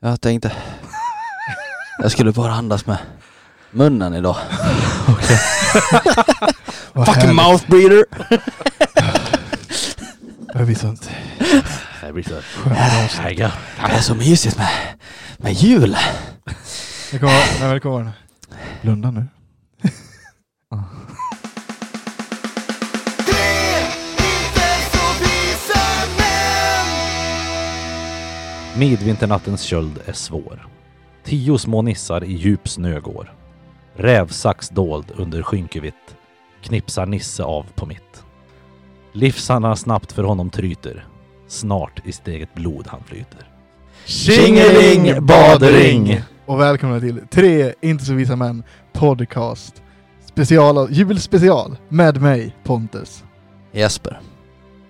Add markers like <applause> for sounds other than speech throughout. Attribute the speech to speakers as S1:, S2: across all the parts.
S1: Jag tänkte... Jag skulle bara andas med munnen idag.
S2: Vad
S1: Fucking
S2: härligt.
S1: mouth breather!
S2: Det blir sånt
S3: Det blir så.
S2: skönt avsnitt.
S3: Herregud.
S1: Det är så mysigt med, med jul.
S2: Det kommer, nej, men det kommer nu. Blunda nu.
S3: Midvinternattens köld är svår. Tio små nissar i djup snö går. Rävsax dold under skynkevitt. Knipsar Nisse av på mitt. Livsarna snabbt för honom tryter. Snart i steget blod han flyter. Tjingeling, badring!
S2: Och välkomna till Tre inte så visa män podcast. Special, julspecial med mig Pontus.
S1: Jesper.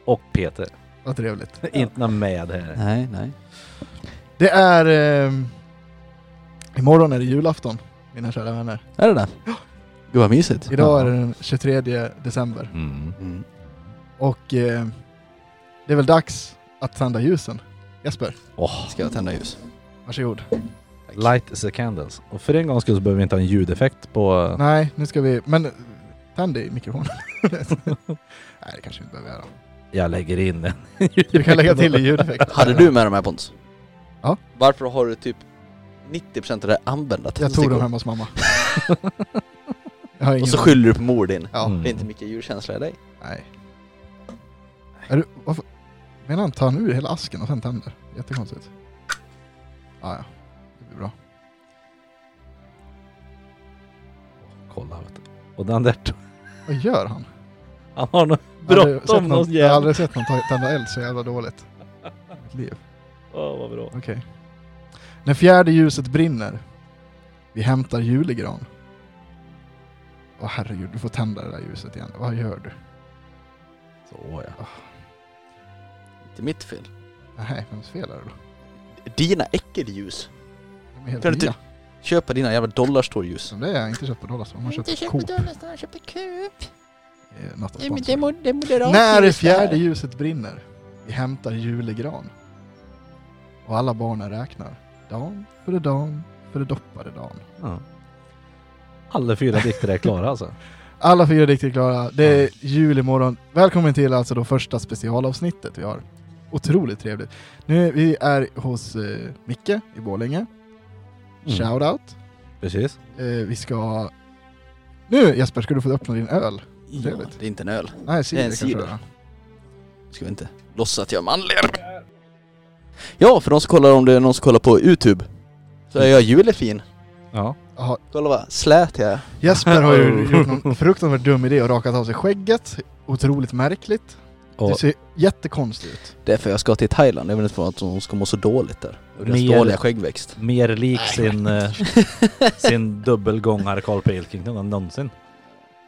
S3: Och Peter,
S2: Vad trevligt.
S3: inte med här.
S1: Nej, nej.
S2: Det är... Eh, imorgon är det julafton, mina kära vänner.
S1: Är det det? Gud vad mysigt.
S2: Idag är det den 23 december.
S3: Mm.
S1: Mm.
S2: Och eh, det är väl dags att tända ljusen. Jesper,
S3: Åh,
S1: Ska jag tända ljus?
S2: varsågod.
S3: light is a candles. Och för en gångs skull så behöver vi inte ha en ljudeffekt på...
S2: Nej, nu ska vi... Men tänd i
S3: <laughs>
S2: mikrofonen. Nej, det kanske vi inte behöver göra.
S3: Jag lägger in en
S2: Vi kan lägga till i ljudeffekt.
S1: Hade du med de här Pontus?
S2: Ja.
S1: Varför har du typ 90% av det här använda
S2: Jag tog dem hemma hos
S3: <laughs>
S2: mamma. Jag har ingen
S1: Och så skyller du på mor din.
S2: Ja.
S3: Mm.
S1: Det är inte mycket djurkänsla i dig.
S2: Nej. Är du, varför? Menar han tar han ur hela asken och sen tänder? Jättekonstigt. Ah, ja, det blir bra.
S3: Kolla vet du. Och den där...
S2: Vad gör han?
S3: <laughs> Han har nog
S2: Jag har aldrig sett
S3: bråttom något
S2: Jag har
S3: jävla...
S2: aldrig sett någon ta- tända eld så jävla dåligt. Mitt liv.
S3: Åh, vad bra.
S2: Okej. När fjärde ljuset brinner, vi hämtar julegran. Åh herregud, du får tända det där ljuset igen. Vad gör du?
S3: Så ja.
S1: Inte mitt fel.
S2: Nej, vems fel är det då?
S1: Dina äckelljus.
S2: De är helt
S1: Kan du
S2: nya.
S1: Köpa dina jävla dollarstore-ljus.
S2: Som det är, inte köpt på Dollarstore. Man köper Coop.
S4: Dollarstore, jag köper Coop.
S2: Eh, Något av
S4: Det är- det är
S2: sponsor.
S4: mo- det är moderat
S2: När det
S4: ljus det här.
S2: fjärde ljuset brinner, vi hämtar julegran. Och alla barnen räknar. Dan före dan före doppade dan.
S3: ja. Alla fyra dikter är klara alltså.
S2: Alla fyra dikter är klara. Det är jul imorgon. Välkommen till alltså då första specialavsnittet vi har. Otroligt trevligt. Nu vi är hos eh, Micke i Borlänge.
S1: Mm.
S2: Shoutout.
S3: <laughs> Precis.
S2: Eh, vi ska... Nu Jesper, ska du få öppna din öl?
S1: Ja,
S2: Trevligt.
S1: det är inte en öl.
S2: Nej,
S1: Det
S2: cider
S1: är en
S2: kanske
S1: cider.
S2: det är.
S1: Ska vi inte låtsas att jag är manlig? Ja, för de som kollar om det är någon som kollar på Youtube. Så är jag julefin.
S3: Ja.
S2: Jaha,
S1: Kolla vad slät jag är.
S2: Jesper har ju gjort
S1: <laughs>
S2: någon fruktansvärt dum idé och rakat av sig skägget. Otroligt märkligt.
S3: Och
S2: Det ser jättekonstigt ut.
S1: Det är för jag ska till Thailand. Jag vet inte för att de ska må så dåligt där. Och deras
S3: Mer-
S1: dåliga skäggväxt.
S3: <laughs> mer lik sin, eh, sin dubbelgångare Carl Pilkington än någonsin.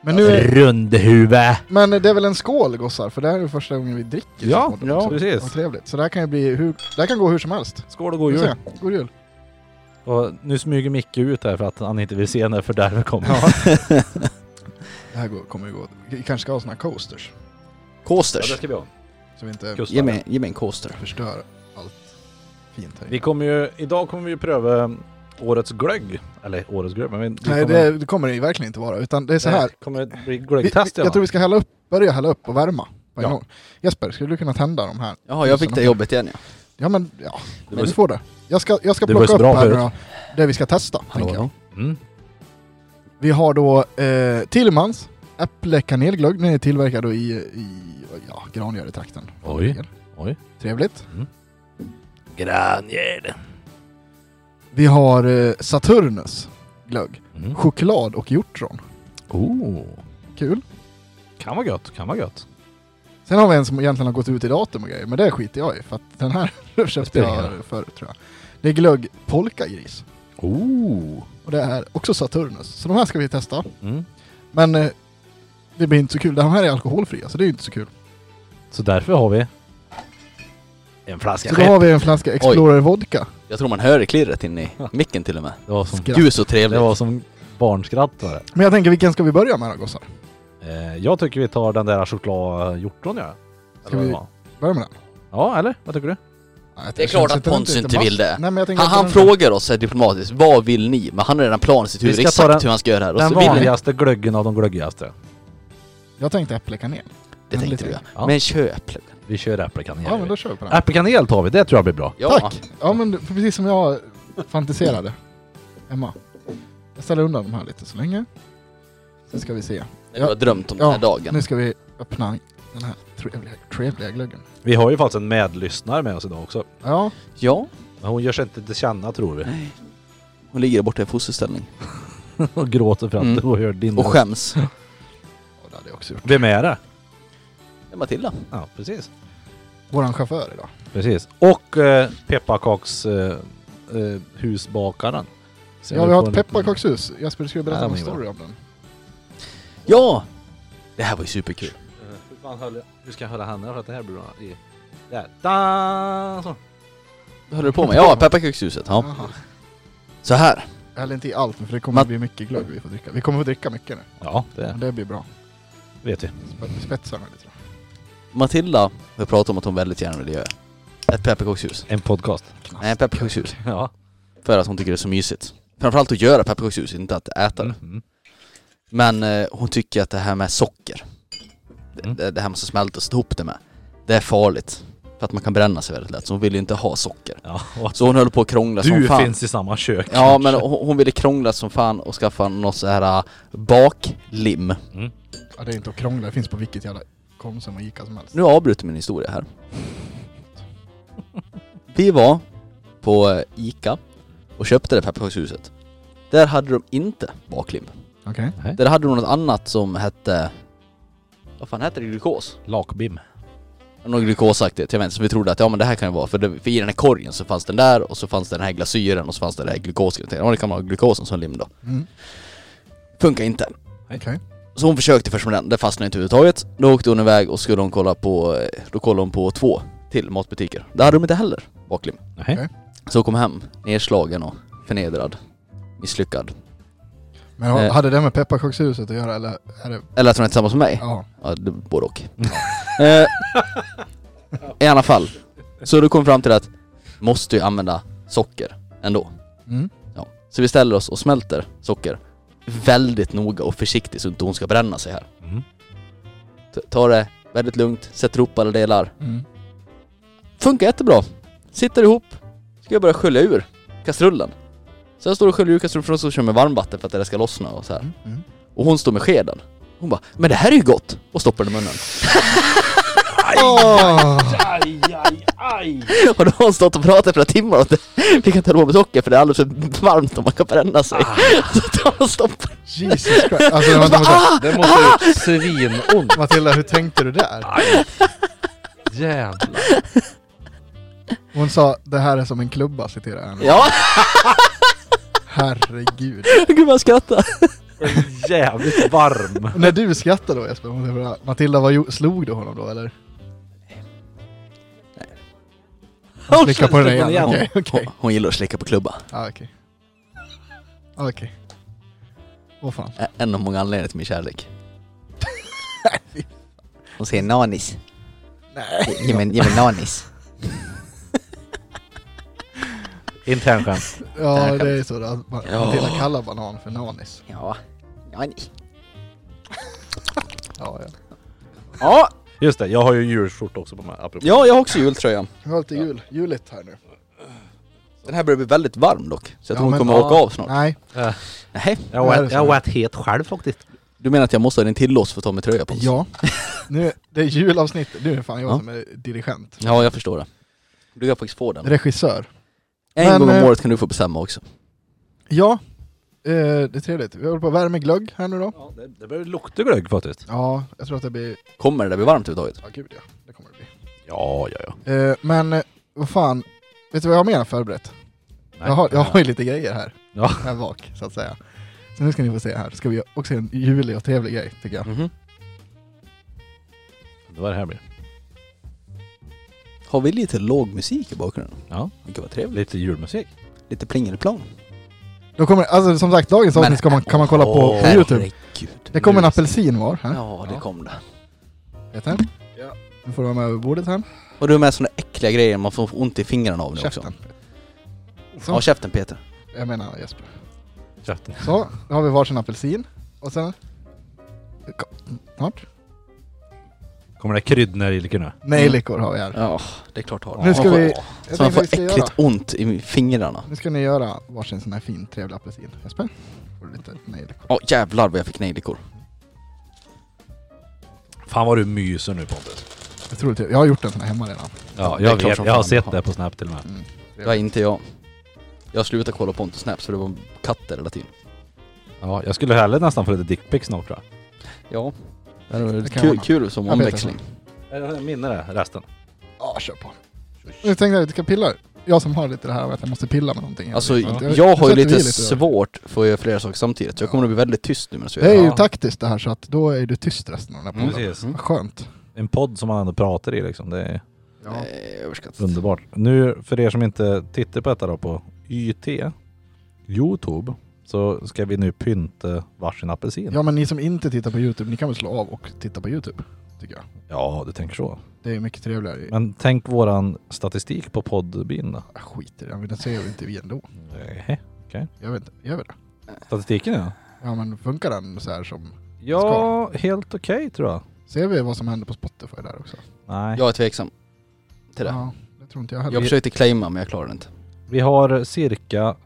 S2: Men, nu är,
S3: Rundhuvud!
S2: men det är väl en skål gossar, för det här är första gången vi dricker.
S3: Ja,
S2: Också.
S3: ja,
S2: Vad
S3: precis.
S2: trevligt. Så det här kan ju bli hur, det här kan gå hur som helst.
S3: Skål och god
S2: Vi får
S3: jul.
S2: se. God jul.
S3: Och nu smyger Micke ut här för att han inte vill se när fördärvet kommer.
S2: Det här går, kommer ju gå. Vi kanske ska ha såna här coasters.
S1: Coasters.
S3: ska vi ha.
S2: Så vi inte
S3: Kustare.
S1: Ge mig, ge mig en coaster.
S2: förstör allt fint här.
S3: Vi kommer ju, idag kommer vi ju pröva årets glögg. Eller årets glögg, men vi, vi
S2: Nej,
S3: kommer,
S2: det, det kommer det ju verkligen inte vara. Utan det är så här.
S3: Det kommer bli
S2: Vi, vi,
S3: glöggtest i alla
S2: jag tror
S3: fall.
S2: vi ska hälla upp, börja hälla upp och värma. På en
S3: Ja.
S2: gång. Jesper, skulle du kunna tända de här?
S1: Jaha, jag fick det jobbet igen ja.
S2: Ja men, ja.
S3: Det
S2: Men
S3: var
S2: du får det. Jag ska, jag ska
S3: Det var ju
S2: plocka
S3: så
S2: upp
S3: bra
S2: här nu
S3: förut.
S2: då, det vi ska testa. tänker jag.
S1: Hallå.
S3: Mm.
S2: Vi har då eh, Tillemans äpple kanelglögg. Den är tillverkad då i, i ja, Grangöretrakten.
S3: Oj. Oj.
S2: Trevligt.
S3: Grangärd.
S2: Vi har eh, Saturnus glögg.
S3: Mm.
S2: Choklad och hjortron.
S3: Oh.
S2: Kul.
S3: Kan vara gött, kan vara gött.
S2: Sen har vi en som egentligen har gått ut i datum och grejer, men det skiter jag i för att den här <laughs> köpte
S3: spelar ingen
S2: jag förut tror jag. Det är glögg polkagris.
S3: Oh.
S2: Och det är också Saturnus. Så de här ska vi testa.
S3: Mm.
S2: Men eh, det blir inte så kul. De här är alkoholfria, så det är ju inte så kul.
S3: Så därför har vi en flaska
S2: Så då
S3: skepp.
S2: har vi en flaska Explorer Vodka.
S1: Jag tror man hör det klirret in i micken till och med.
S3: Det var som,
S2: Skratt.
S1: Gud så
S3: det
S1: trevligt.
S3: var som barnskratt var det.
S2: Men jag tänker, vilken ska vi börja med då gossar?
S3: Eh, jag tycker vi tar den där chokladhjortron ja.
S2: Ska vi- Börja med den?
S3: Ja, eller? Vad tycker du?
S2: Nej,
S1: Det är klart
S2: känns
S1: att
S2: inte runt
S1: Pontus
S2: lite
S1: inte vill
S2: massa.
S1: det.
S2: Nej, men jag tänker
S1: Han,
S2: att
S1: han
S2: den-
S1: frågar oss så här diplomatiskt, vad vill ni? Men han har redan planen i sitt
S3: Vi
S1: huvud
S3: ska ta
S1: exakt
S3: den-
S1: hur han ska göra det här. Och
S3: Den
S1: så vill han,
S3: vanligaste Alltså, glöggen av de glöggigaste.
S2: Jag tänkte äpplekanel.
S1: det
S2: den
S1: tänkte
S2: lite.
S1: du
S3: Ja.
S1: ja. Men köp!
S3: Vi kör äppelkanel.
S2: Ja, men då kör vi på den.
S3: Äppelkanel tar vi, det tror jag blir bra.
S1: Ja.
S2: Tack! Ja men du- precis som jag fantiserade. Emma. Jag ställer undan de här lite så länge. Sen ska vi se.
S1: Jag har drömt om den
S2: Ja,
S1: här dagen.
S2: Nu ska vi öppna den här trevliga, trevliga glöggen.
S3: Vi har ju faktiskt en medlyssnare med oss idag också.
S2: Ja,
S1: Ja.
S3: Men hon gör sig inte till känna tror vi. <laughs>
S1: Nej. Hon ligger där borta i fosterställning.
S3: Och gråter för att
S1: Mm.
S3: hon hör din
S1: Och
S3: röst.
S1: skäms.
S2: och det hade jag också gjort.
S3: Vem är det?
S1: Det är Matilda.
S3: Ja, precis.
S2: Våran chaufför idag.
S3: Precis. Och eh, pepparkaks... Eh, eh, husbakaren. Så
S2: Ja, vi har ett
S3: får en liten-
S2: pepparkakshus. Jesper, du skulle berätta
S3: Ja,
S2: en
S3: men
S2: story om den.
S1: Ja! Det här var ju superkul.
S3: Eh, Hur, fan höll jag- hur ska jag höra henne för att det här blir bra? I, där. Da, så.
S1: Höll du på med? Ja, pepparkakshuset. Ja.
S2: Jaha.
S1: Så här.
S2: Eller inte i allt, men för det kommer
S1: Matt-
S2: bli mycket glögg vi får dricka. Vi kommer få dricka mycket nu.
S3: Ja, det
S2: Men det blir bra.
S3: vet vi.
S2: Sp- Spetsarna lite. då.
S1: Matilda har pratat om att hon väldigt gärna vill göra ett pepparkakshus.
S3: En podcast.
S1: Nej, ett pepparkakshus.
S3: Ja.
S1: För att hon tycker det är så mysigt. Framförallt att göra pepparkakshus, inte att äta det.
S3: Mm.
S1: Men eh, hon tycker att det här med socker,
S3: Mm.
S1: det, det här måste smältas ihop det med, det är farligt. För att man kan bränna sig väldigt lätt, så hon vill ju inte ha socker.
S3: Ja, och att
S1: Så hon höll på att krångla som
S3: du
S1: fan.
S3: finns i samma kök.
S1: Ja men hon, hon ville krångla som fan och skaffa något så här eh, baklim.
S3: Mm.
S2: Ja, det är inte att krångla. Det finns på vilket jävla Konsum och Ica som helst.
S1: Nu avbryter min historia
S3: <laughs>
S1: här. Vi var på eh, Ica och köpte det pepparkakshuset. Där hade de inte baklim.
S2: Okej.
S1: Där hade de något annat som hette... Vad fan hette det? Glukos?
S3: Lakbim.
S1: Något glukosaktigt, jag vet inte, så vi trodde att ja men det här kan ju vara, för, det, för i den här korgen så fanns den där och så fanns den här glasyren och så fanns det här glukosgrejen. Ja det kan vara glukosen som lim då.
S2: Mm.
S1: Funkar inte.
S2: Okej.
S1: Så hon försökte först med den, det fastnade inte överhuvudtaget. Då åkte hon iväg och skulle hon kolla på, eh, då kollade hon på två till matbutiker. Där hade de inte heller baklim.
S3: Nej.
S2: Okej.
S1: Så hon kom hem, nedslagen och förnedrad. Misslyckad.
S2: Men har-
S1: Eh.
S2: hade det med pepparkakshuset att göra eller? Är det...
S1: Eller att hon är tillsammans med mig.
S2: Ja.
S1: Ja, det, både och. eh, I alla fall. Så då kom vi fram till att måste ju använda socker ändå.
S2: Mm.
S1: Ja. Så vi ställer oss och smälter socker väldigt noga och försiktigt så inte hon ska bränna sig här.
S3: Mm.
S1: T- Ta det väldigt lugnt, sätter ihop alla delar.
S2: Mm.
S1: Funkar jättebra. Sitter ihop, ska jag börja skölja ur kastrullen. Så jag står och sköljer ur kastrullen för att kör med varmvatten för att det där ska lossna och så här.
S2: Mm.
S1: Och hon står med skeden. Hon bara 'Men det här är ju gott!' och stoppar den i
S2: <laughs>
S1: munnen.
S2: Åh!
S3: Aj, aj, aj!
S1: Och då har hon stått och pratat i flera timmar och det, vi kan inte hålla på med socker för det är alldeles för varmt och man kan bränna sig.
S2: Ah.
S1: <laughs> Så tar hon och stoppar.
S2: <laughs> Jesus Christ. Alltså, vänta, vänta.
S3: Det måste ha gjort svinont.
S2: Matilda, hur tänkte du där?
S3: Jävlar.
S2: Hon sa det här är som en klubba, citerar jag henne.
S1: Ja,
S2: Herregud.
S1: gud vad jag skrattar.
S3: Jävligt varm.
S2: Och när du skrattar då Jesper, måste jag fråga, Matilda vad gjo- slog du honom då eller?
S1: Hon,
S2: Slicka på den där
S3: slog
S2: igen?
S3: honom igen.
S2: Okej, okej.
S1: hon gillar att slicka på klubba.
S2: Ja, okej. Ja, Okej. Åh fan.
S1: Ä- En av många anledningar till min kärlek. <laughs> Hon säger nanis.
S2: Nej.
S1: Ge mig, ge mig nanis.
S3: Internskämt.
S2: Ja, det är så. då, att Ma-
S1: Ja.
S2: Matilda kallar banan för nanis.
S1: Ja, nanis.
S2: Ja, ja.
S1: Ja,
S3: Just det, jag har ju en julskjorta också på mig. Apropå.
S1: ja jag har också jultröja.
S2: Nu har lite jul, juligt här nu.
S1: Den här börjar bli väldigt varm dock. Så jag
S2: Ja,
S1: tror hon
S2: men-
S1: kommer åka
S3: ja.
S1: av snart.
S2: Nej,
S1: Nej,
S3: Jag
S2: Vad är
S3: har
S2: det
S3: ät-
S2: för
S3: jag har
S2: något?
S3: ätit het själv faktiskt.
S1: du menar att jag måste ha din tillåts för att ta min tröja på mig?
S2: ja. Nu, det är julavsnitt. Nu är det fan jag
S1: Ja.
S2: som är dirigent.
S1: ja, jag förstår det. Du kan faktiskt få den.
S2: Regissör.
S1: En
S2: Men,
S1: gång om
S2: eh,
S1: året kan du få bestämma också.
S2: Ja, eh, det är trevligt. Vi håller på att värma glögg här nu då.
S3: Ja, det, det börjar lukta glögg faktiskt.
S2: Ja, jag tror att det blir...
S1: Kommer det där bli varmt överhuvudtaget?
S2: Ja, gud ja. Det kommer det bli.
S3: Ja, ja, ja.
S2: Eh, men eh, vad fan, vet du vad jag har mer än förberett?
S3: Nej.
S2: Jag har, jag har ju lite grejer här.
S3: Ja.
S2: Här bak, så att säga. Så nu ska ni få se här. Ska vi också göra en julig och trevlig grej, tycker jag.
S1: Mhm.
S3: Det var det här blir.
S1: Har vi lite låg musik i bakgrunden?
S3: Ja.
S1: Det kan vara trevligt.
S3: Lite julmusik.
S1: Lite plingelplong.
S2: Då kommer, alltså som sagt, dagens
S1: Men-
S2: avsnitt ska man, kan man kolla på, på
S3: Åh,
S2: Youtube.
S1: Herregud. Mm.
S2: Det kommer en
S3: nu-
S2: apelsin var här,
S1: Ja, det
S3: Ja.
S1: kom det.
S2: Peter.
S3: Ja.
S2: Nu får du vara med över bordet här.
S1: Och du har med såna äckliga grejer man får ont i fingrarna av nu också.
S2: Käften. Så,
S1: Ja, käften Peter.
S2: jag menar Jesper.
S3: Käften.
S2: Så, nu har vi varsin apelsin. Och sen... Snart.
S3: Kommer det kryddor i nu?
S2: Nejlikor har vi här.
S1: Ja, det är klart har
S2: Nu ska
S1: Man får-
S2: vi- Jag
S1: Så man
S2: tänkte
S1: får
S2: vi ska
S1: äckligt
S2: göra.
S1: ont i fingrarna.
S2: Nu ska ni göra varsin sån här fin trevlig apelsin. Jesper? Får du lite nejlikor?
S1: Ja jävlar vad jag fick nejlikor.
S3: Fan vad du myser nu Pontus.
S2: Otroligt trevligt. Jag har gjort en sån här hemma redan.
S3: Ja,
S1: Det är
S3: jag
S1: klart
S3: vet.
S1: som
S3: Jag har
S1: fan.
S3: sett det på Snap till och med.
S2: Mm.
S1: Det var inte jag. Jag slutade kolla Pontus Snaps för det var katter hela tiden.
S3: Ja, jag skulle hellre nästan få lite dickpics snart tror
S1: Ja.
S2: Det kan
S1: Kul,
S2: vara.
S1: kul som
S2: Jag vet
S1: omväxling.
S3: jag. Jag minne det, resten.
S2: Ja, kör på. Nu tänkte jag att vi ska pilla. Jag som har lite det här med att jag måste pilla med någonting.
S1: Alltså
S2: vet inte.
S1: jag har ju
S2: tror att vi är
S1: lite
S2: där.
S1: svårt för att göra flera saker samtidigt. så Jag kommer att bli väldigt tyst nu medan vi
S2: Det
S1: gör
S2: är
S1: det.
S2: ju
S3: Ja.
S2: taktiskt det här så att då är du tyst resten av den här
S1: Mm,
S2: podden.
S3: Precis.
S1: Mm.
S2: Vad skönt.
S3: En podd som man ändå pratar i liksom. Det är
S2: Ja.
S1: Nej, överskattat.
S3: underbart. Nu för er som inte tittar på detta då på YT, Youtube, så ska vi nu pynta varsin apelsin.
S2: ja, men ni som inte tittar på Youtube, ni kan väl slå av och titta på Youtube? Tycker jag.
S3: Ja, du tänker så.
S2: Det är ju mycket trevligare. Men...
S3: Men tänk våran statistik på poddbin då.
S2: Skit i det, men det ser ju inte vi ändå.
S3: Nej.
S2: Jag vet inte, gör vi det?
S3: Statistiken ja.
S2: Ja men funkar den så här som...
S3: Ja, helt okej tror jag.
S2: Ser vi vad som händer på Spotify där också?
S3: Nej.
S1: Jag är tveksam till det.
S2: Ja, det tror inte jag heller.
S1: Jag försökte claima men jag klarade det inte.
S3: Vi har cirka,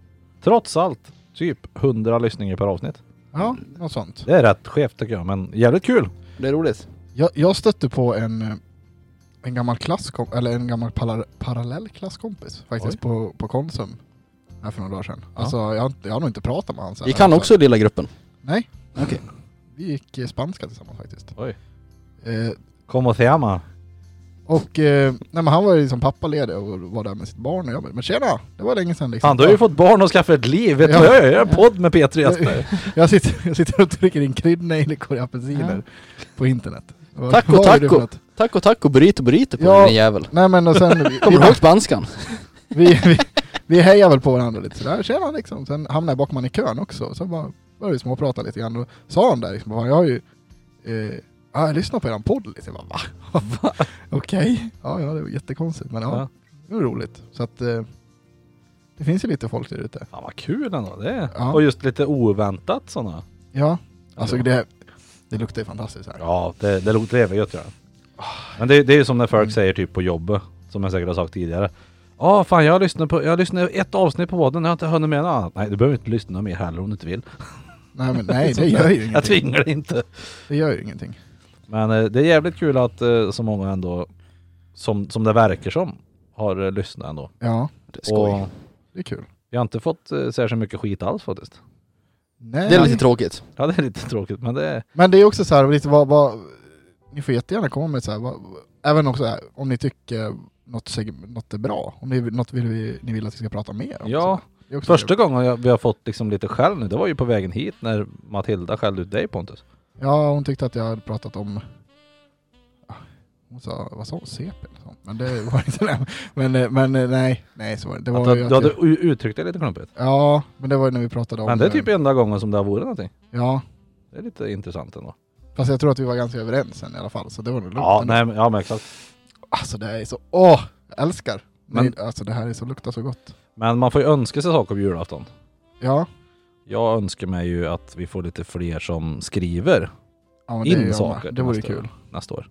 S3: trots allt, typ 100 lyssningar per avsnitt.
S2: Ja, något sånt.
S3: Det är rätt skevt tycker jag, men jävligt kul.
S1: Det är roligt.
S2: Jag, jag stötte på en, eh, en gammal klasskom eller en gammal palar, parallell klasskompis faktiskt
S3: Oj.
S2: på, på Konsum. Här för några dagar sedan.
S3: Ja.
S2: Alltså jag, har inte- jag har nog inte pratat med honom sen.
S1: Gick han också i lilla gruppen?
S2: Nej.
S1: Okej.
S2: Vi gick eh, spanska tillsammans faktiskt.
S3: Oj.
S2: Eh,
S3: Como se llama?
S2: och eh, nej, men han var ju som pappaledig och var där med sitt barn och jag bara, men tjena! Det var länge sedan liksom.
S3: Fan, du har ju fått barn och skaffat ett liv. Vet du
S2: Ja.
S3: vad jag gör? en podd med Peter och Jesper.
S2: <laughs> jag, sitter, jag sitter och trycker in kryddnejlikor i apelsiner på internet. Vad-
S1: Taco,
S2: vad är det
S1: taco.
S2: för något?
S1: Tack och tack och burrito burrito på
S2: Ja.
S1: den jävel.
S2: Nej men
S1: <laughs>
S2: och sen, vi,
S1: Kommer du ihåg spanskan?
S2: vi, vi, vi hejar väl på varandra lite sådär, tjena liksom. Sen hamnade jag bakom han i kön också, så bara började vi småprata lite grann. Då sa han där liksom, bara, jag har ju, eh, ja, jag lyssnar på eran podd lite. Jag bara, va? <laughs> Okej. Ja, ja, det var jättekonstigt, men ja,
S3: Ja.
S2: det var roligt. Så att eh, det finns ju lite folk där ute.
S3: Fan vad kul ändå det är.
S2: Ja.
S3: Och just lite oväntat sådana.
S2: Ja, alltså
S3: Ja.
S2: det, det luktar ju fantastiskt här.
S3: Ja, det, det låter även gött tror jag. Men det, det är ju som när folk säger typ på jobbet, som jag säkert har sagt tidigare. Ja, fan jag lyssnar på, jag lyssnar ett avsnitt på podden, jag har inte hunnit med något annat. Nej, du behöver inte lyssna mer heller om du inte vill.
S2: Nej, men nej, det
S1: <laughs>
S2: gör ju
S3: <laughs> Jag
S2: ingenting.
S3: tvingar dig inte.
S2: Det gör ju ingenting.
S3: Men eh, det är jävligt kul att eh, så många ändå, som, som det verkar som, har eh, lyssnat ändå.
S2: Ja,
S1: Det är skoj.
S3: Och
S2: det är kul.
S3: vi har inte fått eh, särskilt mycket skit alls faktiskt.
S2: Nej,
S1: Det är lite tråkigt.
S3: Ja, det är lite tråkigt men det är...
S2: Men det är också så här, lite vad, vad, ni får jättegärna komma med så här, vad, även också här, om ni tycker något, seg- något är bra, om ni, något vill vi, ni vill att vi ska prata mer om.
S3: Ja,
S2: så. Det är också
S3: första
S2: trevligt.
S3: gången jag, vi har fått liksom lite skäll nu, det var ju på vägen hit när Matilda skällde ut dig Pontus.
S2: Ja, hon tyckte att jag hade pratat om, ja, hon sa, vad sa hon, CP eller sånt? Men det var inte det. Men, eh, men eh, nej, nej så var det det
S3: Att
S2: var
S3: du,
S2: ju
S3: du
S2: att
S3: hade
S2: jag-
S3: u- uttryckt dig lite klumpigt.
S2: Ja, men det var ju när vi pratade om...
S3: Men det är typ
S2: eh,
S3: enda gången som det har varit någonting.
S2: Ja,
S3: Det är lite intressant ändå.
S2: fast jag tror att vi var ganska överens sen i alla fall, så det var nog lugnt.
S3: Ja,
S2: ändå.
S3: nej, men- ja men exakt.
S2: Alltså det här är så, åh! Jag älskar!
S3: Men-
S2: Nej, alltså det här är så, luktar så gott.
S3: Men man får ju önska sig saker på julafton.
S2: Ja,
S3: Jag önskar mig ju att vi får lite fler som skriver
S2: ja men det, är
S3: in
S2: jag
S3: saker
S2: med. det
S3: till
S2: vore
S3: nästa-
S2: kul.
S3: nästa år.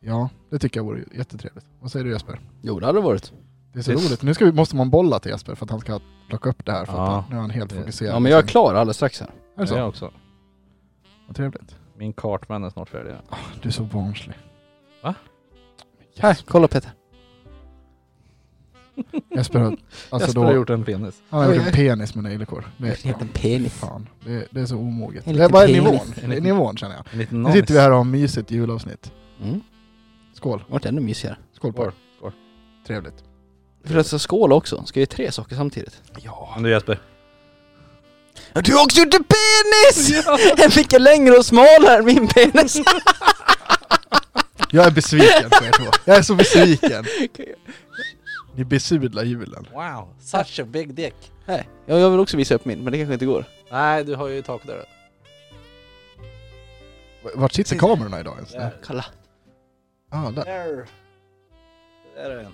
S2: Ja, det tycker jag vore jättetrevligt. Vad säger du Jesper?
S1: Jo det hade det varit.
S2: Det är så
S3: Det-
S2: roligt. Nu ska vi, måste man bolla till Jesper för att han ska plocka upp det här för att
S3: Ja.
S2: han- nu är han helt
S3: Det-
S2: fokuserad.
S1: Ja men jag är klar alldeles strax här.
S2: Är det så?
S3: Jag också.
S2: Vad trevligt.
S3: Min kartman är snart färdig.
S2: Ah, du är så barnslig.
S3: Va?
S1: Här, kolla Peter.
S2: Jesper
S3: <laughs>
S2: har, <laughs> alltså
S3: Jesper har
S2: då,
S3: gjort en penis.
S2: han har gjort en penis med nejlikor. Det,
S1: En liten penis.
S2: fan, det, det är så omoget.
S1: En
S2: Det är bara
S1: liten
S2: nivån.
S1: penis.
S2: Det är nivån känner jag.
S3: En liten
S2: Nu sitter vi här och har mysigt julavsnitt.
S1: Mm.
S2: Skål.
S1: Det vart ännu mysigare.
S2: Skål på er.
S3: Skål. Skål.
S2: Trevligt.
S1: Förresten skål också. Ska jag ge tre saker samtidigt?
S2: Ja.
S3: Men du Jesper.
S1: Du har också gjort en penis! <laughs> Den fick jag längre och smalare än min <laughs> penis.
S2: Jag är besviken på er två. Jag är så besviken. Ni besudlar julen.
S3: Wow, such a big dick.
S1: Nej, jag, jag vill också visa upp min men det kanske inte går.
S3: Nej, du har ju takdörren.
S2: Vart sitter kamerorna idag ens?
S3: Där.
S1: Kalla.
S2: Ah, där.
S3: Där. Där är den.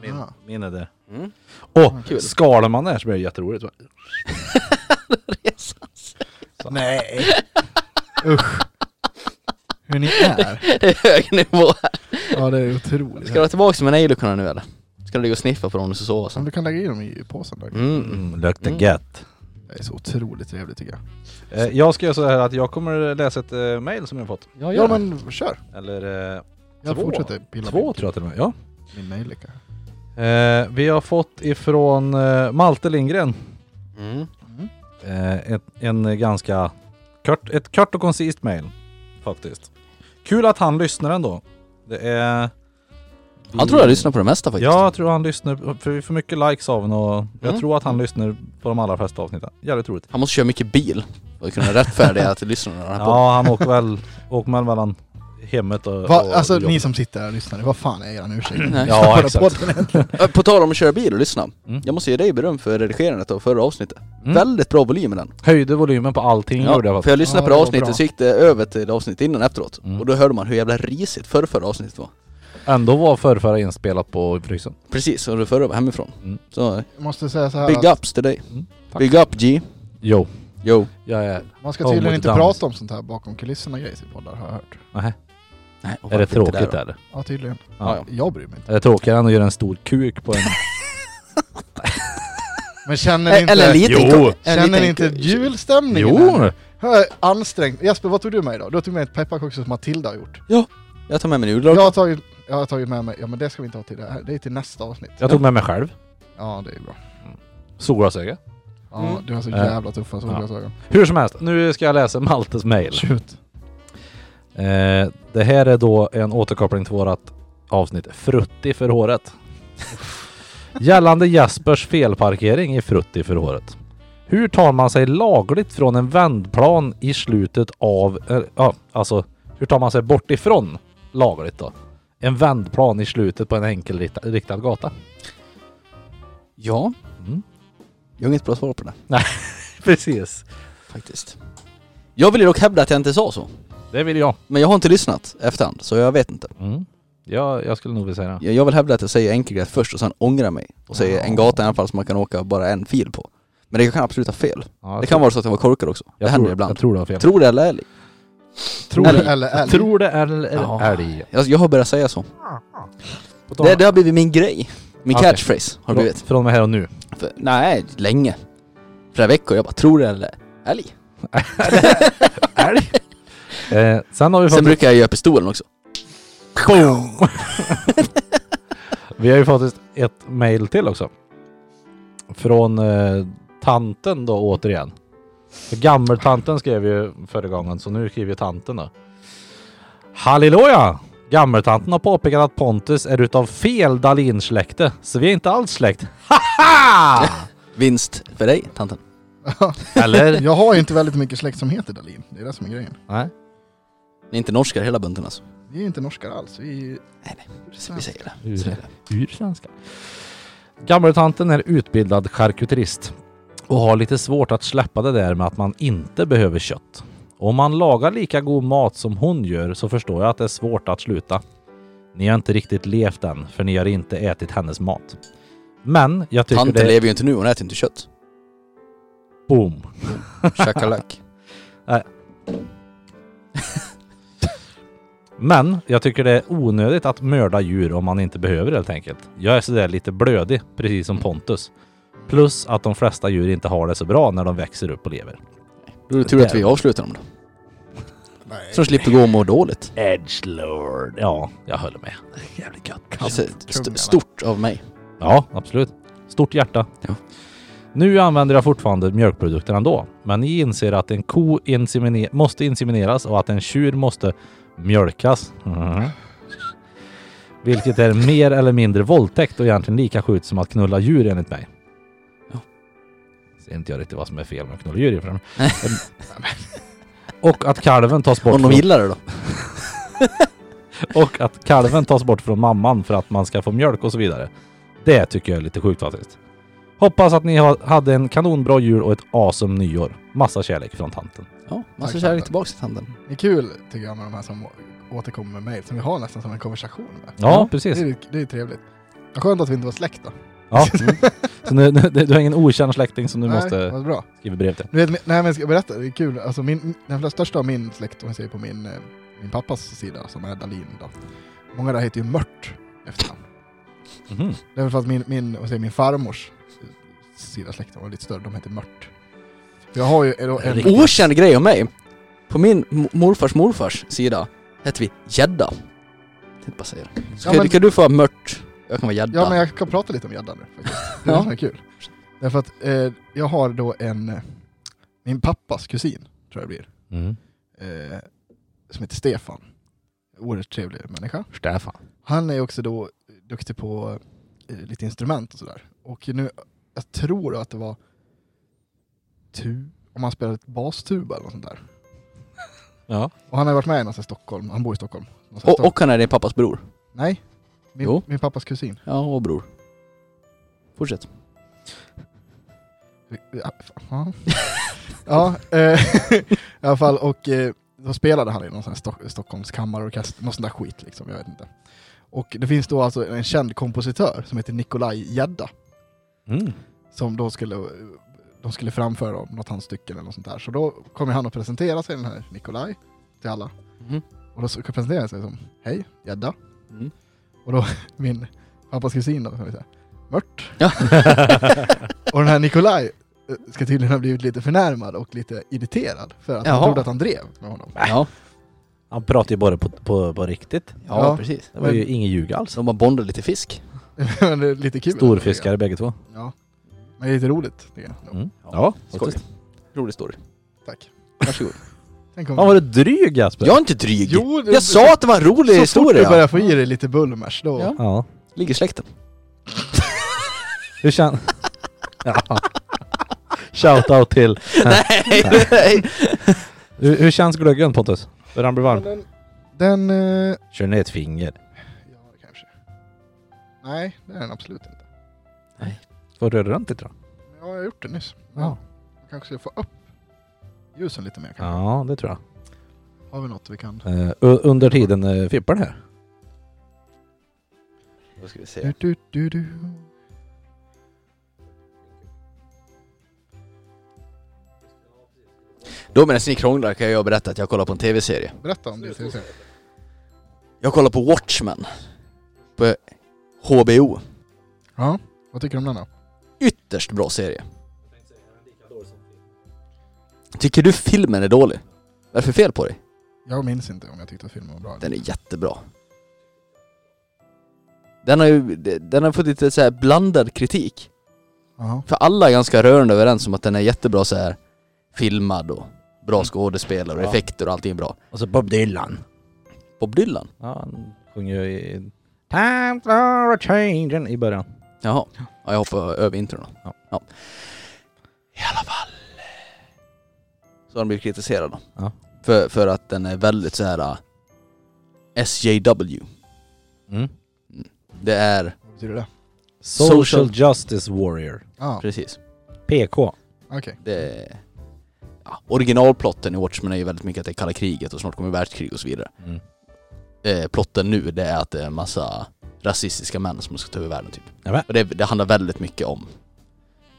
S3: Den är Min,
S2: Ah.
S3: min är där.
S1: Mm.
S3: Åh,
S1: Kul. <laughs>
S3: skalar man där så blir det jätteroligt. va?
S2: Nej! <laughs> Usch! Hur ni är?
S1: Det är hög nivå här.
S2: Ja det är otroligt.
S1: Ska du ha tillbaka mina ejlikorna nu eller? Ska du ligga och sniffa på dem när du ska sova
S2: Som
S1: sen?
S2: du kan lägga i dem i påsen där.
S1: Mm.
S3: Mm, luktar
S1: Mm.
S3: gött.
S2: Det är så otroligt trevligt tycker jag.
S3: Eh, Jag ska göra så här att jag kommer läsa ett eh, mail som jag fått.
S1: Ja,
S2: Ja
S1: gör det.
S2: men kör!
S3: Eller eh,
S2: Jag
S3: Två.
S2: fortsätter pilla
S3: två
S2: min-
S3: tror jag till och med. Ja.
S2: min nejlika.
S3: Eh, vi har fått ifrån eh, Malte Lindgren
S1: Mm.
S2: Mm.
S3: eh, ett, en ganska kort, ett kort och koncist mail faktiskt. Kul att han lyssnar ändå. Det är...
S1: Han tror jag lyssnar på det mesta faktiskt.
S3: Ja, jag tror han lyssnar, för vi får mycket likes av honom och jag
S1: Mm.
S3: tror att han lyssnar på de allra flesta avsnitten. Jävligt roligt.
S1: Han måste köra mycket bil för att kunna
S3: <laughs>
S1: rättfärdiga att lyssnarna har den här podden.
S3: Ja, han åker väl, åker väl mellan hemmet och,
S2: Va,
S3: och
S2: alltså
S3: jobbet.
S2: ni som sitter här och lyssnar, vad fan är eran ursäkt? <laughs>
S1: Nej.
S3: Ja,
S2: Bara
S3: exakt.
S2: podden egentligen.
S1: Ö, Eh, På tal om att köra bil och lyssna.
S3: Mm.
S1: Jag måste ge dig beröm för redigerandet av förra avsnittet.
S3: Mm.
S1: Väldigt bra volym i den.
S3: Höjde volymen på allting
S1: Ja,
S3: gjorde jag
S1: för jag lyssnade
S2: Ja,
S1: på
S2: det
S1: det
S2: var
S1: avsnittet
S2: bra.
S1: så gick det över till avsnittet innan efteråt.
S3: Mm.
S1: Och då hörde man hur jävla risigt förra, förra avsnittet var.
S3: Ändå var förrförra inspelat på frysen.
S1: Precis, och det förra var hemifrån.
S3: Mm.
S1: Så,
S2: Jag måste säga så här
S1: big
S2: att
S1: ups till dig.
S3: Mm, tack.
S1: Big up G.
S3: Jo,
S1: Yo.
S3: jag är...
S2: man ska
S3: Oh,
S2: tydligen
S3: mot
S2: inte
S3: dans.
S2: prata om sånt här bakom kulisserna grejs i poddar har jag hört.
S3: Nej,
S1: Nej, och varför
S3: är det
S1: inte
S3: tråkigt
S1: då?
S3: eller?
S2: Ja tydligen.
S1: Ja, ja.
S2: Jag bryr mig inte.
S3: Är det tråkigare än att göra en stor kuk på en... <laughs>
S2: Men känner ni
S1: <laughs> Eh,
S2: inte,
S1: Eller en liten
S3: Jo.
S1: ko- en
S2: känner
S1: liten-
S2: ni inte julstämningen? här? Jag är ansträngd. Jesper vad tog du med idag? Du tog med ett pepparkakshus som Matilda har gjort.
S1: Jag tar med mig en
S2: Jag
S1: julgran.
S2: har, tagit, jag har tagit med mig, ja men det ska vi inte ha till det här, det är till nästa avsnitt.
S3: Jag tog med mig själv.
S2: Ja det är bra.
S3: Solglasöga.
S2: Ja,
S1: Mm.
S2: du har så
S3: Eh.
S2: jävla tuffa solglasögon.
S3: Hur som helst, nu ska jag läsa Maltes mail.
S2: Shoot.
S3: Eh, det här är då en återkoppling till vårat avsnitt Frutti för håret. Gällande Jespers felparkering i Frutti för håret. Hur tar man sig lagligt från en vändplan i slutet av... eh, Ja, alltså hur tar man sig bort ifrån lagligt då? En vändplan i slutet på en enkelriktad riktad gata.
S1: Ja,
S3: Mm.
S1: jag har inget bra svar på det
S3: Precis.
S1: faktiskt. Jag vill ju dock hävda att jag inte sa så.
S3: Det vill jag.
S1: Men jag har inte lyssnat efterhand, så jag vet inte.
S3: Mm. Ja, jag skulle nog vilja säga det.
S1: Jag, jag vill hävda att jag säger enkelgräs först och sen ångrar mig. Och säger
S3: Ja.
S1: en gata i alla fall som man kan åka bara en fil på. Men det kan absolut ha fel.
S3: Ja, jag
S1: Det
S3: tror-
S1: kan vara så att jag var korkad också.
S3: jag
S1: det händer
S3: tror,
S1: ibland.
S3: Jag tror du har fel.
S1: Tror det eller ärlig?
S2: Tror
S1: Älg.
S2: du eller älg?
S3: Tror det eller
S1: Ja.
S3: är älg.
S1: Jag, jag har börjat säga så.
S3: På tal-
S1: Det, det har blivit min grej. Min
S3: Okej.
S1: catchphrase har det blivit.
S3: Från och med här och nu.
S1: För, nej, länge. Flera veckor. Jag bara, tror det eller älg?
S3: <laughs> Älg! eh, sen har vi fått,
S1: Sen brukar jag göra pistolen också.
S3: vi har ju fått ett- ett mail till också. Från eh, tanten då återigen. För Gammeltanten skrev ju förra gången, så nu skriver ju tanten då. Halleluja! Gammeltanten har påpekat att Pontus är utav fel Dahlin-släkte, så vi är inte alls släkt. <laughs> Haha!
S1: Vinst för dig, tanten.
S2: <laughs>
S3: Eller?
S2: Jag har ju inte väldigt mycket släkt som heter Dahlin, det är det som är grejen.
S3: Nej.
S1: Ni är inte norskar hela bunten alltså.
S2: Vi är inte norskar alls, vi är
S1: Vi säger det.
S3: Ur-
S1: Vi säger det.
S3: ur svenska. Gammeltanten är utbildad charkuterist och har lite svårt att släppa det där med att man inte behöver kött. Om man lagar lika god mat som hon gör så förstår jag att det är svårt att sluta. Ni har inte riktigt levt än, för ni har inte ätit hennes mat. Men jag tycker
S1: Tanten
S3: det är...
S1: lever ju inte nu, hon äter inte kött.
S3: Boom!
S1: Shakalak.
S3: Men jag tycker det är onödigt att mörda djur om man inte behöver helt enkelt. Jag är sådär lite blödig, precis som Pontus. Plus att de flesta djur inte har det så bra när de växer upp och lever.
S1: Då är det tur att vi avslutar om det. Så de slipper gå och må dåligt.
S3: Edgelord. Ja, jag håller med. Jävligt gött.
S1: Alltså, st- stort av mig.
S3: Ja, absolut. Stort hjärta.
S1: Ja.
S3: Nu använder jag fortfarande mjölkprodukter ändå, men ni inser att en ko insemine- måste insemineras och att en tjur måste mjölkas. Mhm. Vilket är mer eller mindre våldtäkt och egentligen lika sjukt som att knulla djur enligt mig.
S1: Ja.
S3: Ser inte jag riktigt vad som är fel med att knulla djur i och för sig. <laughs> Och att kalven tas bort
S1: Om de
S3: från-
S1: gillar det då.
S3: Och att kalven tas bort från mamman för att man ska få mjölk och så vidare. Det tycker jag är lite sjukt faktiskt. Hoppas att ni ha- hade en kanonbra jul och ett awesome nyår. Massa kärlek från tanten.
S1: Ja,
S2: Tack,
S1: massa
S2: tanten.
S1: kärlek tillbaks till tanten.
S2: Det är kul tycker jag med de här som återkommer med mejl som vi har nästan som en konversation med.
S3: Ja, precis.
S2: Det är, ju- det är ju trevligt. Vad Skönt att vi inte var släkt då.
S3: Ja. Mm. Så nu, nu, du har ingen okänd släkting som du
S2: nej,
S3: måste
S2: Vad bra.
S3: skriva brev till?
S2: Du vet, men- nej men jag ska berätta, det är kul. Alltså min, den största av min släkt, om vi säger på min, eh, min pappas sida, som är Dahlin då. Många där heter ju Mört i efternamn.
S3: Mhm.
S2: Det är väl för att min, min, vad säger, jag, min farmors sida släkten var lite större, de heter Mört. Jag har ju en... en
S3: Riktigt.
S1: Okänd grej om mig. På min mo- morfars morfars sida hette vi gädda. Tänkte bara säga det. Så
S2: Ja,
S1: kan,
S2: men-
S1: kan du få vara mört, jag kan vara gädda.
S2: ja men jag kan prata lite om gädda nu faktiskt. Det
S1: <laughs>
S2: är
S1: Ja.
S2: det som är kul. Därför att eh, jag har då en, eh, min pappas kusin, tror jag det blir,
S3: Mm.
S2: eh, som heter Stefan. Oerhört trevlig människa.
S3: Stefan.
S2: Han är också då duktig på eh, lite instrument och sådär. Och nu, jag tror att det var tu, om han spelade ett bastuba eller något sånt där.
S3: Ja.
S2: Och han har varit med någonstans i Stockholm, han bor i Stockholm. Någonstans i
S1: och,
S2: Stockholm.
S1: och han är din pappas bror.
S2: Nej, min,
S1: Jo.
S2: min pappas kusin.
S1: Ja, och bror. Fortsätt.
S2: Ja, fan. ja <laughs> eh, i alla fall. Och eh, då spelade han i någon sån här Stock- Stockholms kammarorkester, någon sån där skit liksom, jag vet inte. Och det finns då alltså en känd kompositör som heter Nikolaj Gedda.
S3: Mm.
S2: som då skulle, de skulle framföra om något hans stycken eller något sånt där. Så då kommer han att presentera sig, den här Nikolaj, till alla.
S1: Mhm.
S2: Och då så- presenterar han sig som Hej, gädda.
S1: Mm.
S2: Och då min pappas kusin då, kan vi säga, Mört.
S1: Ja. <laughs>
S2: och den här Nikolaj eh, ska tydligen ha blivit lite förnärmad och lite irriterad för att han
S1: Jaha.
S2: trodde att han drev med honom. <laughs>
S1: Ja,
S3: <laughs> Han pratar ju bara på, på, på riktigt.
S1: ja,
S2: Ja.
S1: precis.
S3: Det var ju ingen ljug alls.
S1: Så de bara bondade lite fisk.
S2: Men det är lite kul.
S3: Storfiskare bägge två.
S2: Ja. Men det är lite roligt, tycker jag.
S3: Mm. Ja,
S1: Skoj.
S3: faktiskt.
S1: Rolig story.
S2: Tack.
S1: Varsågod.
S2: Tänk om...
S3: Fan vad du dryg Jasper!
S1: Jag är inte dryg.
S2: Jo, det-
S1: jag sa att det var en rolig
S2: så fort du
S1: historia.
S2: börjar få i dig lite bullmers, då...
S1: Ja.
S3: Ja.
S1: Ligger släkten.
S2: <laughs>
S3: Hur känns... <laughs> ja. Shoutout till...
S1: Nej, <laughs> nej.
S3: Hur, hur känns glöggen Pontus? Börjar han bli varm?
S2: Den, den eh,
S3: Kör ner ett finger.
S2: Ja, det kanske. Nej, det är den absolut inte.
S3: Vad rör du den till tror jag?
S2: Men jag har gjort det nyss.
S3: Ja.
S2: Jag kanske ska få upp ljusen lite mer. kanske.
S3: Ja, det tror jag.
S2: Har vi något vi kan...
S3: Eh, u- under tiden uh, fippar det här.
S1: Då ska vi
S2: Du,
S1: se.
S2: du, du, du.
S1: Då medan ni krånglar kan jag berätta att jag kollar på en tv-serie.
S2: Berätta om det. Till exempel.
S1: Jag kollar på Watchmen. På HBO.
S2: Ja, vad tycker du om den då?
S1: Ytterst bra serie. Tycker du filmen är dålig? Vad är det för fel på dig?
S2: Jag minns inte om jag tyckte att filmen var bra.
S1: Den är jättebra. Den har ju den har fått lite så här blandad kritik.
S2: Jaha.
S1: För alla är ganska rörande överens om att den är jättebra så här filmad och bra skådespelare och
S3: Mm. Ja.
S1: effekter och allting är bra.
S3: Och så Bob Dylan.
S1: Bob Dylan?
S3: Ja, han sjunger ju i... Time for a change i början.
S1: Jaha. Ja, jag hoppar över introna.
S3: Ja.
S1: Ja. I alla fall. Så har de blivit kritiserade då.
S3: Ja.
S1: För, för att den är väldigt så här äh, SJW.
S3: Mm.
S1: Det är...
S2: Vad betyder det?
S3: Social,
S1: Social-
S3: Justice Warrior.
S2: Ja,
S1: Precis.
S3: PK.
S2: okej.
S1: Det är, ja, originalplotten i Watchmen är ju väldigt mycket att det är kalla kriget och snart kommer världskrig och så vidare.
S3: Mm.
S1: Eh, plotten nu det är att det är en massa rasistiska män som ska ta över världen typ.
S3: Nämen.
S1: Och det, det handlar väldigt mycket om,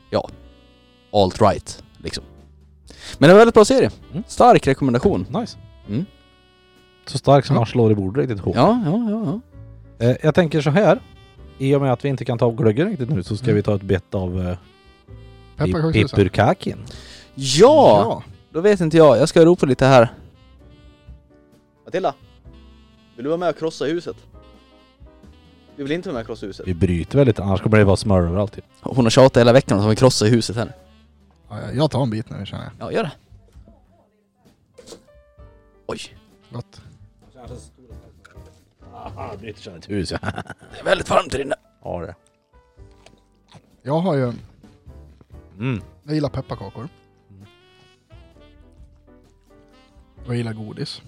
S1: ja, alt-right liksom. Men det är en väldigt bra serie.
S3: Mm.
S1: Stark rekommendation.
S3: Nice.
S1: Mm.
S3: Så stark som
S2: Ja.
S3: han slår i bordet riktigt hårt.
S1: Ja, ja, ja. ja.
S3: Eh, jag tänker så här. I och med att vi inte kan ta av glöggen riktigt nu så ska
S2: Mm.
S3: vi ta ett bett av eh, Pip-
S2: Pepparkakshusen.
S3: Pippurkakin.
S1: Ja! Då vet inte jag. Jag ska ropa lite här. Matilda! Vill du vara med och krossa huset? Du vill inte vara med och krossa huset?
S3: Vi bryter väl lite annars kommer det vara smör överallt. typ.
S1: Hon har tjatat hela veckan om att hon vill krossa huset här.
S2: Ja, ja, jag tar en bit nu känner jag.
S1: Ja, gör det. Oj,
S2: Gott.
S3: Aha, bryter sönder ett hus ja.
S1: det är väldigt varmt här inne.
S3: Ja det.
S2: Jag har ju...
S3: Mm.
S2: Jag gillar pepparkakor. Och jag gillar godis.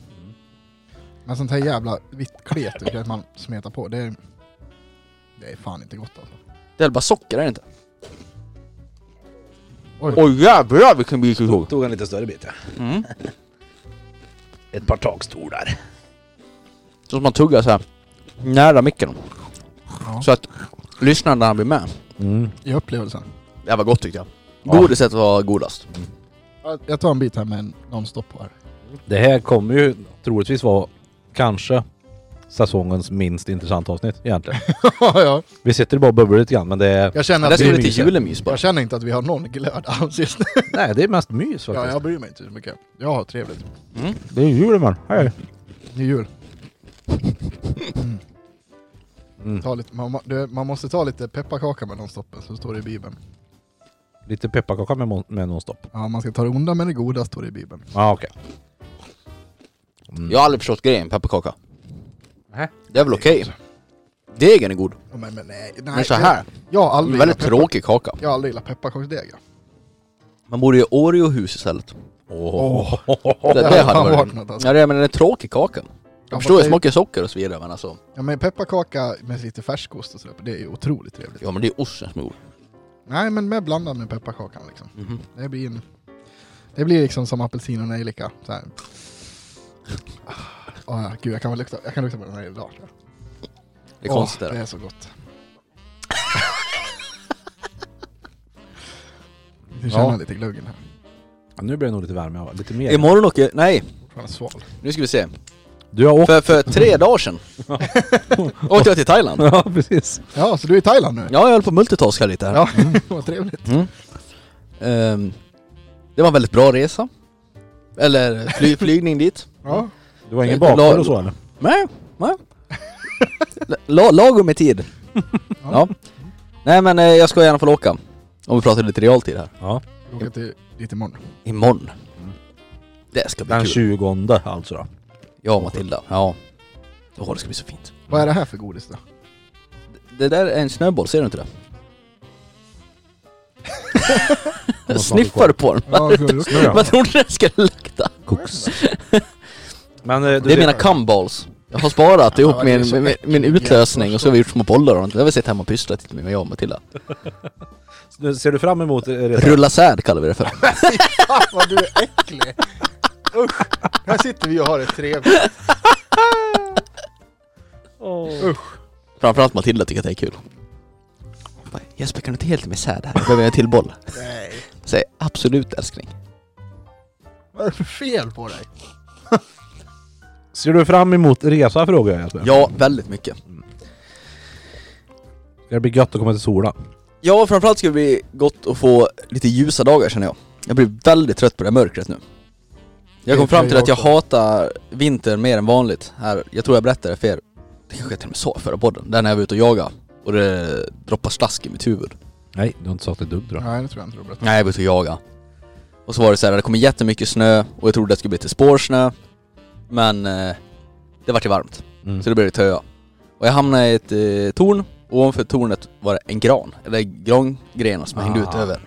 S2: Men sånt här jävla vitt klet tycker jag att man smetar på. Det är, det är fan inte gott alltså.
S1: Det är bara socker, är det inte?
S2: Oj.
S1: jävlar vilken bit du tog!
S3: Tog en lite större bit ja.
S1: Mm.
S3: Ett par takstolar.
S1: Så att man tuggar så här nära micken.
S2: Ja.
S1: Så att lyssnarna blir med.
S3: Mm.
S2: I upplevelsen.
S1: Det här var gott tyckte jag.
S3: Ja.
S1: Godiset var godast.
S2: Jag- Jag tar en bit här med en nonstop här. <laughs>
S3: Det här kommer ju troligtvis vara kanske säsongens minst intressanta avsnitt
S2: <laughs>
S3: egentligen.
S2: ja, ja.
S3: Vi sitter ju bara och bubblar lite grann men det är,
S2: Jag känner,
S1: Men det
S2: att
S1: ska
S2: vi,
S1: bli lite
S3: mysigt.
S1: julemys bara.
S2: jag känner inte att vi har någon glöd alls just nu.
S3: nej, det är mest mys faktiskt.
S2: Ja, jag bryr mig inte så mycket. Jag har trevligt.
S3: Det är jul imorgon. Hej.
S2: Det är jul.
S3: Mm.
S2: Ta lite, man, du, man måste ta lite pepparkaka med nonstoppen, så står det i Bibeln.
S3: Lite pepparkaka med, mon- med nonstop.
S2: Ja, man ska ta det onda med det goda, står det i Bibeln.
S3: Ja ah, okej. Mm.
S1: Jag har aldrig förstått grejen pepparkaka.
S3: Nähä.
S1: Det är väl okej? Degen är god.
S2: Men, men nej, nej.
S1: Men så här.
S2: Jag har
S1: En
S2: aldrig
S1: väldigt
S2: gillat peppar-
S1: tråkig kaka.
S2: Jag har aldrig gillat pepparkaksdeg. ja.
S1: Man borde ju Oreo-hus istället.
S3: Åh.
S1: Det,
S2: hade
S1: det hade
S2: fan
S1: varit...
S2: varit något, alltså.
S1: Ja, det, men den är tråkig kaka.
S2: Ja,
S1: Jag förstår
S2: fast
S1: ju
S2: det-
S1: smakar socker och så vidare men alltså...
S2: Ja, men pepparkaka med lite färskost och sådär, det är ju otroligt trevligt.
S1: Ja men det är osten som är god.
S2: Nej, men med blandad med pepparkakan liksom. Det blir en... Det blir liksom som apelsin och nejlika. Så här. Ah, ja, gud, jag kan, väl lukta, jag kan lukta på den här idag. tror jag.
S1: Det är
S2: Åh,
S1: konstigt det
S2: det
S1: där.
S2: är
S1: <laughs>
S2: så gott. Du känner
S3: Ja.
S2: lite gluggen här.
S3: Ja, nu blir det nog lite värme. ja. Lite mer.
S1: Imorgon åker... Nej!
S2: Fortfarande sval.
S1: Nu ska vi se.
S3: Du har åkt...
S1: För, för tre dagar <laughs> sedan åkte jag till Thailand.
S3: ja precis.
S2: Ja, så du är i Thailand nu?
S1: Ja, Mm. jag höll på att multitaska lite här.
S2: Ja, <laughs> vad trevligt.
S1: Ehm, det var en väldigt bra resa. Eller <laughs> fly, flygning dit.
S2: Ja.
S3: Du har ingen
S1: Jag- jag la-
S3: bakfull och så eller?
S1: Nej, <laughs> nej. La, lagom med tid. Ja. Nej men eh, jag ska i alla fall åka. Om vi pratar lite realtid här.
S3: Ja.
S2: Vi åker till, dit imorgon.
S1: Imorgon. Det ska bli
S3: Den
S1: kul.
S3: 20 alltså då.
S1: Jag och Matilda. Ja. Åh det ska bli så fint.
S2: Vad är det här för godis då?
S1: Det där är en snöboll, ser du inte det? <laughs> Sniffar du på den?
S2: Ja, gurka.
S3: Ja.
S1: Man trodde den skulle lukta.
S3: Koks. Men eh, du,
S1: Det är mina cumballs. Jag har sparat ihop
S2: Ja, det är
S1: min,
S2: så
S1: min, min utlösning och så har vi gjort små bollar och sånt. Det har vi sett hemma och pysslat lite med, jag och Matilda.
S3: du, ser du fram emot eh, resan?
S1: Rulla säd kallar vi det för.
S2: Fan <laughs> vad du är äcklig! Usch! Här sitter vi och har det trevligt.
S1: Framförallt Matilda tycker att det är kul. Hon bara, Jesper kan du inte helt med säd här? Behöver jag en till boll?
S2: Nej.
S1: Säger absolut älskling.
S2: Vad är det för fel på dig?
S3: Ser du fram emot resa frågar jag Jesper.
S1: Ja, väldigt mycket.
S3: Det blir gött att komma till Sola.
S1: Ja, framförallt skulle det bli gott att få lite ljusa dagar känner jag. Jag blir väldigt trött på det här mörkret nu. Jag kom
S2: Det
S1: fram
S2: tror
S1: till att jag
S2: jag också.
S1: hatar vintern mer än vanligt. Här, jag tror jag berättade det för er, det kanske jag till och med sa i förra podden, där när jag var ute och jagade och det droppade slask i mitt huvud.
S3: Nej, du har inte sagt ett dugg tror jag.
S2: Nej, det tror jag inte du har berättat.
S1: Nej, jag var ute och jagade. Och så var det så här, det kom jättemycket snö och jag trodde det skulle bli lite spårsnö. Men eh, det var ju varmt,
S3: Mm.
S1: så det blev det töa. Och jag hamnade i ett eh, torn, och ovanför tornet var det en gran, eller grangrenar som hängde ut
S3: Ah.
S1: över.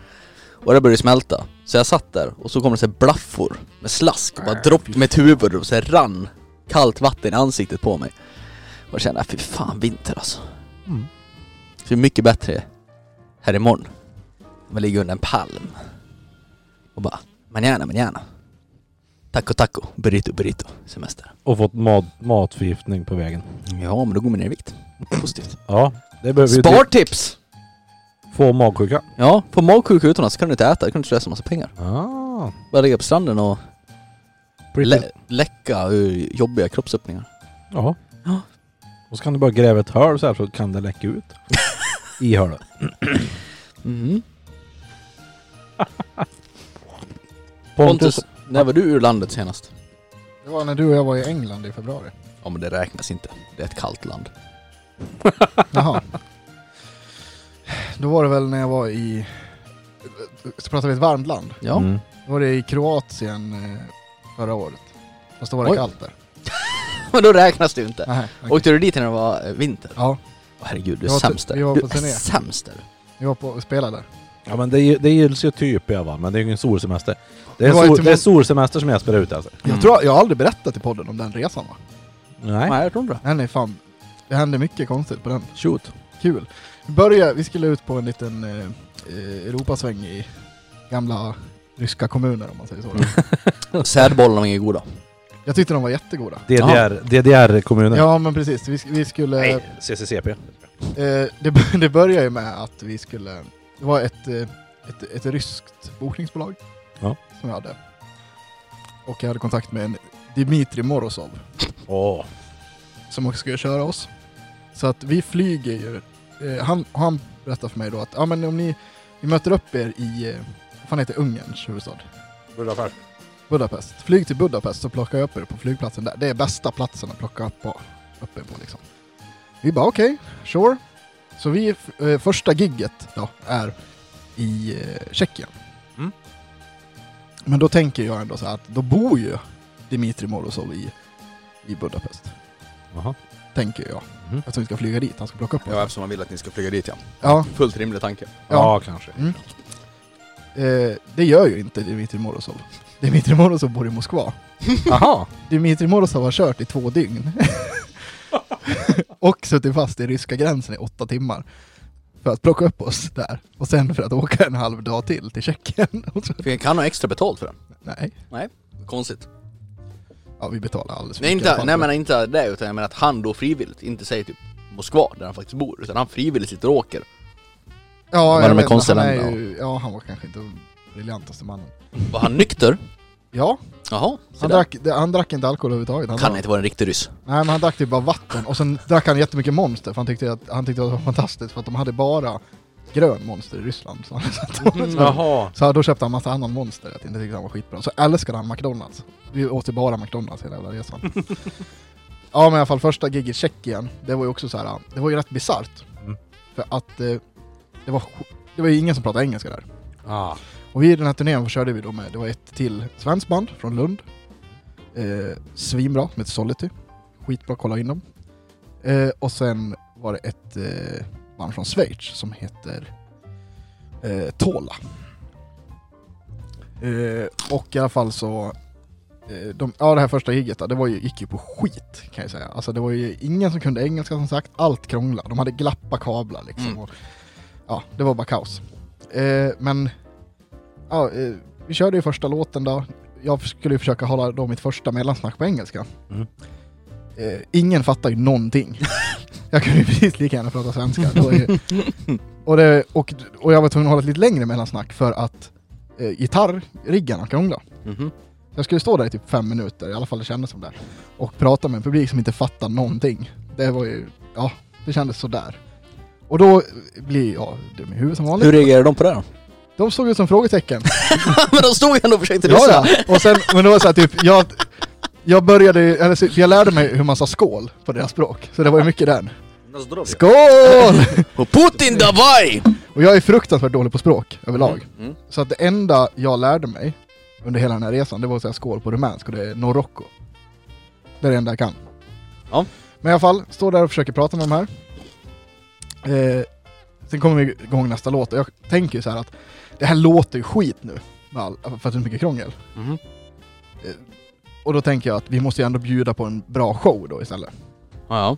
S1: Och det började smälta. Så jag satt där och så kom det så här blaffor med slask och bara
S3: Ah,
S1: dropp med ett huvud och så här rann kallt vatten i ansiktet på mig. Och jag kände, "Ah, fy fan vinter alltså.
S3: Mm.
S1: Så det är mycket bättre här imorgon. Man ligger under en palm och bara manana, manana. Taco, taco, burrito, burrito, semester.
S3: Och fått mat, matförgiftning på vägen.
S1: Ja, men då går man ner i vikt. Positivt.
S3: Ja, det behöver ju till-
S1: Spartips!
S3: få magsjuka.
S1: Ja, på magsjuka utomlands så kan du inte äta, du kan inte slösa massa pengar.
S3: Ah.
S1: Bara ligga på stranden och
S3: Pretty.
S1: lä- läcka ur jobbiga kroppsöppningar.
S3: ja.
S1: Ja.
S3: Och så kan du bara gräva ett hål så här så kan det läcka <laughs> ut. I hålet.
S1: Mhm.
S3: Pontus.
S1: Pontus, när var du ur landet senast?
S2: Det var när du och jag var i England i februari.
S1: Ja men det räknas inte. Det är ett kallt land.
S2: Jaha. Då var det väl när jag var i... Så pratar vi ett varmt land.
S1: Ja.
S3: Mm.
S2: Då var det i Kroatien eh, förra året. Fast då var det
S1: Oj.
S2: kallt där.
S1: <laughs> Men då räknas det ju inte.
S2: Nej, okej.
S1: Åkte du dit när det var eh, vinter?
S2: Ja,
S1: Åh, herregud, du
S2: Vi
S1: är
S2: var på-
S1: sämst där.
S2: vi var
S1: Du
S2: på
S1: är
S2: turné.
S1: sämst där.
S2: vi var på och spelade där.
S3: Ja men det, är ju- det gills ju typ i alla fall, men det är ju ingen solsemester. Det är,
S2: Det var ju
S3: sol,
S2: till-
S3: det är solsemester som jag spelar ut alltså.
S1: Mm.
S2: Jag tror jag har aldrig berättat i podden om den resan va?
S3: Nej.
S1: Nej, jag tror inte det.
S2: Nej, nej fan. Det hände mycket konstigt på den.
S3: Shoot.
S2: Kul. Vi började, vi skulle ut på en liten eh, eh, Europasväng i gamla ryska kommuner om man säger så.
S1: Sädbollarna var inga goda.
S2: <laughs> Jag tyckte de var jättegoda.
S3: DDR, DDR-kommuner.
S2: Ja men precis, vi, sk- vi skulle...
S3: Nej, CCCP.
S2: Eh, det, b- det började ju med att vi skulle... Det var ett, eh, ett, ett ryskt bokningsbolag
S3: Ja.
S2: som jag hade. Och jag hade kontakt med en Dimitri Morozov
S3: Åh,
S2: som också skulle köra oss. Så att vi flyger ju. Eh, han, han berättade för mig då att ah, men om ni, ni möter upp er i, eh, vad fan heter Ungerns huvudstad?
S3: Budapest.
S2: Budapest. Flyg till Budapest så plockar jag upp er på flygplatsen där. Det är bästa platsen att plocka upp, på, upp er på liksom. Vi bara okej, sure. Så vi, eh, första gigget då är i eh, Tjeckien.
S3: Mm.
S2: Men då tänker jag ändå så här att då bor ju Dimitri Morozov i, i Budapest.
S3: Jaha.
S2: Tänker jag.
S3: Mhm.
S2: Eftersom vi ska flyga dit, han ska plocka upp oss.
S1: Ja, eftersom man vill att ni ska flyga dit ja.
S2: Ja,
S1: Fullt rimlig tanke.
S3: Ja,
S2: Ja.
S3: kanske.
S2: eh, det gör ju inte Dimitri Morozov. <laughs> Dimitri Morozov bor i Moskva.
S3: Jaha!
S2: Dimitri Morozov har kört i två dygn. <laughs> och suttit fast i ryska gränsen i åtta timmar. För att plocka upp oss där. Och sen för att åka en halv dag till till Tjeckien. <laughs> Och så-
S1: Fick han ha extra betalt för den?
S2: nej,
S1: Konstigt.
S2: ja vi betalar alldeles för
S1: Nej,
S2: mycket i
S1: inte,
S2: alla fall
S1: nej men inte
S2: för
S1: det, utan jag menar att han då frivilligt, inte säger typ Moskva där han faktiskt bor, utan han frivilligt sitter och åker.
S2: det. ja,
S1: de
S2: jag
S1: är
S2: vet, han
S1: konstiga
S2: är
S1: länderna.
S2: ju, ja, han var kanske inte den briljantaste mannen.
S1: Var han nykter?
S2: Ja,
S1: Jaha, se
S2: han
S1: där.
S2: drack, han drack inte alkohol överhuvudtaget. Han
S1: Kan
S2: var-
S1: inte vara en riktig ryss.
S2: Nej men han drack typ bara vatten och sen drack han jättemycket monster för han tyckte att, han tyckte att det var fantastiskt för att de hade bara grön monster i Ryssland. Så, så,
S3: <laughs> Jaha.
S2: så då köpte han massa annan monster, jag tyckte att han var skitbra. Så älskade han McDonalds. Vi åt ju bara McDonalds hela jävla resan. ja men i alla fall första gig i Tjeckien, det var ju också så här, det var ju rätt bisarrt.
S3: Mm.
S2: För att eh, det var, sj- det var ju ingen som pratade engelska där.
S3: Ah.
S2: Och vid den här turnén körde vi då med, det var ett till svenskt band från Lund. Eh, svinbra, som heter Solity. Skitbra, kolla in dem. Eh, och sen var det ett eh, band från Schweiz som heter eh, Tola. Eh, och i alla fall så, eh, de, ja det här första giget då, det var ju, gick ju på skit kan jag säga. Alltså det var ju ingen som kunde engelska som sagt, allt krånglade. De hade glappa kablar liksom.
S1: Mm.
S2: Och, ja, det var bara kaos. Eh, men ja, eh, vi körde ju första låten då. Jag skulle ju försöka hålla då mitt första mellansnack på engelska.
S3: Mm.
S2: Eh, ingen fattar ju någonting. jag kunde ju precis lika gärna prata svenska. Det var ju, och, det, och, och jag var tvungen att hålla ett lite längre mellansnack för att eh, gitarrriggarna krånglade.
S1: Mhm.
S2: Jag skulle stå där i typ fem minuter, i alla fall det kändes som det. Och prata med en publik som inte fattar någonting. Det var ju, ja, det kändes sådär. Och då blir jag dum i huvudet som vanligt.
S1: Hur reagerar de på det då?
S2: De såg ut som frågetecken.
S1: <laughs> men de stod ju ändå och försökte
S2: Ja,
S1: lyssna.
S2: ja. Och sen, men det var så här, typ, jag, jag började, eller så, jag lärde mig hur man sa skål på deras språk. Så det var ju mycket den. Skål!
S1: Och Putin davaj!
S2: Och jag är fruktansvärt dålig på språk överlag.
S1: Mm.
S2: Så att det enda jag lärde mig under hela den här resan, det var att säga skål på rumänsk och det är norocco. Det är det enda jag kan.
S1: Ja.
S2: Men i alla fall, står där och försöker prata med de här. Eh, sen kommer vi igång nästa låt och jag tänker ju så här att det här låter ju skit nu. med all- För att det är så mycket krångel. Eh,
S1: Mhm.
S2: Och då tänker jag att vi måste ju ändå bjuda på en bra show då istället.
S1: Ja,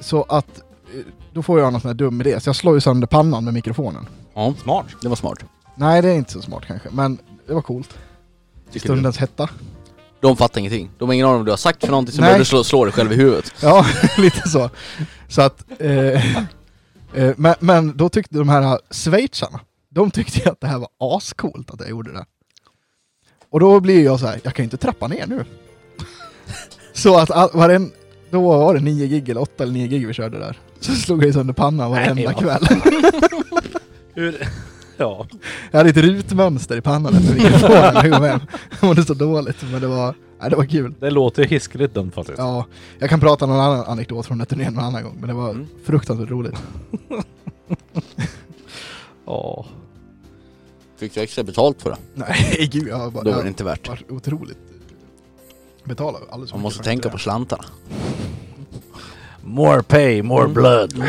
S2: Så att eh, då får jag någon sån här dum idé, så jag slår ju sönder pannan med mikrofonen.
S1: ja.
S3: Smart.
S1: Det var smart.
S2: Nej, det är inte så smart kanske, men det var coolt. I
S1: Tycker du?
S2: stundens hetta.
S1: De fattar ingenting. De har ingen aning om vad du har sagt för någonting, så
S2: Nej.
S1: börjar du slå, slå dig själv i huvudet.
S2: Ja, <laughs> lite så. Så att... Eh, eh, men, men då tyckte de här schweizarna, de tyckte ju att det här var ascoolt att jag gjorde det. Och då blir jag så här, jag kan ju inte trappa ner nu. <laughs> så att all, varen, då var det nio gig, eller åtta eller nio gig vi körde där. Så slog jag ju sönder pannan
S3: Nej,
S2: varenda
S3: vad
S2: kväll.
S3: Hur... <laughs> Ja.
S2: Jag hade ett rutmönster i pannan efter mikrofonen när jag kom hem. Jag mådde så dåligt, men det var, nej, det var kul.
S3: Det låter ju hiskeligt dumt faktiskt.
S2: Ja, jag kan prata någon annan anekdot från den här turnén någon annan gång, men det var
S1: Mm.
S2: fruktansvärt roligt. <laughs>
S3: Ja.
S1: Fick du extra betalt för det?
S2: Nej, gud, jag har bara,
S1: Då var
S2: jag
S1: det inte värt.
S2: har varit otroligt betala alldeles för
S1: Man
S2: mycket
S1: måste
S2: för
S1: tänka
S2: det.
S1: på slantarna.
S3: More pay, more
S1: Mm.
S3: blood.
S2: Mm.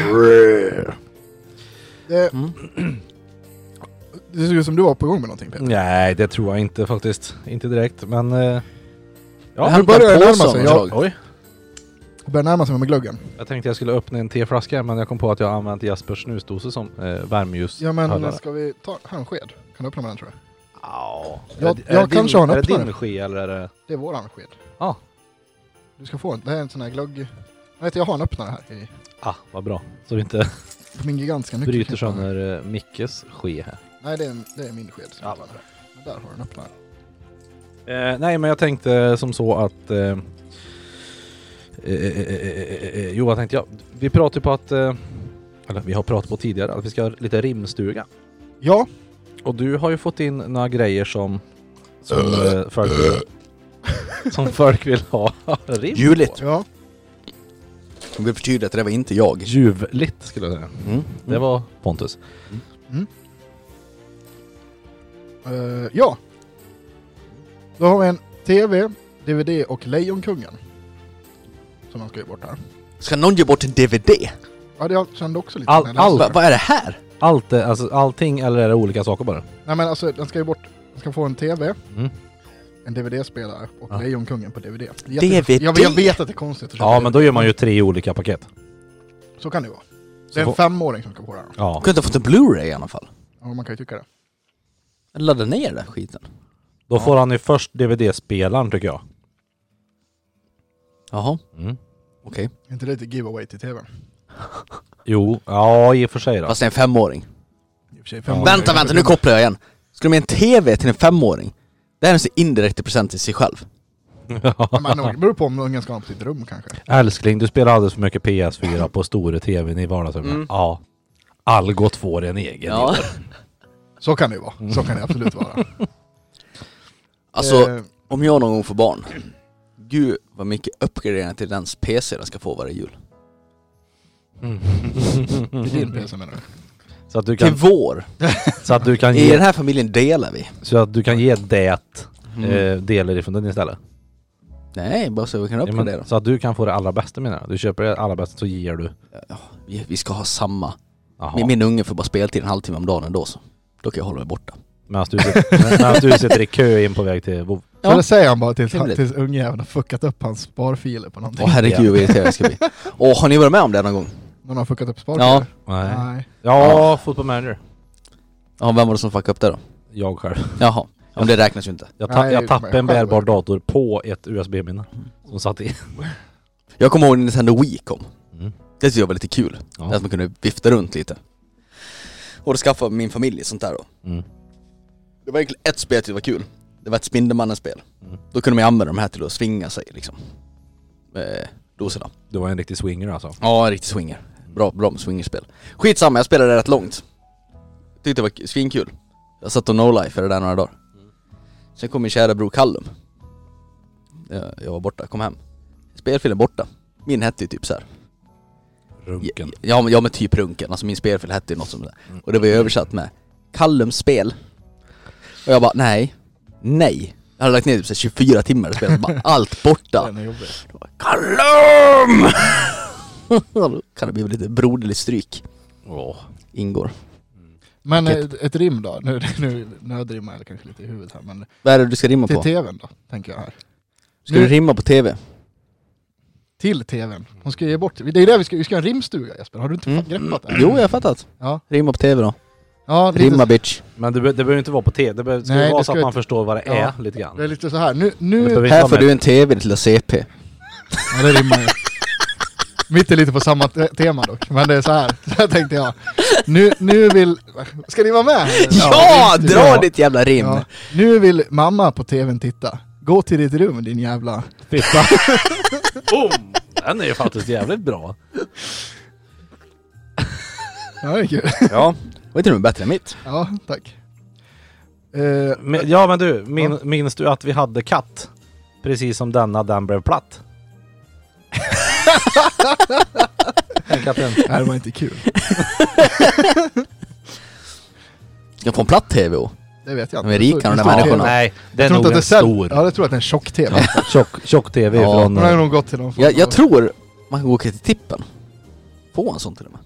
S2: Det,
S1: Mm.
S2: Eh, det såg ut som du var på gång med någonting Peter.
S3: <laughs> Nej, det tror jag inte faktiskt. Inte direkt, men... eh,
S1: Jag
S3: Ja,
S2: här-
S1: hämtar en
S2: börjar det
S1: påse
S2: närma sig.
S1: av
S2: Ja.
S1: något slag.
S3: oj.
S1: Mm.
S2: Jag börjar närma sig mig med glöggen.
S3: Jag tänkte jag skulle öppna en teflaska, men jag kom på att jag har använt Jaspers snusdosor som eh, värmeljus.
S2: Ja men
S3: Hörde.
S2: ska vi ta, här en sked? Kan du öppna med den tror jag?
S3: Ja, Ja.
S2: Jag-
S3: Är
S2: jag
S3: det
S2: kanske
S3: din,
S2: har en
S3: Är det
S2: öppnare.
S3: din ske eller är det...
S2: Det är våran sked.
S3: Ja.
S2: Du ska få en. Det här är en sån här glögg... Jag vet, jag har en öppnare här i
S3: Ah, vad bra. Så vi inte
S2: min gigantiska nyckel.
S3: bryter sönder eh, Mickes ske här.
S2: Nej, det är, en, det är min sked. som
S3: Ja,
S2: jag kallar det. Men där har du en öppnare.
S3: Eh, nej, men jag tänkte som så att... Eh, eh, eh, eh, eh, eh, jo, vad tänkte jag? Vi pratade ju på att... Eh, eller vi har pratat på tidigare att vi ska ha lite rimstuga.
S2: Ja,
S3: Och du har ju fått in några grejer som... Som eh, folk vill, <laughs> som folk vill ha <laughs> rim på.
S1: Ljuvligt.
S2: ja.
S1: Jag vill förtydliga att det där var inte jag.
S3: Ljuvligt skulle jag säga.
S1: Mm.
S3: Det var Pontus.
S2: Eh, ja. Då har vi en TV, DVD och Lejonkungen. Som man ska ge bort här.
S1: Ska någon ge bort en DVD?
S2: Ja, det jag kände också lite
S3: All-
S2: när jag läste
S3: all-
S2: det.
S1: Va, vad är det här?
S3: Allt, eh, alltså, allting eller är det olika saker bara?
S2: Nej men alltså, den ska ju bort. Den ska få en TV,
S3: Mm.
S2: en DVD-spelare och
S3: Ja.
S2: Lejonkungen på DVD. Jätte-
S1: DVD?
S2: Jag, jag vet att det är konstigt att köpa
S3: Ja,
S2: det.
S3: men då gör man ju tre olika paket.
S2: Så kan det vara. Det
S3: Så
S2: är en
S3: får-
S2: femåring som ska få det här.
S3: Ja.
S1: Kunde inte ha fått en Blu-ray i alla fall.
S2: Ja, man kan ju tycka det.
S1: Eller Ladda ner den skiten.
S3: Då får han ju först DVD-spelaren tycker jag.
S1: Jaha,
S3: Mm.
S1: okej.
S2: Är inte det lite giveaway till TVn?
S3: Jo, ja i och för sig då.
S1: Fast det är en femåring.
S2: I och för sig,
S3: Ja.
S2: femåring.
S1: Vänta, vänta, nu kopplar jag igen. Ska de ge en TV till en femåring? Det här är en så indirekt present till sig själv.
S2: Ja, Men det beror på om ungen ska ha på sitt rum kanske.
S3: Älskling, du spelar alldeles för mycket PS4 på store tvn i vardagsrummet.
S1: Mm.
S3: Ja. Algot får en egen.
S1: Ja.
S2: Så kan det ju vara. Så kan det absolut vara.
S1: <laughs> Alltså,
S2: Eh,
S1: om jag någon gång får barn. Gud vad mycket uppgraderingar till dens PC den ska få varje jul.
S3: Mm. <laughs>
S2: till din PC menar du?
S3: Så, att du
S1: Till
S3: kan,
S1: vår.
S3: så, att du kan
S1: I den
S3: ge,
S1: här familjen delar vi.
S3: så att du kan ge det
S1: Mm.
S3: eh, delar ifrån den istället.
S1: Nej, bara så vi kan
S3: Ja, men,
S1: uppgradera.
S3: så att du kan få det allra bästa menar jag. Du köper det allra bästa så ger du.
S1: Vi, vi ska ha samma.
S3: Jaha.
S1: Min, min unge får bara speltid en halvtimme om dagen ändå så. Då kan jag hålla mig borta.
S3: Medan du, sit- <laughs> medan du sitter i kö in på väg till Vov.
S1: Ja.
S2: Så det säger han bara tills,
S1: Trevligt.
S2: tills ungjäveln har fuckat upp hans sparfiler på någonting.
S1: Åh herregud vad irriterad jag ska bli. Åh, har ni varit med om det någon gång?
S2: <laughs> Någon har fuckat upp sparfiler?
S3: Nej.
S2: Nej.
S3: Ja, Football Manager.
S1: Ja, vem var det som fuckade upp det då?
S3: Jag själv.
S1: Jaha, ja, men det räknas ju inte.
S3: Jag, ta-
S2: Nej,
S3: jag tappade en
S2: själv är
S3: bärbar
S2: det.
S3: dator på ett USB-minne. Som satt i.
S1: Jag kommer ihåg när Nintendo Wii kom.
S3: Mm.
S1: Det tyckte jag var lite kul.
S3: Ja.
S1: Det Att man kunde vifta runt lite. Och då skaffade min familj sånt där då.
S3: Mm.
S1: Det var egentligen ett spel jag tyckte var kul. Det var ett Spindelmannen-spel.
S3: Mm.
S1: Då kunde man ju använda de här till att svinga sig liksom. Eh, doserna.
S3: Du var en riktig swinger alltså.
S1: Ja, en riktig swinger. Bra, bra med swingerspel. Skitsamma, jag spelade det rätt långt. Tyckte det var k- svinkul. Jag satt och no-life det där några dagar. Sen kom min kära bror Callum. Jag, jag var borta, kom hem. Spelfilen borta. Min hette ju typ så här.
S3: Runken.
S1: Ja, men- ja men typ runken, alltså min spelfil hette ju något som det. Och det var ju översatt med Kallums spel. Och jag bara nej, nej. Jag hade lagt ner typ så här 24 timmar i spelet, bara allt borta.
S2: Den är jobbig.
S1: Kallum! <laughs> Då kan det bli lite broderlig stryk,
S3: Åh.
S1: ingår.
S2: Men eh,
S1: Okej.
S2: ett, ett rim då? Nu, <laughs> nu nödrimmar jag kanske lite i huvudet här men
S1: Vad är det du ska rimma
S2: till
S1: på?
S2: TVn då, tänker jag här.
S1: Ska du rimma på TV?
S2: Till TVn. Hon ska ge bort, det är det vi ska, vi ska ha en rimstuga Jesper, har du inte
S1: Mm.
S2: fan greppat det? här?
S1: Jo, jag har fattat.
S2: Ja,
S1: Rimma på TV då.
S2: ja lite,
S1: Rimma bitch.
S3: Men det, be- det behöver inte vara på T. Det behöver, ska
S2: Nej,
S3: ju vara
S2: det
S3: så
S2: ska
S3: att
S2: ju
S3: man
S2: inte-
S3: förstår vad det
S2: Ja.
S3: är lite grann.
S2: det är lite så här. nu,
S3: Men det
S2: nu...
S3: behöver inte
S1: Här
S3: vara
S1: får
S3: med.
S1: du en TV till CP.
S2: Ja, det rimmar ju. Mitt är lite på samma te- tema dock, men det är så här. <laughs> så här tänkte jag. Nu, nu vill... Ska ni vara med?
S1: Ja!
S2: rimstuga.
S1: Dra ditt jävla rim!
S2: Ja. Nu vill mamma på TVn titta. Gå till ditt rum din jävla...
S3: Fitta. Boom! Den är ju faktiskt jävligt bra.
S2: Ja, det är kul.
S1: Ja. Var inte du bättre än mitt?
S2: Ja, tack. Eh,
S3: Men, ja men du, min, minns du att vi hade katt? Precis som denna, den blev platt. Den katten.
S2: det här var inte kul.
S1: Ska jag få en platt TV då?
S2: Det vet jag inte.
S1: De är rika, de där människorna.
S3: nej, det är
S2: Jag tror
S3: nog
S2: inte att
S3: en
S2: det
S3: stor.
S2: säljer. Ja, jag tror att det är en tjock-tv.
S3: Tjock, tjock-tv
S1: Ja.
S3: från... eh,
S2: Hon har nog gått till någon form
S1: Jag, jag
S2: av-
S1: tror man kan gå till tippen. Få en sån till och med.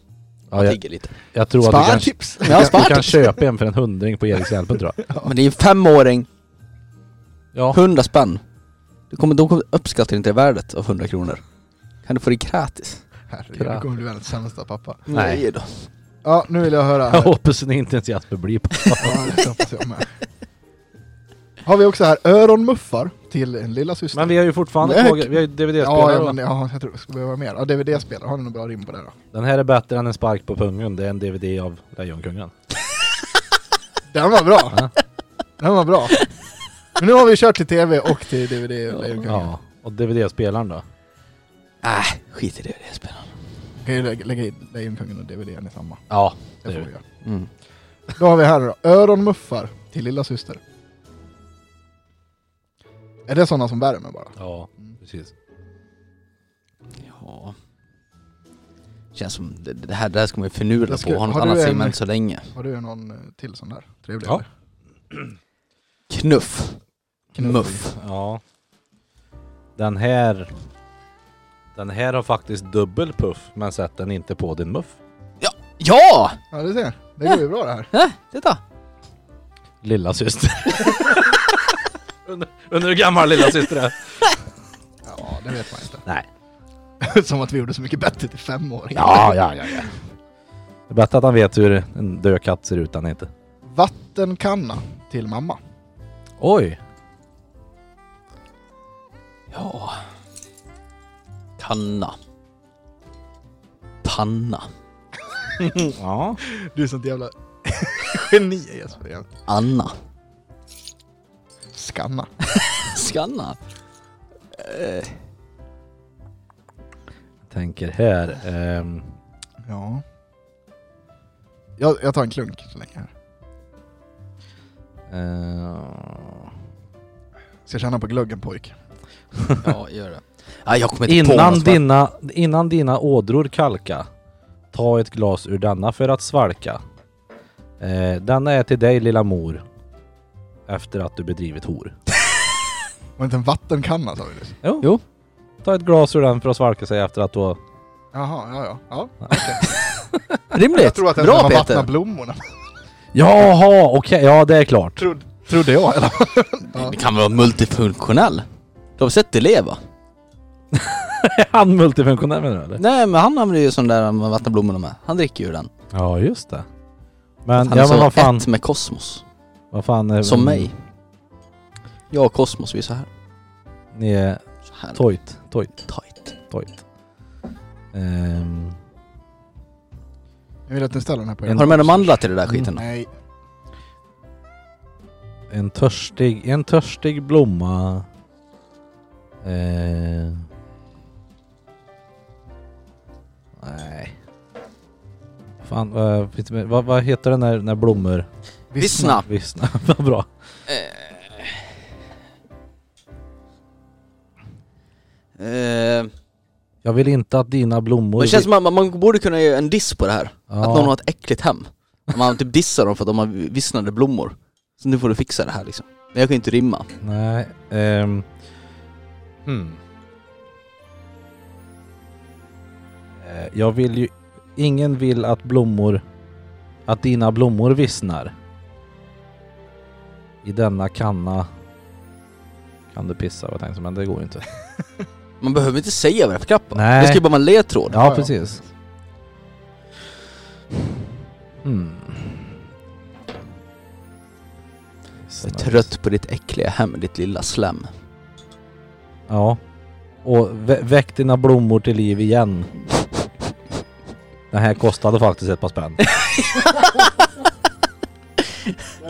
S3: Ja, jag,
S1: Tigger lite.
S3: jag tror att du kan,
S2: Spartips!
S1: Ja,
S3: du kan
S1: spart.
S3: köpa en för en hundring på Erikshjälpen tror jag.
S1: Men det är en femåring,
S3: Ja.
S1: 100 spänn. Du kommer, de kommer uppskatta inte värdet av 100 kronor. Kan du få det gratis?
S2: Herregud, du kommer bli världens sämsta pappa.
S3: Nej.
S1: då.
S2: Ja, nu vill jag höra.
S3: Jag
S2: här.
S3: hoppas ni inte ens Jasper blir på.
S2: Ja, det hoppas jag med. Har vi också här öronmuffar till en lilla syster.
S3: Men vi har ju fortfarande
S2: Nej.
S3: frågor. Vi har ju
S2: ja,
S3: DVD-spelare.
S2: ja, men, ja, jag tror det skulle behöva mer. Ja, DVD-spelare, har ni någon bra rim på det då?
S3: Den här är bättre än en spark på pungen. Det är en DVD av Lejonkungen.
S2: Den var bra!
S3: Ja.
S2: Den var bra! Men nu har vi kört till TV och till DVD. Lejonkungen.
S3: Ja. Och DVD-spelaren då?
S1: Äh, skit i det, det spelar
S2: Vi kan ju lägga, lägga in Lejonkungen och DVDn i samma.
S3: Ja,
S2: Det
S3: Det
S2: får
S3: är
S2: vi göra.
S1: mm.
S2: Då har vi här då. Öronmuffar till lilla syster. Är det sådana som värmer bara?
S3: ja precis.
S1: Ja. Känns som, det, det, här, det här ska man ju förnula
S2: Jag ska-
S1: på, har något
S2: har du
S1: annat
S2: en-
S1: segment så länge.
S2: Har du någon eh, till sån där? Trevlig?
S3: Ja.
S2: eller?
S1: Knuff.
S2: Knuff.
S1: Muff.
S3: Ja. Den här... Den här har faktiskt dubbel puff, men sätt den inte på din muff.
S1: Ja!
S2: Ja, du ser. Det går ju bra det här.
S1: Titta!
S3: Lilla syster. under, under hur gammal lilla syster är?
S2: Ja, det vet man inte.
S3: Nej.
S2: <laughs> Som att vi gjorde så mycket bättre till fem år.
S3: Ja, ja, ja, ja. Det är bättre att han vet hur en död katt ser ut än inte.
S2: Vattenkanna till mamma.
S3: Oj!
S1: Ja. Kanna. Panna.
S3: Ja.
S2: Du är sånt jävla <laughs> geni Jesper. igen.
S1: Anna.
S2: Skanna.
S1: Skanna.
S3: Tänker här. ehm,
S2: Ja. Jag, jag tar en klunk så länge här.
S3: eh,
S2: Ska känna på glöggen pojk.
S1: Ja, gör det. Nej, jag kommer inte på
S3: eh, innan,
S1: något svart.
S3: dina, innan dina ådror kalka, ta ett glas ur denna för att svalka. Eh, denna är till dig lilla mor, efter att du bedrivit hor.
S2: Var inte en vattenkanna sa vi nyss?
S3: Jo.
S1: Jo.
S3: Ta ett glas ur den för att svalka sig efter att du har...
S2: Jaha, ja ja. ja.
S1: Rimligt!
S2: Jag tror att den
S1: Bra
S2: ska vattna
S1: Peter!
S2: <laughs> blommorna.
S3: Jaha, okej, ja det är klart.
S2: Trod, trodde jag eller?
S1: Det kan vara multifunktionell. Du har sett det leva?
S3: Är <laughs> han multifunktionell menar du eller?
S1: Nej men han använder ju sån där man vattnar blommorna med. Han dricker ju den.
S3: Ja, just det. Men,
S1: Han
S3: ja,
S1: är
S3: men
S1: så
S3: vad fan,
S1: ett med kosmos.
S3: vad fan... eh,
S1: Som mig. Jag och kosmos, vi är så här.
S3: Ni är
S1: Så här
S3: tojt, tojt,
S1: tight.
S3: tojt. Ehm,
S2: Jag vill att ni ställer den här på
S1: Har du med dig mandlar till det där
S3: Mm.
S1: skiten då?
S2: Nej.
S3: En törstig, en törstig blomma. Eh. Nej. Fan, vad, finns det mer? vad, vad heter den när, när blommor
S1: Vissna!
S3: <laughs> vissnar? vad bra.
S1: Eh,
S3: Jag vill inte att dina blommor...
S1: det känns som att man, man borde kunna göra en diss på det här.
S3: ja,
S1: Att någon har ett äckligt hem. Att Man typ dissar dem för att de har vissnade blommor. Så nu får du fixa det här liksom. Men jag kan ju inte rimma.
S3: Nej. ehm. hmm. Eh, Jag vill ju... Ingen vill att blommor... Att dina blommor vissnar. I denna kanna kan du pissa, vad jag tänkte, men det går ju inte.
S1: Man behöver inte säga vad det är för klappar.
S3: Nej.
S1: Det ska ju bara vara en ledtråd.
S3: Ja, precis. Hmm.
S1: Jag är trött på ditt äckliga hem, ditt lilla slem.
S3: Ja. Och vä- väck dina blommor till liv igen. Den här kostade faktiskt ett
S2: <laughs>
S3: par spänn.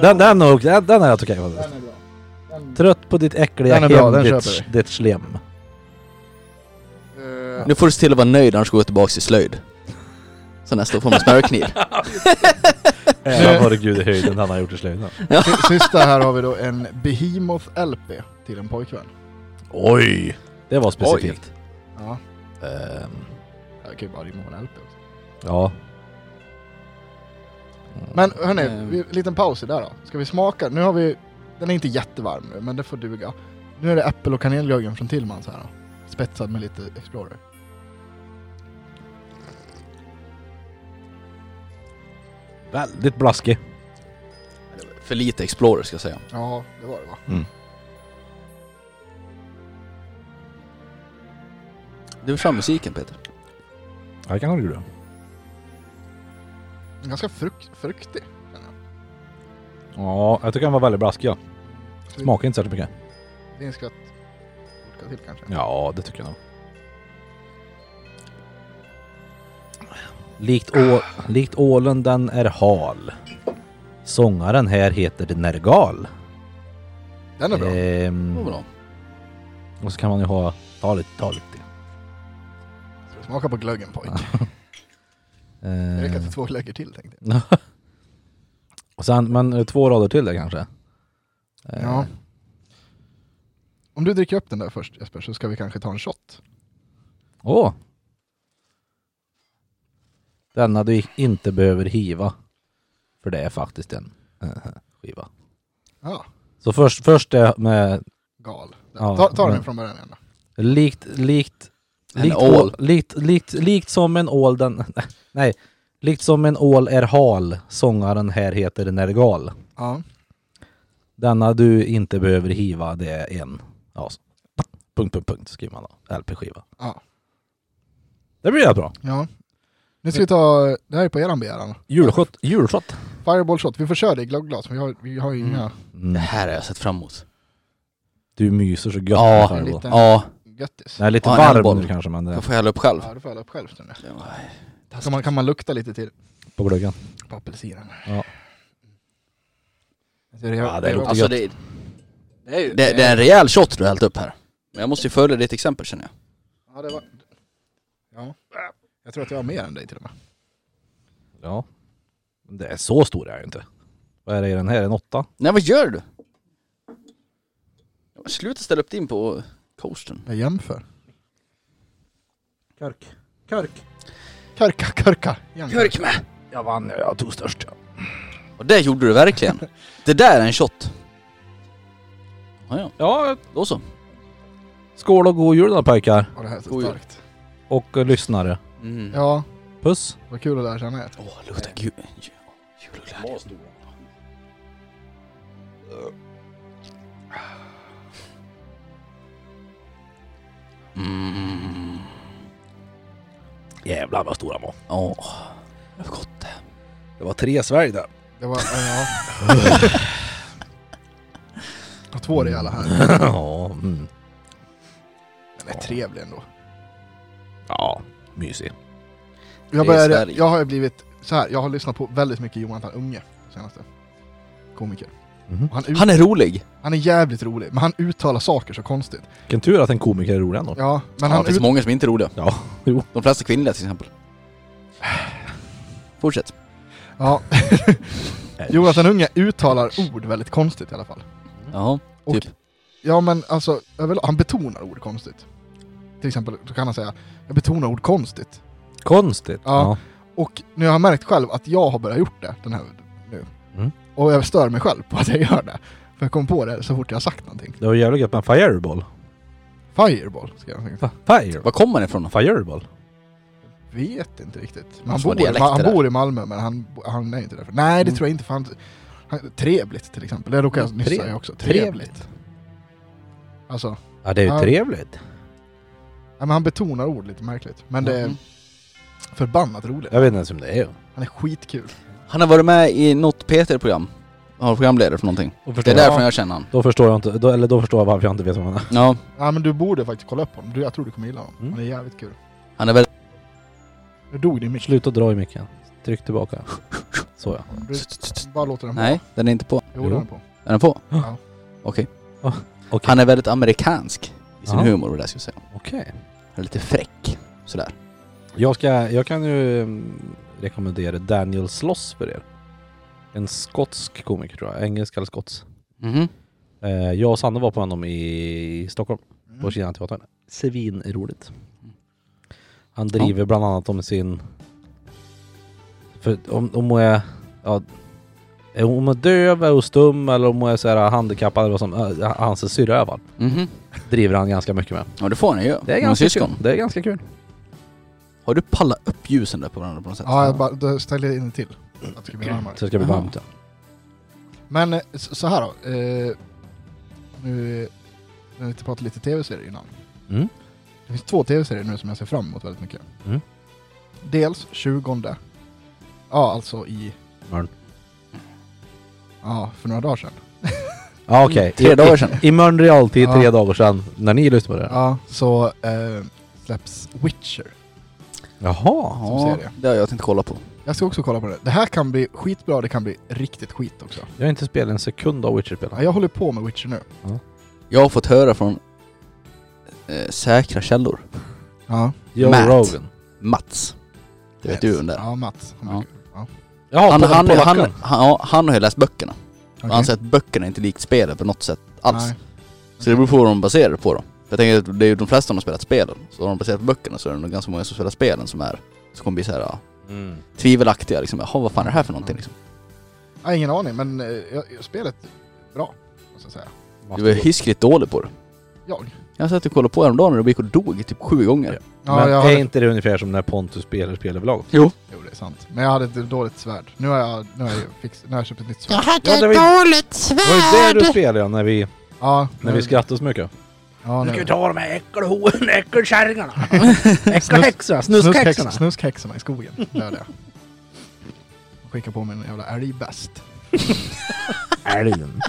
S3: den, den, är ok- den, den är helt okej faktiskt.
S2: Den är bra. Den,
S3: Trött på ditt äckliga
S2: Den är bra,
S3: hem,
S2: den
S3: ditt,
S2: köper
S3: ditt slem.
S2: Eh,
S1: Nu får du se till att vara nöjd annars går jag tillbaks till slöjd. Så nästa år får man smörkniv.
S2: Eh,
S3: Även var det gud i höjden han har gjort i slöjden.
S2: sy- Sista här har vi då en Behemoth LP till en pojkvän.
S3: Oj! Det var specifikt.
S2: Ja.
S3: Ehm,
S2: Jag kan ju bara rimma på en LP också.
S3: ja.
S2: Men hörni,
S1: Mm.
S2: vi, liten paus i där då. Ska vi smaka? Nu har vi... Den är inte jättevarm nu, men det får duga. Nu är det äppel och kanelglöggen från Tillmans här då. Spetsad med lite Explorer.
S3: Väldigt blaskig.
S1: <laughs> För lite Explorer ska jag säga.
S2: Ja, det var det va?
S1: Du vill fram musiken Peter.
S3: Ja, det kan du göra.
S2: Ganska frukt, fruktig.
S3: Ja, jag tycker han var väldigt blaskig ja. Smakar inte särskilt mycket.
S2: Det är en skvätt vodka till kanske.
S3: Ja, det tycker jag nog. Likt, å, likt ålen den är hal. Sångaren här heter Nergal.
S2: Den är bra.
S3: Ehm,
S1: Vad bra.
S3: och så kan man ju ha... Ta lite, ta lite.
S2: Smaka på glöggen pojk. Det räcker
S3: Ehm,
S2: till två glöggar till tänkte
S3: och sen, men eh, två rader till där kanske?
S2: jag.
S3: Ehm,
S2: Ja. Om du dricker upp den där först Jesper så ska vi kanske ta en shot.
S3: Åh! Denna du inte behöver hiva. För det är faktiskt en eh, skiva.
S2: Ja,
S3: Så först, först det med
S2: gal. Där.
S3: Ja,
S2: ta ta
S3: men-
S2: den från början igen då.
S3: Likt, likt,
S1: En
S3: likt,
S1: ål.
S3: å- likt, likt, likt som en ål den, <laughs> nej, likt som en ål är hal, sångaren här heter Nergal.
S2: Ja.
S3: Denna du inte behöver hiva, det är en, ja, så. punkt, punkt, punkt skriver man då, LP-skiva.
S2: Ja.
S3: Det blir jävligt bra.
S2: ja. Nu ska vi ta, det här är på eran begäran.
S3: Julshot, julshot.
S2: Fireball shot, vi får köra det i glöggglas men vi har, vi har ju inga
S1: Det
S3: Mm.
S1: här har jag sett fram emot.
S3: Du myser så gött.
S1: Ja,
S3: med Fireball.
S2: lite-
S1: Ja,
S2: göttis.
S3: Nej, lite
S1: Ja, en
S3: varm
S1: boll.
S3: nu kanske, men det
S1: då
S3: är
S1: får jag hälla upp själv.
S2: Ja, då får jag hälla upp själv nu. Kan
S1: Taskigt.
S2: man, kan man lukta lite till
S3: på glöggen.
S2: på apelsinen?
S3: Ja.
S2: Det, är-
S3: Ja, det
S2: är-
S3: luktar
S1: Alltså det, det, är ju, det, det är en rejäl shot du har hällt upp här. Men jag måste ju följa ditt exempel känner jag.
S2: Ja, det var... Ja. Jag tror att jag har mer än dig till och med.
S3: Ja. Men Det är så stor är jag ju inte. Vad är det i den här? En åtta?
S1: Nej vad gör du? Ja, men Sluta ställa upp din på coastern.
S2: Jag jämför.
S3: Körk. Körk.
S2: Körka, körka. Jämför.
S1: Körk med!
S3: Jag vann, jag tog störst. Ja.
S1: Och det gjorde du <laughs> verkligen. det där är en shot. Ja, ja,
S3: ja,
S1: då så.
S3: skål och god jul då pojkar
S2: Och det här är så
S1: Oj.
S2: starkt.
S3: och eh, lyssnare.
S1: Mm.
S2: Ja,
S3: Puss!
S2: vad kul att lära känna er.
S1: Åh, luktar gul... Jul och glädje. Mm.
S3: Jävlar vad stora de var.
S1: Åh, det var gott det.
S3: Det var tre svärj där.
S2: Det var...
S3: <laughs>
S2: Ja. Jag har två rejäla här.
S3: <laughs> ja, mm.
S2: Den är trevlig ändå.
S3: ja, mysig.
S2: Jag,
S1: Det är
S2: börjar,
S1: Sverige.
S2: jag har ju blivit så här. jag har lyssnat på väldigt mycket Jonathan Unge senaste. Komiker.
S3: Mhm.
S2: Och Han, ut,
S1: Han är rolig.
S2: han är jävligt rolig, men han uttalar saker så konstigt.
S3: Vilken tur att en komiker är rolig ändå.
S2: Ja, men
S1: Men han
S2: han
S1: det finns
S2: ut,
S1: många som inte är roliga.
S3: Ja, <laughs> jo.
S1: De flesta kvinnliga till exempel. Fortsätt.
S2: ja, Jonathan Unge uttalar ord väldigt konstigt i alla fall.
S1: Ja,
S2: Och-
S1: typ.
S2: Ja men alltså, överlag, han betonar ord konstigt. Till exempel så kan han säga, jag betonar ord konstigt.
S3: Konstigt.
S2: Ja. Och nu har jag märkt själv att jag har börjat gjort det den här nu.
S3: Mm.
S2: Och jag stör mig själv på att jag gör det. För jag kom på det så fort jag har sagt någonting.
S3: Det var jävligt gött med en fireball.
S2: Fireball ska jag tänka.
S3: Fa- Fire.
S1: Var kommer han ifrån?
S3: Fireball?
S2: Vet inte riktigt. Men han,
S1: Som har
S2: bor,
S1: dialekter
S2: han
S1: där.
S2: bor i Malmö men han, han är inte därifrån. Nej det
S1: Mm.
S2: tror jag inte för han, han Trevligt till exempel, det råkar jag nyss
S3: Trev-
S2: säga också.
S3: trevligt.
S2: Trevligt. Alltså,
S3: Ja, det är ju
S2: Ja.
S3: trevligt.
S2: ja, men han betonar ord lite märkligt. Men det är
S1: Mm.
S2: förbannat roligt.
S3: Jag vet inte ens vem det är.
S2: Han är skitkul.
S1: Han har varit med i något Peter-program. Han var programledare för någonting.
S3: Och
S1: Det
S3: förstår
S1: är därför jag känner han.
S3: Då förstår jag inte, då, eller då förstår jag varför jag inte vet vem han är.
S1: Ja,
S2: Ja men du borde faktiskt kolla upp honom, du, jag tror du kommer gilla honom.
S3: Mm.
S2: Han är jävligt kul.
S1: han är väldigt...
S2: Nu dog din mick.
S3: Sluta dra i micken. Tryck tillbaka. Så ja.
S2: Du bara låter den
S1: Nej, den är inte på.
S2: Jo, den är på.
S1: Är den på?
S2: Ja.
S1: Okej.
S3: Okej.
S1: Han är väldigt amerikansk i sin
S3: Ja.
S1: humor, vad det ska jag säga.
S3: Okej.
S1: Han är lite fräck. Sådär.
S3: Jag, ska, jag kan ju mm, rekommendera Daniel Sloss för er. En skotsk komiker tror jag, engelsk eller skots.
S1: Mhm.
S3: Eh, jag och Sanne var på honom i Stockholm, på
S2: Mm.
S3: Kinateatern. Svinroligt. Han driver bland annat om sin... För om, om hon är... Ja, är hon- om hon är döv, är hon stum eller om hon är så här handikappad eller vad som... eh, Hans syrra i alla fall.
S1: Mhm.
S3: Driver han ganska mycket med.
S1: Ja, det får han ju.
S3: Det är
S1: Med
S3: ganska kul.
S1: syskon.
S3: Det är ganska kul.
S1: Har du pallat upp ljusen där på varandra på något sätt?
S2: Ja, jag bara, då ställer jag in en till. Att det ska bli varmare.
S3: Så det ska bli
S1: Aha.
S3: varmt. ja.
S2: Men eh, så så här då. Eh, nu när vi pratat lite tv-serier innan.
S3: Mm.
S2: Det finns två tv-serier nu som jag ser fram emot väldigt mycket.
S3: Mm.
S2: Dels 20. Ja, alltså i...
S3: Imorgon.
S2: Ja, för några dagar sedan.
S3: Ja okej.
S1: Tre
S3: I-
S1: dagar sedan.
S3: I, i Mölndal till tre
S2: Ja.
S3: dagar sedan, när ni lyssnade på det.
S2: Ja, så eh, släpps Witcher
S3: Jaha.
S2: som serie.
S1: det har jag tänkt kolla på.
S2: Jag ska också kolla på det. Det här kan bli skitbra, det kan bli riktigt skit också.
S3: Jag har inte spelat en sekund av Witcher-spelen.
S2: Ja, jag håller på med Witcher nu.
S1: Jag har fått höra från eh, säkra källor.
S2: Ja.
S3: Joe
S1: Matt.
S3: Rogan.
S1: Mats. Det vet du vem det är.
S2: Ja, Mats. Han
S1: Ja.
S2: verkar- ja.
S3: Jaha,
S1: Han,
S3: på-
S1: han,
S3: på
S1: han,
S3: lacken.
S1: han, ja, han har ju läst böckerna. Och
S2: Okej.
S1: Han säger att böckerna är inte likt spelet på något sätt alls.
S2: Nej.
S1: Så det beror på vad de baserar det på då. För jag tänker att det är ju de flesta som har spelat spelen. Så har de baserat på böckerna så är det nog ganska många som spelar spelen som är, som kommer bli såhär ja,
S3: Mm.
S1: tvivelaktiga liksom. Jaha vad fan är det här för någonting liksom?
S2: Jag har ingen aning, men eh, jag, jag- spelet är bra. Måste jag säga.
S1: Du är hiskligt dålig på det.
S2: Jag?
S1: Jag satt och kollade på häromdagen när du gick och dog typ sju gånger.
S2: Ja,
S3: Men
S2: jag
S3: är
S2: hade,
S3: inte det ungefär som när Pontus spelar spelöverlag?
S2: Jo, det är sant. Men jag hade ett dåligt svärd. Nu har jag, nu har jag, fix, nu har jag köpt ett nytt
S4: Jag
S2: svärd.
S4: hade
S3: Ja, det var
S4: ett
S3: ju-
S4: dåligt
S3: Det var ju det du
S4: svärd!
S3: spelade ja, när vi,
S2: Ja,
S3: när vi skrattade så mycket.
S2: Mm. Ja, nu.
S3: ta de här äckelhoren, <laughs> äckelkärringarna! Äckelhäxorna,
S2: Snuskhäxorna. Snuskhäxorna i skogen dödade jag. Och Skickade på mig en jävla älgbäst.
S3: Älgen.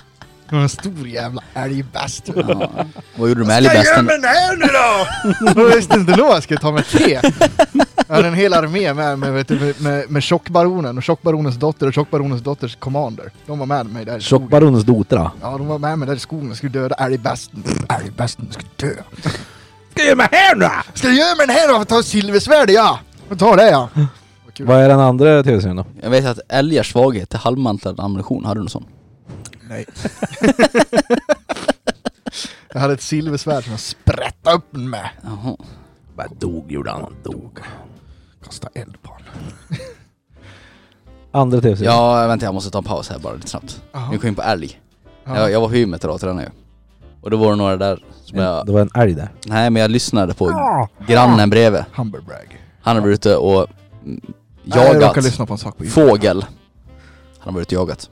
S2: Det var En stor jävla älgbäst.
S1: Ja. Vad gjorde du med älgbästen?
S3: här nu då!
S2: Jag visste inte då jag skulle ta mig tre. Jag hade en hel armé med med, vet du, med, med, med tjockbaronen och tjockbaronens dotter och tjockbaronens dotters commander. De var med mig där i skogen.
S3: Tjockbaronens dotra.
S2: Ja, de var med mig där i skogen och skulle döda älgbästen. Älgbästen skulle dö.
S3: Ska jag göra mig här nu
S2: Ska jag göra med den här då? Får Ta silversvärd ja! Får ta det ja! Vad kul.
S3: Vad är den andra tv-serien då?
S1: Jag vet att älgars svaghet är halvmantlad ammunition. Hade du någon sån?
S2: Nej. <laughs> jag hade ett silversvärd som jag sprättade upp den med.
S1: Jaha.
S3: Bara dog gjorde han, han dog.
S2: Kasta eld på honom.
S3: <laughs> Andra tv-serien?
S1: Ja, vänta jag måste ta en paus här bara lite snabbt.
S2: Jaha.
S1: Nu kom jag in på älg.
S2: Ja.
S1: Jag, jag var på gymmet idag och tränade ju. Och då var det några där som jag...
S3: Det var en älg där.
S1: Nej men jag lyssnade på grannen bredvid.
S2: Humberbrag.
S1: Han har varit ute och mm,
S2: Jag råkade
S1: jagat
S2: lyssna på en sak på YouTube.
S1: fågel. Han har varit ute och jagat.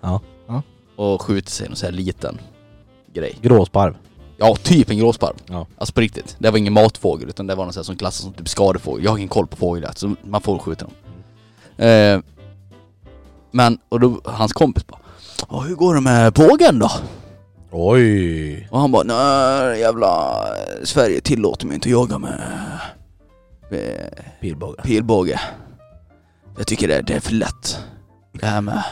S3: Ja.
S2: Ja.
S1: Och skjutit sig i någon sån här liten grej.
S3: Gråsparv.
S1: Ja, typ en gråsparv.
S3: Ja.
S1: Alltså på riktigt. Det var ingen matfågel utan det var någon sån här som klassas som typ skadefågel. Jag har ingen koll på fåglar så man får skjuta dem. Eh, men, och då hans kompis bara "Ja, hur går det med bågen då?
S3: Oj!
S1: Och han bara nej jävla eh, Sverige tillåter mig inte att jaga med eh,
S3: Pilbåge.
S1: pilbåge. Jag tycker det, det är för lätt. Det här med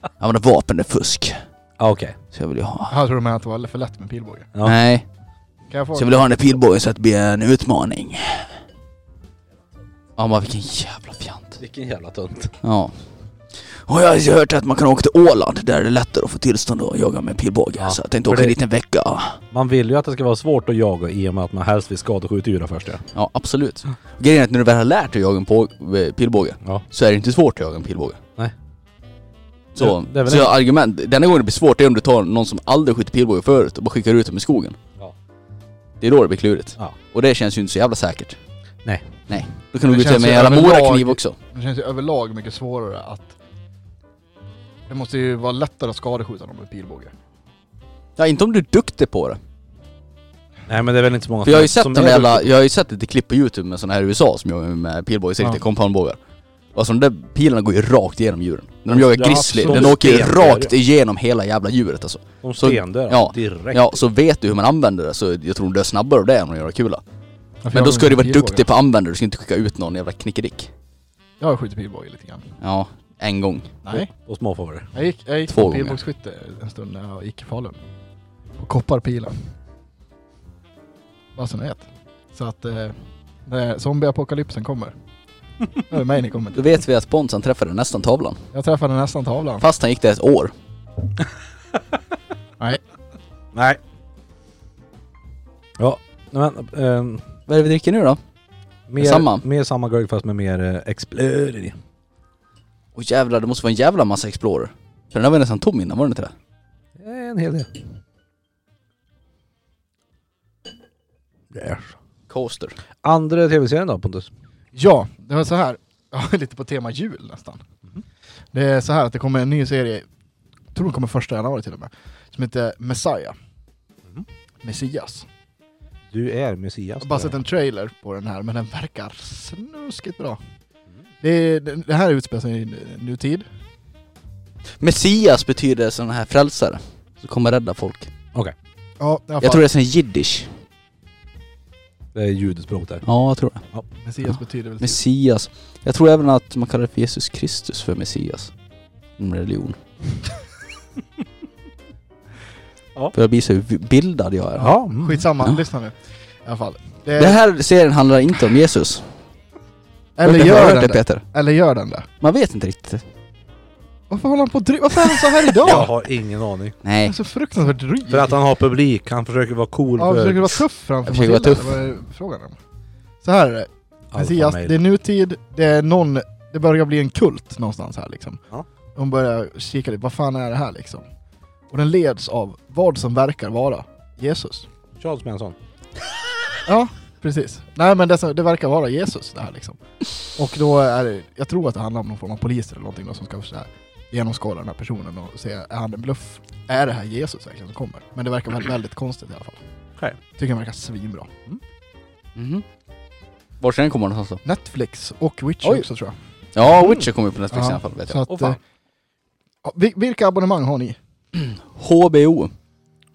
S1: att använda vapen är fusk.
S3: Ah, Okej.
S1: Så jag vill ju ha...
S2: Jag tror de menade att det var lite för lätt med pilbåge.
S3: Ja.
S1: Nej,
S2: Kan jag få
S1: så jag vill ha den där pilbågen så att det blir en utmaning. Ja, men vilken jävla fjant.
S3: Vilken jävla tunt.
S1: Ja. Och jag har ju hört att man kan åka till Åland där det är lättare att få tillstånd att jaga med pilbåge.
S3: Ja,
S1: så jag tänkte
S3: för
S1: åka
S3: det-
S1: dit en vecka.
S3: Man vill ju att det ska vara svårt att jaga i och med att man helst vill skadeskjuta djuren först ja.
S1: Ja, absolut. Grejen är att när du väl har lärt dig att jaga en på- eh, pilbåge
S3: Ja.
S1: så är det inte svårt att jaga en pilbåge.
S3: Nej.
S1: Så,
S3: Det- det är väl
S1: så
S3: det.
S1: argument, den enda gången det blir svårt är om du tar någon som aldrig skjutit pilbåge förut och bara skickar ut dem i skogen.
S3: Ja.
S1: Det är då det blir klurigt.
S3: Ja.
S1: Och det känns ju inte så jävla säkert.
S3: Nej.
S1: Nej. Då kan du
S2: Det
S1: gå ut
S2: känns
S1: med en
S2: ju
S1: jävla
S2: överlag-
S1: morakniv också.
S2: Det känns ju överlag mycket svårare att... Det måste ju vara lättare att skadeskjuta dem med pilbåge.
S1: Ja, inte om du är duktig på det.
S3: Nej men det är väl inte så många
S1: För jag har ju
S3: som-
S1: sett
S3: som
S1: de
S3: är
S1: jävla,
S3: duktiga.
S1: jag har ju sett lite klipp på youtube med såna här i USA som jagar med pilbågesikte,
S2: Ja.
S1: compoundbågar. Och Alltså de där pilarna går ju rakt igenom djuren. När de jagar
S3: Ja,
S1: grizzly,
S3: absolut.
S1: den åker ju
S3: Stenhård, ja.
S1: rakt igenom hela jävla djuret alltså.
S3: De
S1: så-
S3: stendör
S1: ja.
S3: direkt.
S1: Ja, så vet du hur man använder det så jag tror de dör snabbare av det än att göra kula. Men då ska du vara duktig på att använda det, du ska inte skicka ut någon jävla knickedick.
S2: Jag har skjutit pilbåge lite grann.
S1: Ja, en gång.
S2: Nej.
S3: Och småfåglar.
S2: Jag gick, jag gick
S1: Två
S2: Två
S1: gånger.
S2: pilbågsskytte en stund när jag gick i Falun. På kopparpilen. Vad som vet. Så att... Eh, när zombieapokalypsen kommer. Då är det mig ni kommer
S1: Då
S2: till.
S1: vet vi att Bonsan träffade nästan tavlan.
S2: Jag träffade nästan tavlan.
S1: Fast han gick där ett år.
S2: Nej.
S3: Nej. Ja. nej, Men, ehm,
S1: Vad är det vi dricker nu då?
S3: mer,
S1: Samma.
S3: mer samma gurk fast med mer eh, Explorer i.
S1: Och jävlar, det måste vara en jävla massa Explorer. För den här var ju nästan tom innan, var den inte det?
S3: Eh, En hel del. Där.
S1: Coaster.
S3: Andra tv-serien då Pontus?
S2: Ja, det var så här. Ja, <laughs> lite på tema jul nästan.
S1: Mhm.
S2: Det är så här att det kommer en ny serie, jag tror den kommer första januari till och med, som heter Messiah.
S3: Mhm.
S2: Messias.
S3: Du är
S2: Jag
S3: Messias.
S2: har bara sett en trailer på den här, men den verkar snuskigt bra. Det, är- det det här utspelar sig i nutid.
S1: Messias betyder sån här frälsare. Så kommer rädda folk.
S2: Ja, i alla fall.
S1: Jag tror det är sen jiddisch.
S3: Det är judiskt språk där.
S1: Ja, jag tror det.
S2: Messias betyder väl...
S1: Messias. Jag tror även att man kallar det för Jesus Kristus för Messias. Inom religion.
S3: Ja.
S1: För jag blir så bildad jag är.
S3: Ja, mm.
S2: Skitsamma,
S1: Ja.
S2: lyssna nu. I alla fall. Det,
S1: Det här serien handlar inte om Jesus.
S2: eller,
S1: Har du
S2: gör
S1: hört
S2: den
S1: det
S2: det,
S1: Peter?
S2: eller gör den det?
S1: Man vet inte riktigt.
S2: Varför håller han på och dry- Varför är han så
S1: <laughs>
S2: här idag?
S3: Jag har ingen aning.
S2: Han <laughs> är
S1: Nej.
S2: så fruktansvärt dryg.
S3: För att han har publik, han försöker vara cool
S2: Ja, han
S3: för
S2: försöker vara tuff framför
S1: Jag försöker vara
S2: Matilda, eller Vad är frågan om? Så här är det.
S3: alfa
S2: Messias,
S3: male.
S2: det är nutid, det är någon, det börjar bli en kult någonstans här liksom.
S3: Ja.
S2: De börjar kika lite, vad fan är det här liksom? Och den leds av vad som verkar vara Jesus.
S3: Charles Manson.
S2: Ja, precis. Nej men det, som- det verkar vara Jesus det här liksom. Och då är det, jag tror att det handlar om någon form av poliser eller någonting då som ska så här, genomskåda den här personen och se, är han en bluff? Är det här Jesus verkligen som kommer? Men det
S1: <clears throat>
S2: verkar väl väldigt konstigt i alla fall.
S3: Okej.
S2: Tycker den verkar svinbra.
S1: Mhm. Vart ska den komma någonstans då?
S2: Netflix och Witcher
S1: Oj.
S2: också tror jag.
S1: Ja, Witcher kommer ju på Netflix i alla fall vet
S2: Så
S1: jag.
S2: att,
S3: Åh, fan.
S2: eh, ja, vil- vilka abonnemang har ni?
S1: HBO.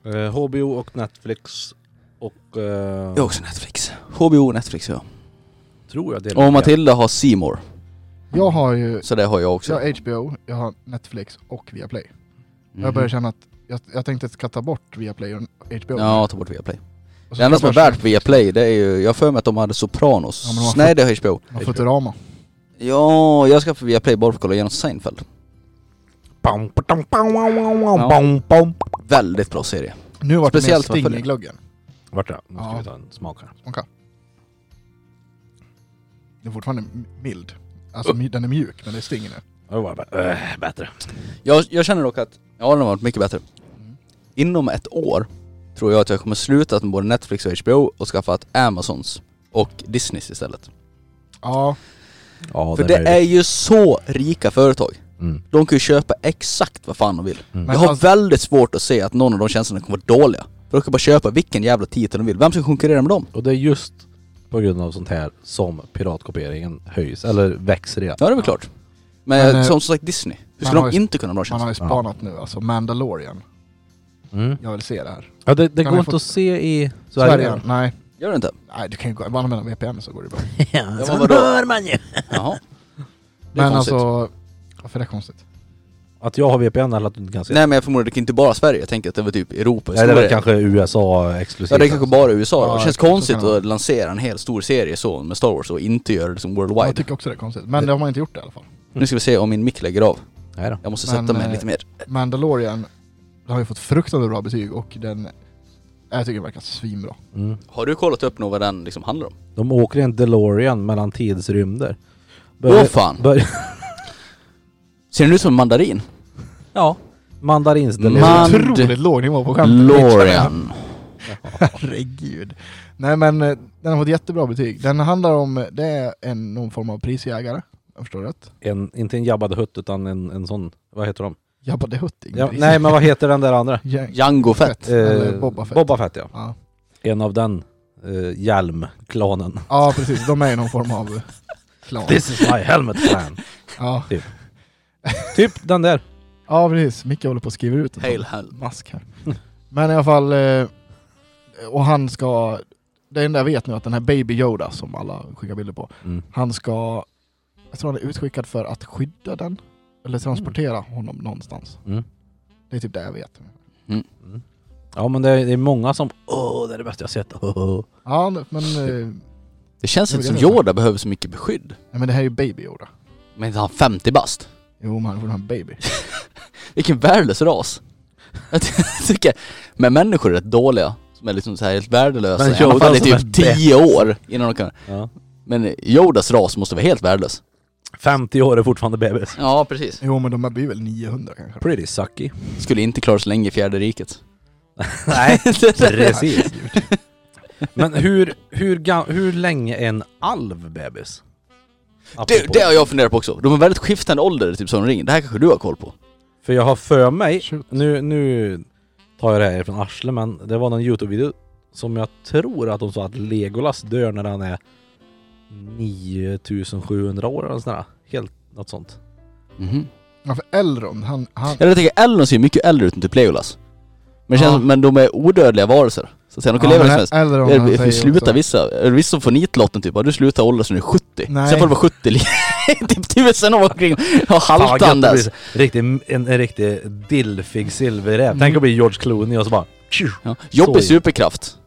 S3: Eh, HBO och Netflix och... Eh,
S1: Jag har också Netflix. HBO och Netflix ja.
S3: Tror jag delar
S1: Och Matilda har C More.
S2: Jag har ju
S1: Så det har jag också.
S2: jag har HBO, jag har Netflix och Viaplay.
S1: Mhm. Mm.
S2: Jag börjar känna att jag, jag tänkte att jag ska ta bort Viaplay och HBO.
S1: Ja, ta bort Viaplay.
S2: Och så
S1: Det enda
S2: ska
S1: som är
S2: jag
S1: värt Viaplay det är ju, jag har för mig att de hade Sopranos.
S2: Ja, men de har
S1: Nej det är HBO.
S2: ha Futurama.
S1: Ja, jag ska få Viaplay bara för att kolla igenom Seinfeld.
S3: Bam, bam, bam, bam,
S1: Ja.
S3: bam, bam, bam.
S1: Väldigt bra serie.
S2: Nu vart det mer
S1: Speciellt varför
S2: sting
S1: det?
S2: i glöggen.
S3: Vart det? Nu ska
S2: Ja.
S3: vi ta en smak här.
S2: Den är fortfarande m- mild. Alltså my- den är mjuk, men det är sting i nu.
S3: Det var bara, eh, bättre.
S1: Jag, jag känner dock att, ja den har varit mycket bättre.
S2: Mm.
S1: Inom ett år tror jag att jag kommer sluta med både Netflix och HBO och skaffa ett Amazons och Disneys istället.
S2: Ja,
S3: Ja,
S1: för det är ju så rika företag.
S3: Mm.
S1: De kan ju köpa exakt vad fan de vill.
S3: Mm.
S2: Men
S1: jag har
S2: alltså-
S1: väldigt svårt att se att någon av de tjänsterna kommer vara dåliga. För de kan bara köpa vilken jävla titel de vill. Vem ska konkurrera med dem?
S3: Och det är just på grund av sånt här som piratkopieringen höjs, eller växer igen.
S1: Ja det är väl klart. Men,
S2: Men, eh,
S1: som sagt Disney, hur
S2: man
S1: ska
S2: har
S1: de
S2: ju-
S1: inte kunna ha bra
S2: man har
S1: tjänster?
S2: ju spanat nu alltså. Mandalorian.
S3: Mm.
S2: Jag vill se det här.
S3: Ja, det det
S2: Kan
S3: går
S2: vi
S3: inte
S2: få-
S3: att se i Sverige.
S2: Sverige? Nej.
S1: Gör det
S2: <laughs>
S1: inte?
S2: Nej, du kan ju gå, bara använda VPN så går det bra.
S3: <laughs> Ja,
S1: så hör
S3: man ju.
S1: Jaha. Det är
S2: Men
S1: konstigt.
S2: alltså, varför är det konstigt?
S3: Att jag har VPN eller att du inte kan se
S1: Nej men jag förmodar det kan inte bara Sverige, jag tänker att det var typ Europa
S3: Nej, det är
S1: Sverige.
S3: väl kanske USA exklusivt.
S1: Ja det är kanske bara USA då.
S2: Ja,
S1: Det känns
S2: så kan
S1: konstigt
S2: det vara.
S1: att lansera en hel stor serie så med Star Wars och inte göra det som
S2: Jag
S1: worldwide.
S2: tycker också det är konstigt. Men det har man inte gjort det, i alla fall.
S1: Nu ska vi se om min mick lägger av.
S3: Nej då.
S1: Jag måste
S2: Men,
S1: sätta mig
S2: eh,
S1: lite mer.
S2: Mandalorian den har ju fått fruktansvärt bra betyg och den... Jag tycker den verkar svinbra.
S3: Mm.
S1: Har du kollat upp nog vad den liksom handlar om?
S3: De åker i en DeLorean mellan tidsrymder.
S1: Åh fan!
S3: bör,
S1: Ser den ut som en mandarin?
S3: <laughs> ja. Mandarins
S2: Det är
S3: DeLorean.
S1: Man-
S2: en
S1: And-
S2: otroligt låg nivå på skämtet.
S1: Lorian.
S2: Herregud. Nej men eh, den har fått jättebra betyg. Den handlar om, eh, det är en, någon form av prisjägare. Jag förstår rätt.
S3: En, inte en Jabba the Hutt utan en, en sån, vad heter de?
S2: Jabba the Hutt, ingen
S3: Ja,
S2: prisjägare.
S3: nej men vad heter den där andra?
S2: <laughs>
S3: Eh,
S2: Ja,
S1: Django Fett.
S2: Fett, eller Boba Fett.
S3: Boba Fett ja.
S2: Ja.
S3: En av den eh, hjälmklanen.
S2: ja precis, de är ju någon form av eh, klan.
S3: <laughs> This is my helmet plan.
S2: Ja.
S3: typ den där.
S2: ja precis, Micke håller på att skriva ut en
S1: Hail Hell.
S2: mask här. Men i alla fall, eh, och han ska, det enda jag vet nu är att den här Baby Yoda som alla skickar bilder på,
S3: Mm.
S2: han ska, jag tror han är utskickad för att skydda den. Eller transportera honom någonstans.
S3: Mm.
S2: Det är typ det jag vet.
S3: Ja men det är, det är många som åh det är det bästa jag sett. <laughs> Åh, åh.
S2: Ja, men, eh,
S1: Det känns
S2: Jo,
S1: inte som
S2: det vet jag.
S1: Yoda behöver så mycket beskydd.
S2: nej, men det här är ju Baby Yoda.
S1: Men han 50 bast.
S2: Jo, men han är fortfarande baby.
S1: Vilken värdelös ras. <laughs> Jag tycker, men människor är rätt dåliga. Som är liksom så här helt värdelösa.
S3: Men
S1: I alla
S3: Yoda
S1: fall i
S3: som
S1: typ
S3: är bäst.
S1: 10 år innan de kan...
S3: Ja.
S1: Men Yodas ras måste vara helt värdelös.
S3: 50 år är fortfarande bebis.
S1: Ja, precis.
S2: Jo, men de här blir väl 900 kanske.
S3: Pretty sucky.
S1: Skulle inte klara sig länge i fjärde riket.
S3: <laughs> Nej, precis. <laughs> Men hur, hur, ga- hur länge är en alv bebis?
S1: Det,
S3: Apropå.
S1: det har jag funderat på också. De har väldigt skiftande ålder, typ som de ringer. Det här kanske du har koll på?
S3: För jag har för mig,
S2: Shoot.
S3: nu, nu tar jag det här från arslet men det var någon Youtube-video som jag tror att de sa att Legolas dör när han är 9700 år eller sånt där. Helt något sånt.
S1: Mhm.
S2: Ja, för Elrond, han... han
S1: <laughs> Eller jag tänker, Elrond ser mycket äldre ut än typ Legolas. Men, det känns,
S2: Ja.
S1: som- men de är odödliga varelser. Så att säga, de kan leva hur som helst.
S2: Eller om han
S1: Eller, för
S2: säger
S1: sluta
S2: också.
S1: vissa, eller vissa som får nitlotten typ, ja, du slutar åldras när du är 70.
S2: Nej.
S1: Sen får du vara 70 li- <laughs> typ tusen år omkring och haltandes.
S3: Fan, riktig, en, en riktig dilfig silverräv. Tänk att bli George Clooney och så bara... tju.
S1: Ja. Jobbig
S3: Så-
S1: superkraft.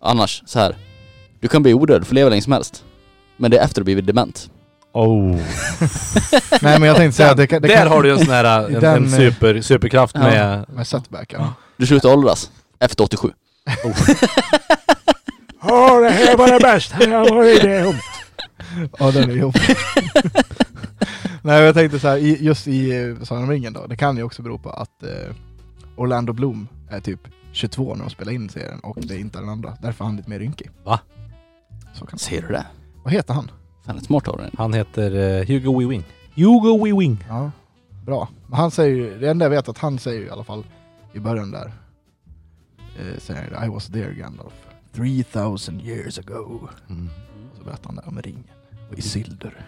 S1: Annars, så här. Du kan bli odöd, du får leva länge som helst. Men det är efter du blivit
S2: <laughs>
S1: dement.
S3: Oh.
S2: Nej men jag tänkte säga att det kan...
S1: <laughs>
S2: Det
S3: Där
S2: kan
S3: har du en sån här
S2: I
S3: en,
S2: den,
S3: en
S2: eh,
S3: super, superkraft
S1: ja.
S3: med...
S2: Med setback ja.
S1: Du slutar åldras efter 87.
S3: Åh, det här var det bästa jag varit med om!
S2: Ja den är jobbig. <laughs> Nej jag tänkte så här, i, just i eh, Sagan om ringen då, det kan ju också bero på att eh, Orlando Bloom är typ 22 när de spelar in serien och det är inte den andra. Därför är han lite mer rynkig.
S3: Va?
S2: Så kan
S1: Ser du det?
S2: Vad heter han?
S1: Fan, ett smart av dig.
S3: Han heter eh, Hugo Weewing. Hugo Weewing.
S2: Ja, bra. Men han säger ju, det enda jag vet att han säger ju i alla fall i början där. Eh, säger han, I was there Gandalf. 3000 years ago.
S3: Mm.
S2: Och så berättar han där om ringen. Och Isildur.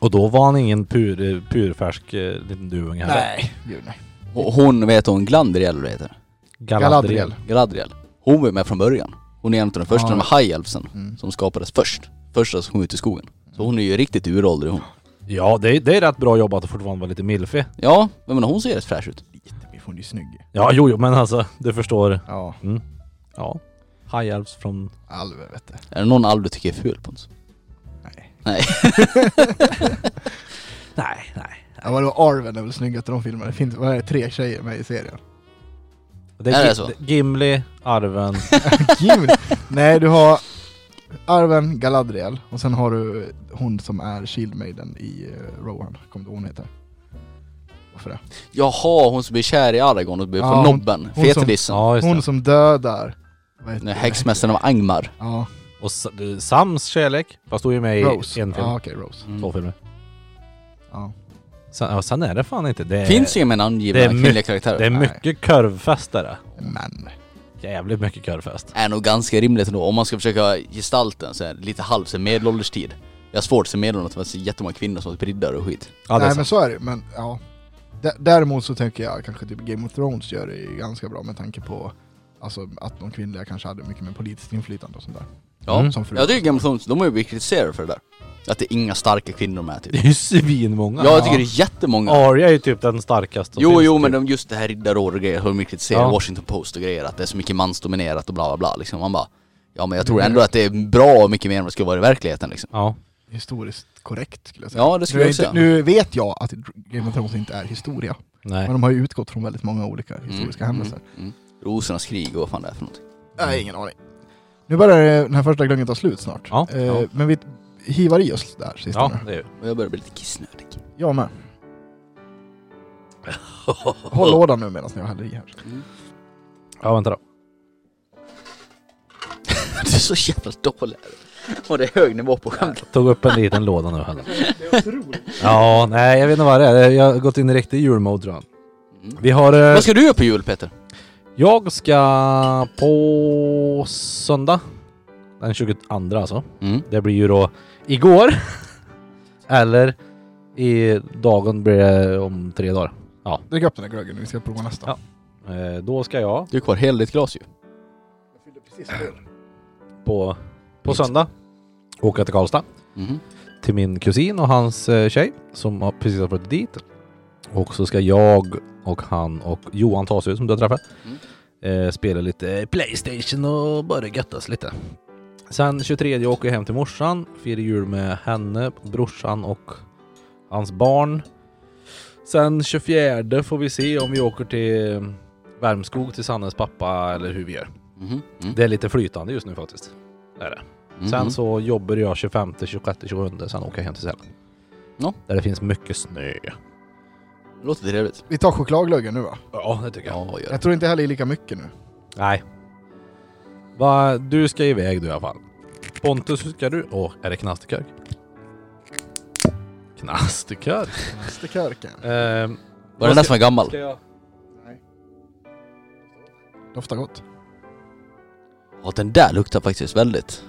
S3: Och då var han ingen pur, eh, purfärsk eh, liten duvunge heller.
S2: Gud, nej.
S1: Och Hon, vet hon Glandriel eller vad heter?
S2: Galadriel.
S1: Galadriel. Hon var ju med från början. Hon är en av de första,
S2: Ja.
S1: de här High Elfsen,
S2: Mm.
S1: som skapades först. Första som kom ut i skogen. Så hon är ju riktigt uråldrig hon.
S3: Ja, det, är- det är rätt bra jobbat att fortfarande vara lite milfig.
S1: Ja, men hon ser rätt fräsch ut.
S2: Lite, men hon är ju snygg.
S3: Ja, jo, jo, men alltså, du förstår.
S2: Ja,
S3: Ja. High Elves från...
S2: Alve vet du.
S1: Är det någon alv du tycker är ful Pontus?
S2: Nej. <laughs>
S1: Nej.
S3: Nej, nej.
S2: Ja, men det var Arwen är väl snyggast i de filmerna. Det finns vad är det, tre tjejer med i serien.
S3: Det
S1: Är
S3: är,
S1: det
S3: Gi-
S1: så?
S3: Gimli, Arven.
S2: Gud. nej, du har Arwen, Galadriel och sen har du hon som är Shield Maiden i uh, Rohan. Kommer du ihåg vad hon heter? Varför det?
S1: Jaha, hon som blir kär i Aragorn och blir
S2: Ja,
S1: från
S2: hon-
S1: nobben,
S2: hon
S1: fetelissen.
S3: Ja, just
S2: Hon
S3: det.
S2: som dödar... vad heter
S1: Nej,
S2: det?
S1: Häxmästaren av Angmar.
S2: Ja,
S3: Och S- eh, Sams kärlek. Fast hon är ju med i
S2: Rose.
S3: en film.
S2: Ja, okej, Rose.
S1: Mm.
S3: Två filmer.
S2: Ja.
S3: Sen, ja, sen är det fan inte. Det är,
S1: Finns inga mer
S3: det är
S1: namngivna
S3: mycket-
S1: kvinnliga karaktärer.
S3: det är
S2: Nej.
S3: mycket korvfest där.
S2: Men...
S3: Jävligt mycket korvfest.
S1: är nog ganska rimligt ändå. Om man ska försöka gestalta en så här, lite halv så här medelålders tid. Jag har svårt att se medelålders, men det är jättemånga kvinnor som är riddare och skit.
S3: Ja, det är
S2: nej,
S3: sant.
S2: men så är det Men ja. Dä- Däremot så tänker jag kanske typ Game of Thrones gör det ju ganska bra med tanke på Alltså att de kvinnliga kanske hade mycket mer politiskt inflytande och sånt där.
S1: Ja.
S3: Mm.
S2: Som förut.
S1: Jag tycker Game of Thrones, de har ju blivit kritiserade för det där. Att det är inga starka kvinnor med typ.
S3: <laughs> Det är ju svinmånga.
S1: Ja, jag tycker det är jättemånga.
S3: Arya är ju typ den starkaste som
S1: Jo,
S3: finns,
S1: jo
S3: typ.
S1: men de, just det här riddarråd och grejer har de ju kritiserat,
S3: Ja.
S1: Washington Post och grejer, att det är så mycket mansdominerat och bla bla bla liksom. Man bara, ja men jag tror ändå att det är bra och mycket mer än vad det skulle vara i verkligheten liksom.
S3: Ja.
S2: Historiskt korrekt skulle jag säga.
S1: Ja det
S2: nu,
S1: skulle
S2: är
S1: jag
S2: inte,
S1: säga.
S2: nu vet jag att Game of Thrones inte är historia.
S3: Nej.
S2: Men de har ju utgått från väldigt många olika historiska
S1: Mm,
S2: händelser.
S1: mm, mm. Rosornas krig och vad fan det är för någonting.
S2: Nej, ingen aning. Nu börjar eh, den här första glöggen ta slut snart.
S3: Ja,
S2: eh,
S3: ja.
S2: Men vi hivar i oss där sist.
S3: Ja,
S2: Ja.
S3: det är ju.
S1: Och jag börjar bli lite kissnödig.
S2: Jag med. Håll lådan nu medan jag häller i här.
S3: <laughs>
S1: Mm.
S3: Ja, vänta då.
S1: <laughs> du är så jävla dålig. Och det är hög nivå på skämt.
S3: Tog upp en liten låda nu
S2: <laughs>
S3: heller. Ja, nej jag vet inte vad det är. Jag har gått in i riktig julmode tror jag.
S1: Mm.
S3: Vi har... eh,
S1: Vad ska du göra på jul Peter?
S3: Jag ska på söndag. Den 22 alltså.
S1: Mm.
S3: Det blir ju då igår. <laughs> Eller i dagen blir det om tre dagar.
S2: Drick upp den här glöggen nu, vi ska prova nästa.
S3: Ja. Eh, då ska jag
S1: Du är kvar hela ditt glas ju.
S2: Jag fyllde precis öl.
S3: på, på söndag åka till Karlstad.
S1: Mhm.
S3: till min kusin och hans eh, tjej som har precis har flyttat dit. Och så ska jag och han och Johan Tasud som du har träffat eh, spela lite Playstation och bara göttas lite. Sen 23 åker jag hem till morsan, firar jul med henne, brorsan och hans barn. Sen 24 får vi se om vi åker till Värmskog till Sannes pappa eller hur vi gör.
S1: Mhm. Mm.
S3: Det är lite flytande just nu faktiskt. Det är det.
S1: Mhm.
S3: Sen så jobbar jag 25, 26, 27, sen åker jag hem till Sälen.
S1: Ja.
S3: Där det finns mycket snö.
S1: Det låter trevligt.
S2: Vi tar chokladglöggen nu va?
S3: Ja, det tycker
S1: Ja, gör det.
S2: Jag tror inte jag häller i lika mycket nu.
S3: Nej. Va, du ska iväg du i alla fall. Pontus, hur ska du? Åh, är det knasterkörk?
S1: <laughs>
S3: Knasterkörk?
S2: Mästerkörken.
S3: Ehm,
S1: Var det den som var gammal?
S3: ska jag...
S2: Doftar gott.
S1: Ja den där luktar faktiskt väldigt,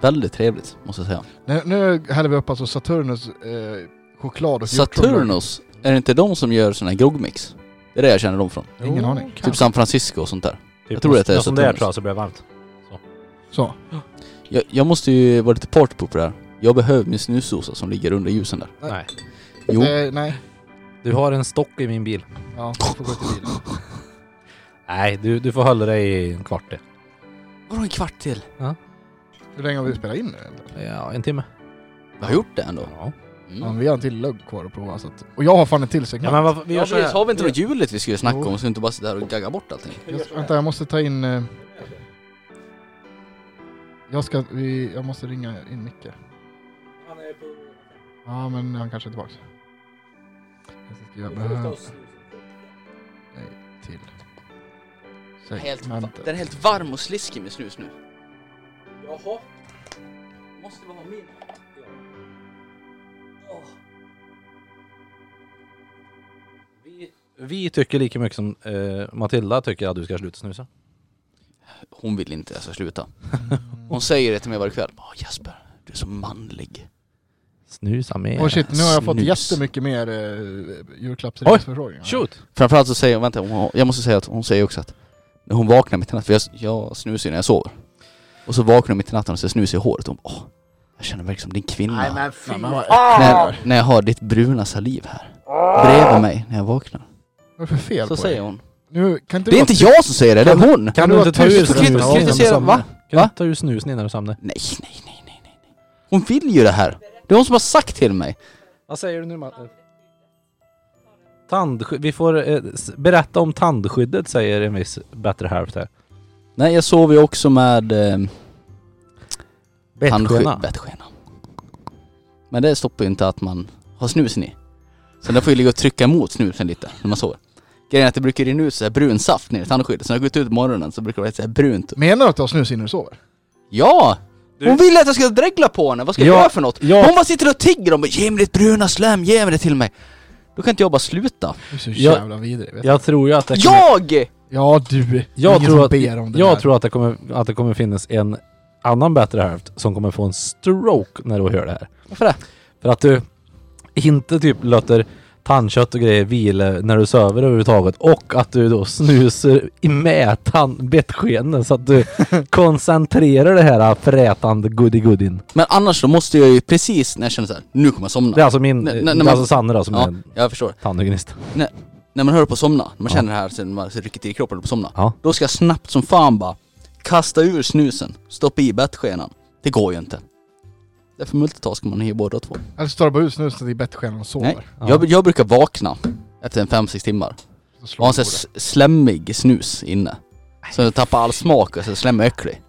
S1: väldigt trevligt måste jag säga.
S2: Nu, nu häller vi upp alltså Saturnus eh, choklad och hjortronglögg.
S1: Saturnus, är det inte de som gör sån här groggmix? Det är det jag känner dem från.
S2: Ingen aning.
S3: Typ,
S1: Typ San Francisco och sånt där.
S3: jag
S1: tror
S3: tror
S1: det är
S3: Typ det är så.
S1: Saturn.
S3: där tror jag så blir det varmt.
S2: Så.
S1: Jag, jag måste ju vara lite partypooper här. Jag behöver min snusdosa som ligger under ljusen där.
S2: Nej.
S3: Nej.
S1: Jo.
S2: Eh, nej.
S3: Du har en stock i min bil.
S2: Ja, du får gå till bilen.
S1: <laughs>
S3: Nej, du, du får hålla dig i en kvart det.
S1: Vadå en kvart till?
S2: Hur länge har vi spelat in nu? Eller?
S3: Ja, en timme.
S1: Jag har gjort det ändå.
S3: Ja.
S2: Ja,
S1: Mm.
S2: men vi har en till lugg kvar att prova. Så att, och jag har fan en till
S3: ja
S2: segment.
S3: men vad, vi
S1: Ja,
S3: gör så här.
S1: precis. Har vi inte något julet vi skulle snacka
S2: Jo.
S1: om? Ska vi inte bara sitta här och gagga bort allting?
S2: jag, vänta, jag måste ta in... eh, jag, ska, vi, jag måste ringa in Micke. Ja, men han kanske är tillbaka. Jag ska skriva behöver till.
S1: Helt,
S2: segmentet.
S1: den är
S2: <laughs>
S1: helt varm och sliskig med snus nu. Jaha. Måste vara min.
S3: Vi tycker lika mycket som eh, Matilda tycker att du ska sluta snusa.
S1: Hon vill inte att jag ska sluta. Hon säger det till mig varje kväll. Åh Jesper, du är så manlig.
S3: Snusa mer.
S2: Åh shit, nu har jag fått
S1: Snus.
S2: jättemycket mer eh, julklappsreseförfrågningar.
S3: Shoot!
S1: Framförallt så säger hon, vänta, hon, jag måste säga att hon säger också att när hon vaknar mitt i natten, för jag, jag snusar ju när jag sover. Och så vaknar hon mitt i natten och så snus i håret. Hon bara, åh, jag känner mig som din kvinna.
S2: men fy
S1: när, när jag har ditt bruna saliv här. Bredvid mig när jag vaknar.
S2: Vad är det för fel
S1: Så
S2: på
S1: säger
S2: er?
S1: hon.
S2: Nu, kan inte
S1: Det är
S2: du
S1: inte jag som säger det, det är hon!
S3: Kan
S2: Kan
S3: du
S2: du
S3: inte
S2: vara
S3: ta ur
S2: tyst?
S3: snusen?
S1: Krit- kritisera- va?
S3: Kan du
S1: Va?
S3: inte ta ur snusen innan du somnar?
S1: Nej, nej, nej, nej, nej. nej. Hon vill ju det här. Det är hon som har sagt till mig.
S3: Vad säger du nu Matilda? Tandskydd. Vi får eh, s- berätta om tandskyddet säger en viss bättre hälft här.
S1: Nej, jag sover ju också med eh, tandskydd,
S3: Bettskena.
S1: bettskena. Men det stoppar ju inte att man har snusen i. Så den får ju ligga och trycka emot snusen lite när man sover. Grejen är att det brukar rinna ut så här brun saft ner i tandskyddet. Så när jag gått ut på morgonen så brukar det vara lite så här brunt.
S2: Menar du att du har snus innan du sover?
S1: Ja!
S3: Du-
S1: Hon vill att jag ska dregla på henne, vad ska
S3: Ja,
S1: jag göra för något?
S3: ja.
S1: Hon bara sitter och tigger om ge mig ditt bruna slem, ge mig det till mig. Då kan inte jag bara sluta.
S2: Du är så
S3: Jag-
S2: jävla vidrig. Vet du?
S3: Jag tror ju att det kommer,
S1: Jag!
S2: Ja du!
S3: jag
S2: Ingen
S3: tror
S2: som
S3: att,
S2: ber om det
S3: jag
S2: där.
S3: tror att, det kommer, att det kommer finnas en annan bättre hälft som kommer få en stroke när du hör det här.
S1: Varför det?
S3: För att du inte typ låter tandkött och grejer vila när du söver överhuvudtaget och att du då snusar i med tand- bettskenen
S2: <laughs>
S3: så att du koncentrerar det här frätande goodie-goodien.
S1: Men annars så måste jag ju precis när jag känner så här, nu kommer jag somna.
S3: Det är alltså min,
S1: Nej, nej,
S3: det är
S1: nej, men-
S3: alltså Sanne då som
S1: ja,
S3: är
S1: jag förstår.
S3: tandhygienist.
S1: När man höll på att somna, när man
S3: Ja.
S1: känner det här sen man rycker till i kroppen och på att somna.
S3: Ja.
S1: Då ska jag snabbt som fan bara kasta ur snusen, stoppa i bettskenan. Det går ju inte. Därför multitaskar man ju båda två.
S2: Eller så tar du bara ut snuset i bettskenan och sover.
S1: Nej.
S3: Ja.
S1: Jag, jag brukar vakna efter en 5-6 timmar
S2: Så slår
S1: och ha en
S2: du
S1: sån här s- slemmig snus inne. Så jag tappar all smak och så slemmig och äcklig.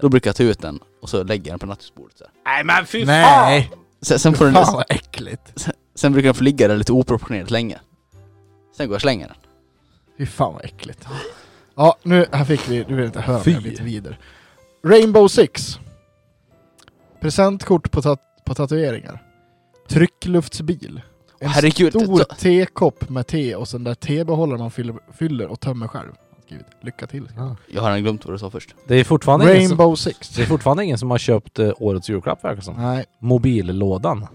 S1: Då brukar jag ta ut den och så lägger jag den på nattduksbordet så här.
S3: Nej men fy
S2: på det. Nej!
S1: Sen, sen, får den,
S2: Fan vad äckligt.
S1: sen brukar den få ligga där lite oproportionerligt länge. Sen går jag och slänger den.
S2: Fy fan vad äckligt. Ja, nu, här fick vi, du vill inte höra
S3: Fy.
S2: men jag blir lite vidare. Rainbow Six. Presentkort på, tat- på tatueringar. Tryckluftsbil. En
S1: Herregud,
S2: stor
S1: ta-
S2: tekopp med te och sen där tebehållare man fyller, fyller och tömmer själv. Han Skrivit. Lycka till.
S1: jag har redan glömt vad du sa först.
S3: Det är fortfarande, ingen som,
S2: Rainbow Six.
S3: det är fortfarande ingen som har köpt eh, årets julklapp verkar det som.
S2: Nej,
S3: Mobillådan.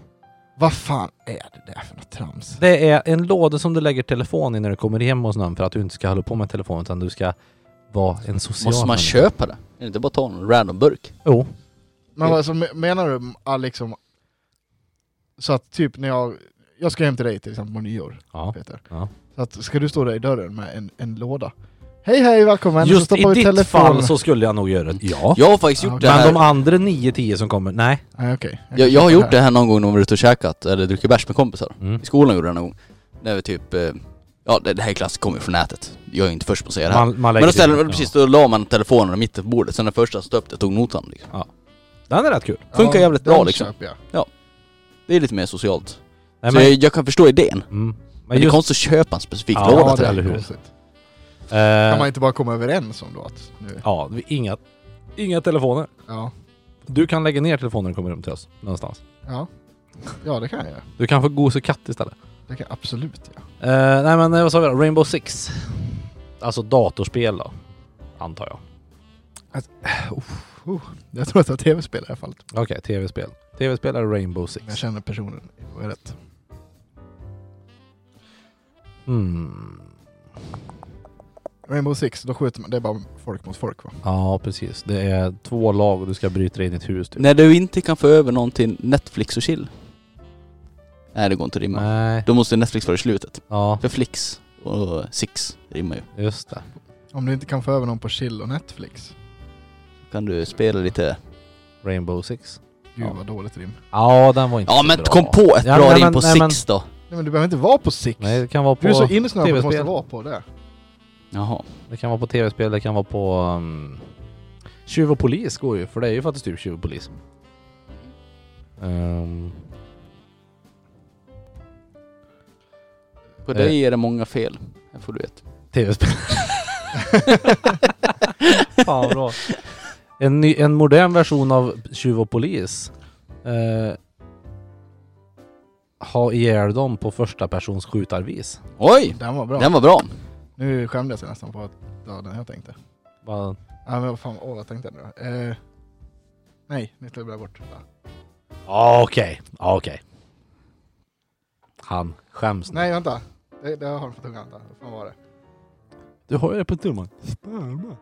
S2: vad fan är det där för något trams?
S3: Det är en låda som du lägger telefon i när du kommer hem hos någon för att du inte ska hålla på med telefonen utan du ska vara en social
S1: Måste man
S3: människa.
S1: köpa det? Är det inte bara att ta någon random burk?
S3: Jo.
S2: Men vad, så me- menar du ah, liksom... Så att typ när jag... Jag ska hem till dig till exempel på nyår,
S3: Ja.
S2: Peter.
S3: Ja.
S2: Så att, ska du stå där i dörren med en, en låda? Hej hej, välkommen! så
S3: Just i
S2: stoppar vi
S3: ditt
S2: telefon-
S3: fall så skulle jag nog göra det. Ja.
S1: Jag har faktiskt gjort
S2: Ja,
S1: det här.
S3: Men de andra 9-10 som kommer, nej.
S2: Nej okej.
S1: Jag, jag har gjort det här någon gång när man var ute och käkat eller druckit bärs med kompisar.
S3: Mm.
S1: I skolan gjorde jag det någon gång. När vi typ, eh, ja det, det här är klassiskt, kommer ju från nätet. Jag är inte först på att säga det här.
S3: Man, man lägger
S1: Men då ställde
S3: till-
S1: man, precis, då la man telefonerna mitt på bordet. Sen den första som stöpte tog notan liksom.
S3: Ja. Den är rätt kul.
S1: Funkar jävligt bra,
S2: den
S1: liksom.
S2: köper jag.
S1: Det är lite mer socialt.
S3: Nej,
S1: Så
S3: men,
S1: jag, jag kan förstå idén.
S3: mm.
S1: Men
S3: men
S1: det är
S3: just,
S1: konstigt att köpa en specifik
S3: Ja,
S1: låda
S2: Ja,
S1: till
S2: det
S1: det.
S3: eller
S2: är
S3: hur?
S2: konstigt. Kan man
S3: eh,
S2: inte bara komma överens om då att... Nu,
S3: ja, vi- inga, inga telefoner.
S2: ja.
S3: Du kan lägga ner telefonen när du kommer hem till oss, någonstans.
S2: Ja. Ja, det kan jag
S3: Du kan få gos och katt istället.
S2: Det kan jag absolut ja.
S3: Eh, nej men eh, vad sa vi då? Rainbow Six. Alltså datorspel då. Antar jag.
S2: Jag tror att det var tv-spel i alla fall.
S3: Okej, tv-spel. Tv-spel är Rainbow
S2: Men jag
S3: Six.
S2: känner personen. Det var rätt.
S3: Mm.
S2: Rainbow Six, då skjuter man, det är bara folk mot folk va?
S3: Ja, precis. Det är två lag och du ska bryta dig in i ett hus typ.
S1: När du inte kan få över någon till Netflix och chill. Nej det går inte att rimma.
S3: Nej.
S1: Då måste Netflix vara i slutet.
S3: Ja,
S1: För Flix och Six rimmar ju.
S3: just det.
S2: Om du inte kan få över någon på chill och Netflix.
S1: Kan du spela lite...
S3: Rainbow Six.
S2: Gud
S1: Ja.
S2: vad dåligt rim.
S3: Ja, den var inte
S1: Ja
S3: så
S1: men
S3: bra.
S1: kom på ett
S3: Ja,
S1: bra
S3: nej,
S1: rim
S3: men-
S1: på
S3: nej, men-
S1: Six då.
S2: Nej men du behöver inte vara på Six.
S3: Nej, det kan vara på...
S2: du är så insnöad på att du måste
S3: TV-spel.
S2: vara på det.
S1: Jaha.
S3: Det kan vara på tv-spel, det kan vara på... Um, tjuv och polis går ju, för det är ju faktiskt typ tjuv och polis. Ehm,
S1: På
S3: Eh.
S1: dig är det många fel. Här får du ett.
S3: tv-spel. Fan vad bra. En, ny, en modern version av tjuv och polis. eh, ha ihjäl dem på första persons skjutarvis.
S1: <laughs> Oj!
S2: Den var bra.
S1: Den var bra.
S2: Nu skämdes jag nästan på att ja, den jag tänkte.
S3: Bara,
S2: Ja men vad fan, åh vad tänkte jag nu då? Eh, nej, nu slog jag bort. Ja.
S3: Ja, okej. Ja, okej. Han skäms nu.
S2: Nej vänta, det, det har jag på tungan. Vänta. Vad fan var det?
S3: Du har ju det på tummen. Sperma.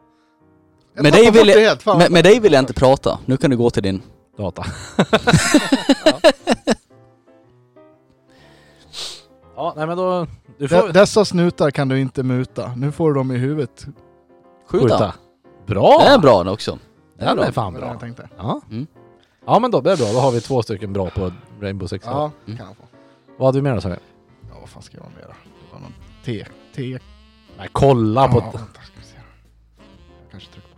S2: Jag
S1: Men
S2: tappade
S1: dig vill
S2: bort
S1: jag-
S2: det helt, fan.
S1: Med, med dig vill jag inte prata. Nu kan du gå till din...
S3: <laughs> Data. ja, nej men då... Du får
S2: De- Dessa snutar kan du inte muta. Nu får du dem i huvudet.
S1: Skjuta.
S3: Bra!
S1: Det är bra den också. Det är
S3: Den är
S1: bra.
S3: fan
S2: Det var det
S3: bra.
S2: jag tänkte.
S3: Ja.
S1: Mm.
S3: ja men då, det är bra. Då har vi två stycken bra på Rainbow Six.
S2: Ja,
S1: Mm.
S2: kan jag få.
S3: Vad hade vi mer då sa vi?
S2: Ja vad fan ska jag ha mer då? Det var någon te. Te.
S3: Nej kolla på...
S2: Ja, vänta, ska vi se. Jag Kanske trycker på.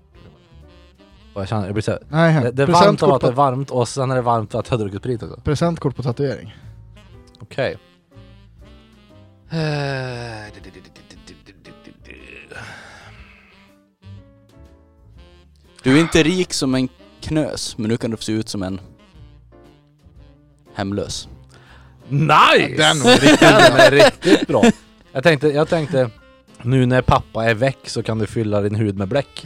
S3: Jag, känner, jag blir så här,
S2: Nej,
S3: det, det är varmt av
S2: presentkort,
S3: att det är
S2: på,
S3: varmt och sen är det varmt för att jag har druckit sprit också.
S2: presentkort på tatuering.
S3: Okej.
S1: Du är inte rik som en knös, men nu kan du se ut som en hemlös.
S3: Nice!
S2: Den var riktigt
S3: <laughs> Den är riktigt bra. Jag tänkte, jag tänkte, nu när pappa är väck så kan du fylla din hud med bläck.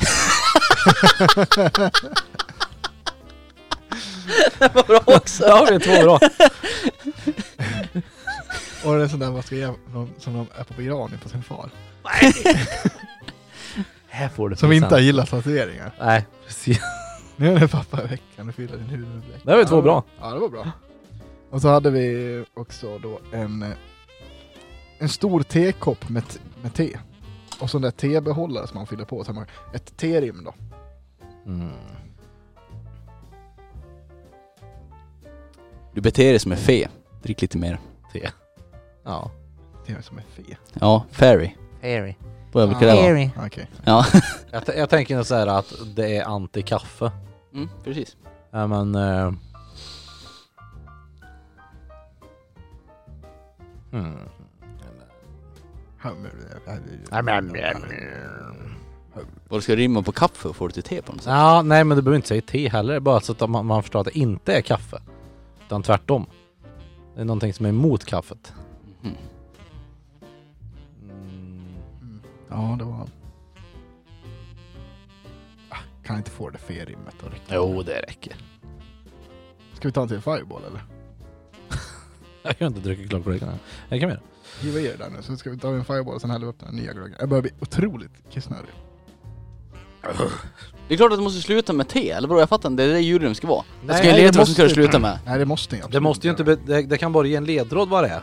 S2: <laughs>
S1: Vad bra också!
S3: Ja, vi är två bra.
S1: <laughs>
S2: Och det är sådär man ska ge någon som de är på begravning på sin far.
S3: Här får du
S2: Som inte har
S3: present.
S2: gillat tatueringar.
S3: Nej, precis.
S2: Nu är det pappa i veckan och fyller din huvud med bläck.
S3: Det var ju två bra.
S2: Ja, det var bra. Och så hade vi också då en, eh, en stor tekopp med, t- med te. Och sån där tebehållare som man fyller på. Så har man ett terim då.
S3: Mm.
S1: Du beter dig som en fe. Drick lite mer.
S3: Ja.
S2: Det är som en fe.
S1: Ja, fairy.
S3: Harry.
S1: Vad brukar
S2: Ah.
S1: det vara?
S2: Okej.
S1: Ja. <laughs>
S3: Jag, t- jag tänker nog så här att det är anti-kaffe.
S1: Mm, precis.
S3: Nej men... eh, Hmm.
S1: Vad ska du rimma på kaffe och får du till te på något sätt?
S3: Ja, nej men du behöver inte säga te heller, bara så att man, man förstår att det inte är kaffe. Utan tvärtom. Det är någonting som är emot kaffet.
S1: Mhm.
S3: Mm.
S2: Mm. Ja, det var... Ah, Kan inte få det fe rimmet då riktigt.
S3: Jo, det räcker. <laughs>
S2: Ska vi ta en till Fireball eller?
S3: Jag har inte druckit klart på det. Jag kan göra.
S2: Hiva i er där nu så ska vi ta en Fireball och sen häller vi upp den här nya glöggen. Jag börjar bli otroligt kissnödig.
S1: Det är klart att du måste sluta med te, eller vadå? Jag fattar inte, det är det julen ska vara.
S3: Nej,
S1: Jag ska ju
S3: det
S1: leta vad som
S3: måste
S1: ska du
S3: du-
S1: sluta med.
S2: Nej, det måste jag
S3: Det
S2: absolut
S3: måste ju inte...
S2: göra.
S3: Be- det, det kan bara ge en ledtråd vad det är.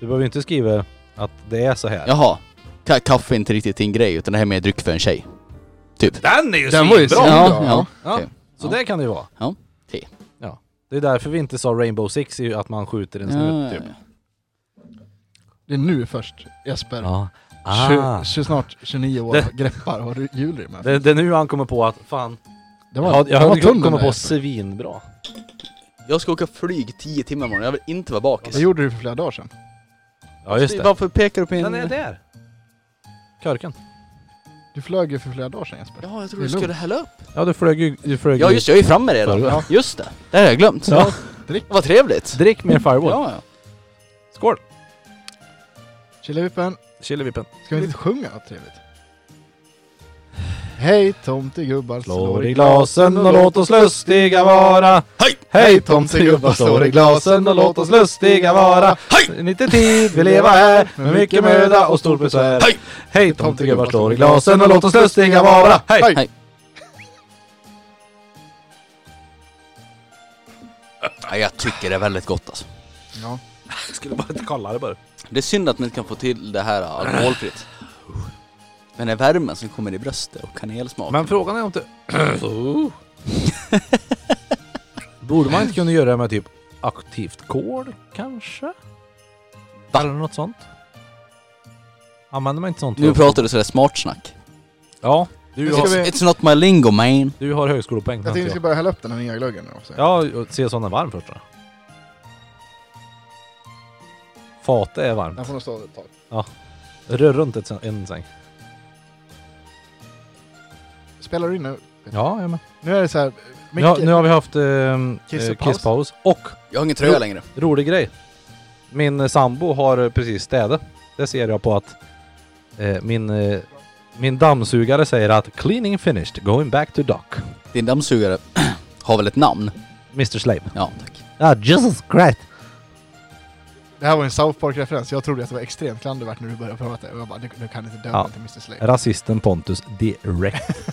S3: Du behöver ju inte skriva att det är så här.
S1: Jaha. Ka- kaffe är inte riktigt din grej, utan det här är mer dryck för en tjej.
S3: Den är ju
S2: Den var ju
S3: svinbra!
S2: svin-
S1: ja, ja.
S3: Ja,
S1: Okej.
S3: Så
S1: Ja.
S3: det kan det ju vara.
S1: Ja, te.
S3: Ja. Det är därför vi inte sa Rainbow Six, är ju att man skjuter en snut typ.
S2: Det är nu först Jesper,
S3: Ja.
S2: tju-
S3: Ah.
S2: tju- snart 29 år,
S3: Det-
S2: greppar och ru- julrim. här.
S3: Det, det är nu han kommer på att fan,
S2: Det
S3: jag,
S2: den
S3: jag hade
S2: tunn, den
S3: kommit
S2: där
S3: på
S2: Jesper.
S3: svinbra.
S1: Jag ska åka flyg 10 timmar imorgon, jag vill inte vara bakis.
S2: Det gjorde du för flera dagar sedan.
S3: Ja just det.
S1: Varför pekar du på en...
S3: Den är där! Körken.
S2: Du flög ju för flera dagar sedan Jesper.
S1: Ja, jag
S2: Det
S1: trodde
S2: är
S1: du skulle
S2: lugnt.
S1: hälla upp.
S3: Ja du flög ju... Du flög
S1: Ja just det, jag är ju framme redan.
S3: Ja.
S1: Just det, det har jag glömt.
S3: Ja.
S2: Drick.
S1: Vad trevligt.
S3: Drick mer Firewall.
S1: Ja, ja.
S3: Skål!
S2: Chilivippen,
S3: Chilivippen.
S2: ska vi inte sjunga något trevligt? Hej tomtegubbar,
S3: Slår i glasen och låt oss lustiga vara.
S1: Hej!
S3: Hej tomtegubbar står i glasen och låt oss lustiga vara. En liten tid vi leva här med mycket möda och stor besvär.
S1: Hej!
S3: Hej tomtegubbar står i glasen och låt oss lustiga vara. Hej!
S1: Hej. Ja, jag tycker det är väldigt gott alltså.
S2: Ja.
S3: Jag skulle bara inte kolla det bara.
S1: Det är synd att ni inte kan få till det här äh, alkoholfritt. Den här värmen som kommer i bröstet och kanelsmak.
S4: Men frågan är om inte...
S3: <laughs>
S4: Oh. Borde man inte kunna göra det med typ aktivt kol kanske?
S1: Va?
S3: Eller något sånt. Använder man inte sånt?
S1: nu
S3: för-
S1: pratar du sådär smart snack.
S3: Ja, du
S2: Nu
S3: har,
S2: ska vi-
S1: It's not my lingo man.
S3: du har högskolepoäng.
S2: Jag tänkte vi
S3: inte
S2: ska börja hälla upp den här nya glöggen nu också.
S3: Ja, se sån är varm först då. Fatet är varmt.
S2: Den får nog stå ett tag.
S3: Rör runt ett, en säng.
S2: Spelar du in nu?
S3: Ja, jag med.
S2: Nu är det så här,
S3: Nu, har-
S2: Micke,
S3: nu har vi haft ehm,
S2: Kiss
S3: eh,
S2: och paus.
S3: kisspaus. Och,
S1: Jag har ingen tröja
S3: Jo.
S1: längre.
S3: rolig grej. Min eh, sambo har eh, precis städat. Det ser jag på att eh, min, eh, min dammsugare säger att cleaning finished, going back to dock.
S1: Din dammsugare <clears throat> har väl ett namn?
S3: Mr Slave.
S1: Ja, tack.
S3: Ah, Jesus Christ.
S2: det här var en South Park-referens. Jag trodde att det var extremt klandervärt när du började prata. Jag bara, nu, nu kan inte döpa
S3: Ja.
S2: den till Mr Slave.
S3: Rasisten Pontus direkt.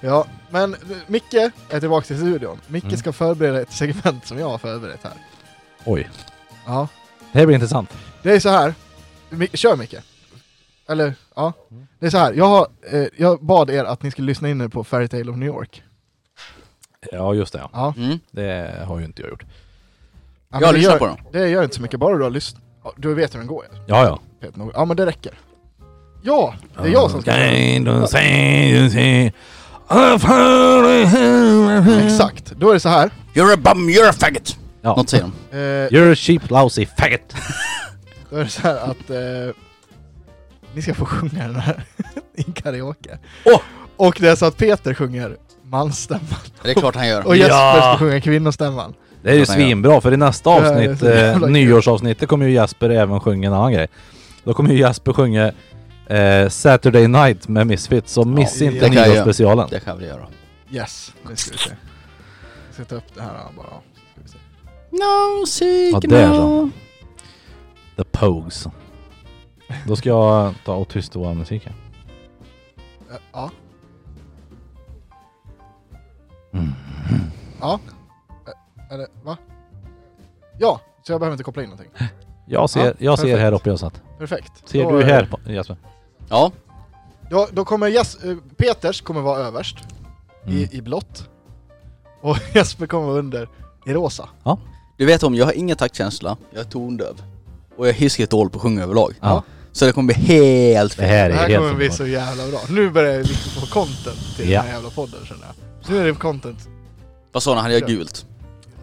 S2: Ja, men eh, Micke är tillbaka till studion. Micke
S3: Mm.
S2: ska förbereda ett segment som jag har förberett här.
S3: Oj.
S2: Ja.
S3: Det här blir intressant.
S2: Det är så här. Mi- Kör Micke. Eller, ja.
S3: Mm.
S2: Det är så här. Jag, har, eh, jag bad er att ni skulle lyssna in er på Fairy Tale of New York.
S3: Ja, just det. Ja.
S2: Ja.
S1: Mm.
S3: Det har ju inte jag gjort.
S2: ja
S1: jag har
S2: men det
S1: lyssnat
S2: gör,
S1: på dem.
S2: Det gör inte så mycket, bara du har lyssnat. Ja, Du vet hur den går.
S3: Ja, ja.
S2: Peter Norgren. Ja, men det räcker. Ja, det är jag som ska... Exakt. Då är det så här.
S1: You're a bum, you're a faggot!
S3: Ja.
S1: Något säger de.
S2: Eh,
S3: You're a cheap lousy faggot.
S2: Då är det så här att eh, ni ska få sjunga den här <laughs> i karaoke.
S3: Åh!
S2: Och det är så att Peter sjunger mansstämman
S1: Det är klart han gör.
S2: och Jesper
S3: Ja!
S2: ska sjunga kvinnostämman.
S3: Det är ju svinbra för i nästa
S2: Det här är
S3: avsnitt,
S2: så jävla
S3: eh,
S2: kul.
S3: nyårsavsnittet, kommer ju Jasper även sjunga en annan grej. Då kommer ju Jasper sjunga eh, Saturday Night med Misfits, så miss
S2: Ja,
S3: inte
S2: det
S1: kan jag
S3: nyårsspecialen.
S1: Det kan jag väl göra.
S2: Yes, nu ska vi se. Jag ska ta upp det här bara. Ska vi se.
S1: No
S3: Ja,
S1: seek
S3: där
S1: no.
S3: The Pogues. Då ska jag ta och tysta vår musik här.
S2: Eh, Ja.
S3: Mm.
S2: Ja. Eh, Är det, va? Ja, så jag behöver inte koppla in någonting.
S3: Jag ser,
S2: Ja,
S3: jag ser
S2: perfekt.
S3: här uppe jag satt.
S2: Perfekt.
S3: Ser
S2: Då
S3: du
S2: är-
S3: här på, Jasper?
S1: Ja,
S2: Då, då kommer Jes- eh, Peters kommer vara överst
S3: Mm.
S2: i, i blått. Och <laughs> Jesper kommer vara under i rosa.
S1: du vet om, jag har ingen taktkänsla, jag är tondöv. Och jag är hiskeligt dålig på att sjunga överlag.
S3: Ja.
S1: Så det kommer bli helt
S3: Det
S1: fel.
S3: här är
S2: Det här
S3: helt
S2: kommer bli
S3: underbart.
S2: så jävla bra. Nu börjar jag liksom få content till
S3: Ja.
S2: den här jävla podden känner jag. Nu är det content.
S1: Vad sa han? Han gör gult.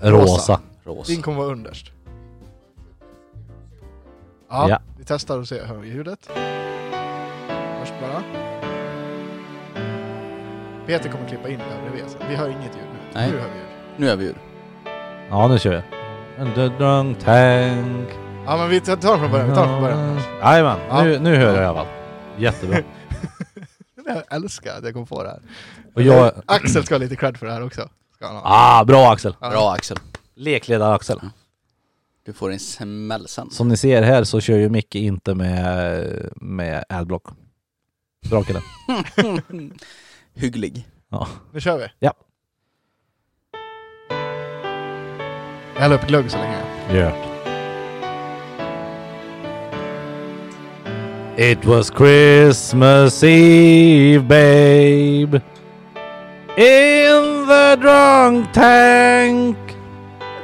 S3: Rosa.
S1: Ros.
S2: Din kommer vara underst. Ja,
S3: Ja.
S2: vi testar och ser hur ljudet. Först bara. Peter kommer klippa in det här bredvid. så Vi hör inget ljud nu.
S1: Nej.
S2: Nu hör vi ljud.
S1: Nu är vi ur.
S3: Ja, nu kör vi. And the drunk tank.
S2: Ja men vi tar tar den från början. Vi tar den från början.
S3: Jajamän,
S2: Ja.
S3: nu, nu hör jag i alla fall. Jättebra.
S2: <laughs> Jag älskar att jag kom på det här.
S3: Och jag...
S2: Eh, Axel ska ha lite cred för det här också. Ska han ha.
S3: Eh, Ah, bra Axel!
S2: Ja.
S1: Bra Axel.
S3: Lekledare-Axel.
S1: Du får en smäll sen.
S3: Som ni ser här så kör ju Micke inte med, med adblock. Bra kille.
S1: <laughs> Hygglig.
S2: Nu kör vi.
S3: Ja.
S2: Jag häller upp glögg så länge.
S3: Gört. It was Christmas Eve, babe. In the drunk tank,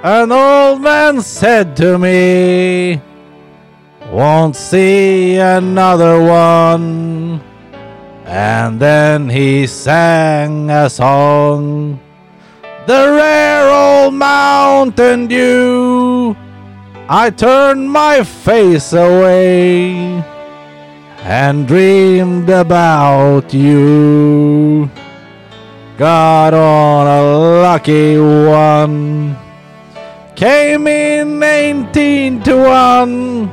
S3: an old man said to me, Won't see another one. And then he sang a song, The rare old Mountain Dew. I turned my face away and dreamed about you. Got on a lucky one. Came in 18 to 1.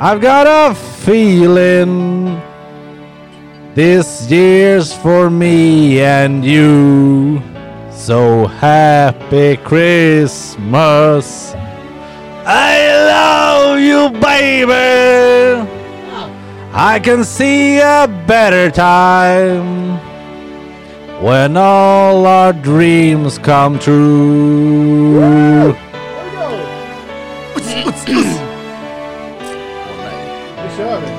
S3: I've got a feeling this year's for me and you. So happy Christmas! I love you, baby! I can see a better time when all our dreams come true.
S2: Nu kör vi! Nu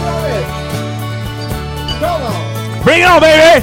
S2: kör vi!
S3: Bring it on, baby!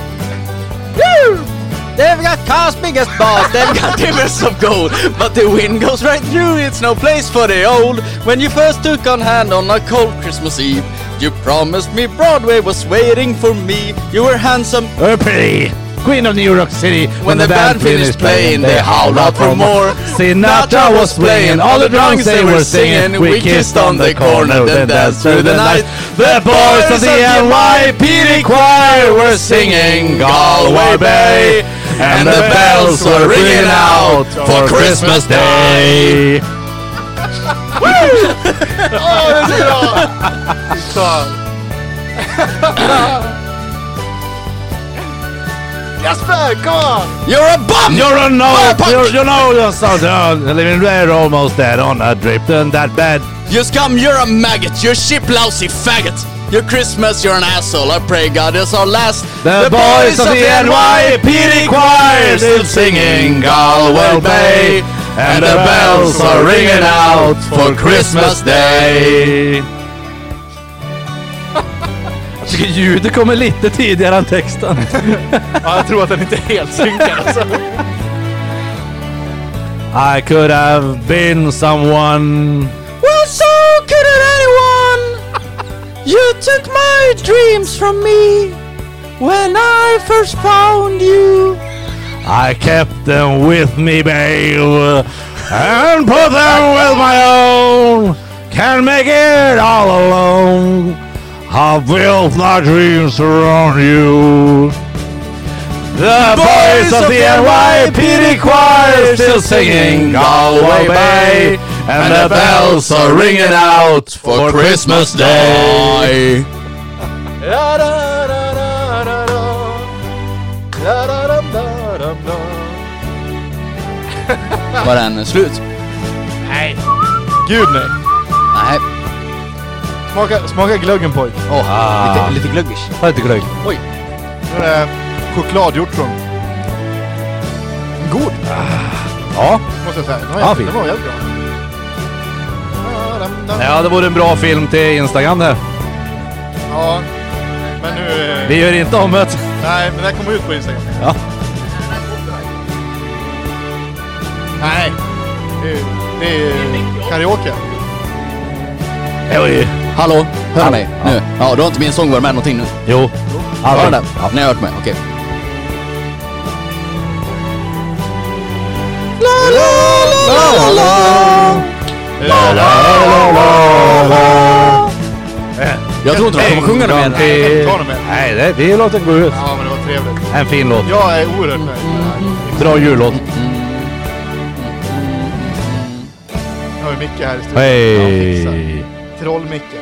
S1: They've got cars biggest balls, they've got <laughs> timbers of gold, but the wind goes right through, it's no place for the old. When you first took on hand on a cold Christmas Eve, you promised me Broadway was waiting for me. You were handsome
S3: Or pretty! Queen of New York City. When,
S1: the band finished playing, they howled out for more.
S3: Sinatra was playing, all the drums they were singing. We kissed on the corner, then danced through the night. <laughs>
S1: <laughs>
S3: The boys of the NYPD choir were singing Galway Bay, and the bells were ringing out for Christmas Day.
S2: Jasper, kom on!
S1: You're a bum!
S3: You're a no,
S1: Ballpark.
S3: you're, you know you're so down, living there almost dead on a drip in that bed.
S1: You scum, you're a maggot, you're sheep lousy faggot. Your Christmas, you're an asshole. I pray God is our last.
S3: The, boys of the NYPD choir still singing Galway Bay, and the bells are ringing out for Christmas <laughs> Day. Jag tycker ljudet kommer lite tidigare än texten.
S2: <laughs> Ja, jag tror att den inte är helt synkad alltså.
S3: I could have been someone.
S1: Well, so could anyone. You took my dreams from me when I first found you.
S3: I kept them with me, babe, and put them with my own. Can't make it all alone. I built my dreams around you. The boys of the NYPD choir still singing Galway Bay, and the bells are ringing out for Christmas Day.
S1: Var den slut?
S2: Gud nej!
S1: Nej.
S2: Smaka, smaka glöggen pojk.
S1: Åh,
S3: Ah.
S1: lite, lite glöggish.
S3: Ta lite glögg.
S2: Nu är det chokladhjortron. God!
S3: Ja.
S2: Måste jag säga. Den var,
S3: Ja,
S2: ja,
S3: fin.
S2: den var jävligt bra.
S3: ja, det vore en bra film till Instagram där.
S2: Ja. Men nu... eh,
S3: Vi gör inte om det.
S2: Nej, men det här kommer ut på Instagram.
S3: Ja.
S2: Nej. Det är, det är karaoke.
S3: Oj.
S1: Hallå, hör du mig? Nu. Ja, du har inte min sång varit med någonting nu?
S3: Jo.
S1: Har
S3: Alla.
S1: den det? Ni har hört mig, okej. Jag tror inte de kommer sjunga den mer.
S2: jag kan inte ta den mer.
S3: Nej, det, vi låter den gå ut.
S2: Ja, men det var trevligt.
S3: En fin låt.
S2: Jag är oerhört nöjd med det
S3: Bra jullåt.
S2: här. Nu har vi Micke här i studion. Ja, fixar.
S3: Hej!
S2: Troll-Micke.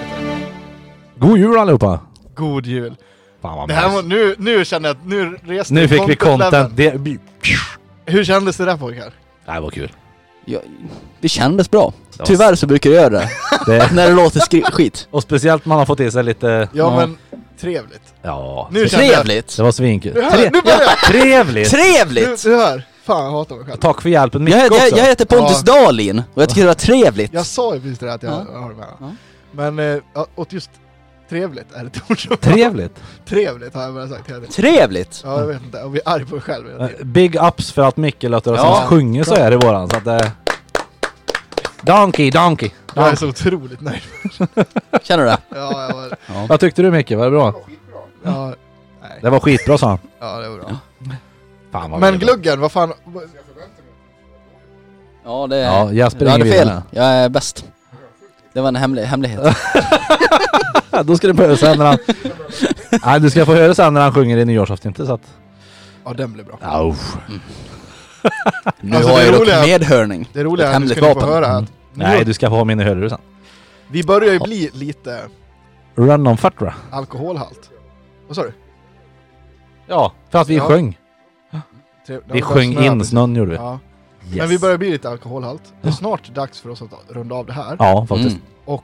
S3: God jul allihopa!
S2: God jul.
S3: Fan vad
S2: Det här
S3: nice.
S2: var, nu, nu känner jag att nu reste
S3: Nu fick vi
S2: leveln.
S3: content. Det,
S2: Hur kändes det där pojkar?
S3: det här var kul.
S1: Jag- Det kändes bra.
S3: Det var-
S1: Tyvärr så brukar jag göra det.
S3: Det,
S1: När det låter skri- skit.
S3: och speciellt man har fått i sig lite...
S2: Ja,
S1: Ja.
S2: men trevligt.
S3: Ja.
S2: Nu kände jag...
S1: Trevligt.
S3: Det var svinkul.
S2: Du hör,
S3: Tre,
S2: nu börjar jag!
S3: trevligt!
S2: Du,
S1: Trevligt!
S2: du hör! Fan, jag hatar mig själv.
S3: Tack för hjälpen
S1: Jag,
S3: Micke
S1: heter- jag,
S3: också.
S1: jag heter Pontus Dahlin och jag tycker det var trevligt.
S2: Jag sa ju precis det där att jag
S1: Ja.
S2: har det med.
S1: Ja.
S2: Men, eh, ja, åt just trevligt är ett ord som...
S3: Trevligt!
S2: Trevligt har jag bara sagt hela tiden.
S1: Trevligt!
S2: Ja, jag vet inte. Jag blir arg på mig själv hela tiden.
S3: Eh, Big ups för att Micke låter oss
S1: Ja.
S3: sjunga så här i våran. Så att, eh, donkey, donkey!
S2: Jag är
S3: donkey.
S2: så otroligt nöjd.
S1: Känner du det?
S2: Ja, jag var...
S3: Vad tyckte du Micke? Var det bra?
S2: Ja, nej.
S3: Det var skitbra sa han.
S2: Ja, det var bra.
S3: Fan vad
S2: Men
S3: kul.
S2: gluggen, vad fan...
S1: Ja, det...
S3: Ja, Jasper
S1: du hade
S3: ringer
S1: fel.
S3: vidare.
S1: Jag är bäst. Det var en hemli- hemlighet.
S3: Ja, Då ska du få höra sen när han... Nej, du ska få höra sen när han sjunger i nyårsafton inte så att...
S2: Ja, den blev bra.
S3: Au.
S1: Nu
S2: Alltså,
S1: har
S2: det
S1: jag dock
S2: roliga-
S1: medhörning.
S2: Det roliga
S1: Ett
S2: är att nu
S1: hemligt
S2: ska ni få
S1: vapen.
S2: höra att
S3: Mm. Nej, du ska få ha min i hörlurar sen.
S2: vi börjar ju bli lite
S3: Run on fatra.
S2: alkoholhalt. Vad sa du?
S3: Ja, för att vi
S2: Ja.
S3: sjöng.
S2: Trev-
S3: Vi sjöng in snön gjorde vi.
S2: Ja.
S3: Yes.
S2: Men vi börjar bli lite alkoholhalt. Det är snart dags för oss att runda av det här.
S3: Ja, faktiskt.
S1: Mm.
S2: Och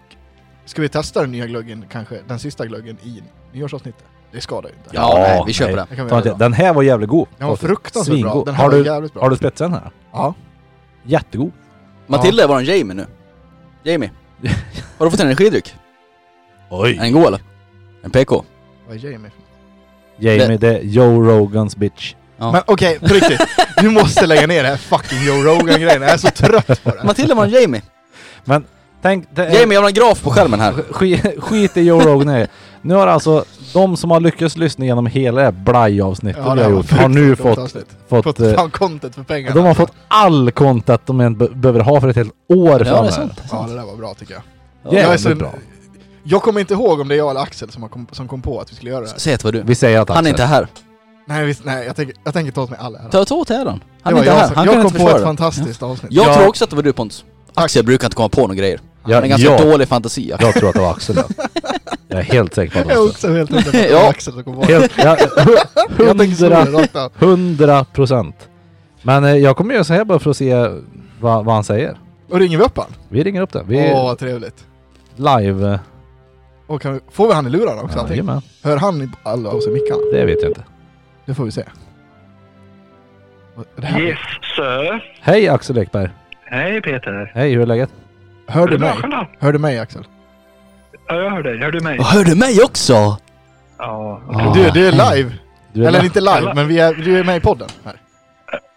S2: ska vi testa den nya glöggen, kanske den sista glöggen i nyårsavsnittet? Det skadar ju inte.
S1: Ja, nej, vi köper
S3: nej.
S1: den.
S2: Det kan vi
S3: Ta
S2: göra
S3: inte-
S2: idag.
S3: Den här var jävligt god.
S2: Den var fruktansvärt bra.
S3: Svingod.
S2: Den här
S3: Har
S2: var
S3: du-
S2: jävligt bra.
S3: Har du spetsat den här?
S2: Ja.
S3: Jättegod.
S1: Matilda är våran Jamie nu. Jamie. Har du fått en energidryck?
S3: Oj!
S1: En god eller? En PK?
S2: Vad är Jamie?
S3: Jamie, det är Joe Rogans bitch.
S1: Ja.
S2: Men okej, på riktigt. Du måste lägga ner det här fucking Joe Rogan-grejen. Jag är så trött på det.
S1: Matilda var en Jamie.
S3: Tänk, det är-
S1: Jamie, jag har en graf på skärmen här.
S3: Sk- <laughs> skit i Joe Rogan är. Nu har alltså de som har lyckats lyssna igenom hela det här blajavsnittet
S2: Ja,
S3: vi
S2: det
S3: har
S2: var
S3: gjort, har nu
S2: fruktansvärt
S3: fått,
S2: avsnitt.
S3: fått,
S2: Fått
S3: eh,
S2: fan content för pengarna.
S3: de har fått all content de än be- behöver ha för ett helt år
S1: Ja, det är
S3: framöver.
S1: sant.
S2: Ja, det där var bra tycker jag. jag, är
S3: Jävligt
S2: så,
S3: bra.
S2: jag kommer inte ihåg om det är jag eller Axel som, har kom, som kom på att vi skulle göra det här.
S1: Säg att det var du.
S3: Vi säger att
S1: Han är inte
S3: Axel-
S1: här.
S2: Nej, visst, nej jag, tänker, jag tänker ta åt mig all ära.
S1: Ta ta åt dig äran.
S2: Det
S1: Han är
S2: var
S1: inte
S2: jag
S1: här.
S2: som-
S1: Han
S2: jag
S1: kan
S2: kom
S1: inte
S2: på ett
S1: försvara det.
S2: fantastiskt avsnitt.
S1: Jag
S3: Ja.
S1: tror också att det var du Pontus. Axel brukar inte komma på några grejer. Han har
S3: Ja,
S1: ganska
S3: jag,
S1: dålig fantasi. Axel.
S3: jag tror att det var Axel. ja. Jag är helt säker på att
S2: Jag
S3: det
S2: är
S3: var Axel.
S2: också helt ute på att det
S1: Ja.
S2: var Axel som kom på det.
S3: Helt, <laughs> ja, hu-
S2: Jag tänker slå
S3: hundra,
S2: det rakt av.
S3: hundra procent. Men eh, jag kommer göra så här bara för att se vad, vad han säger.
S2: Och ringer vi upp han?
S3: Vi ringer upp den. Vi
S2: Åh, vad trevligt.
S3: live. eh,
S2: Och kan vi, får vi han i lurarna också? antar jag?
S3: jajamän.
S2: Hör han i alla av sig mickarna?
S3: det vet jag inte.
S2: Det får vi se. Och Det här,
S5: Yes, sir.
S3: Hej Axel Ekberg.
S5: Hej Peter.
S3: Hej, hur är läget?
S2: Hör du
S5: Är det
S2: mig?
S5: bra, Charlotte?
S2: Hör du mig Axel?
S5: Ja, jag hör dig. Hör du mig?
S1: Och hör du mig också?
S5: Ja.
S1: Ah,
S2: Du, du
S1: hej.
S2: är live!
S3: Du, är
S2: Eller
S3: la-
S2: inte live, men vi är, du är med i podden. Här.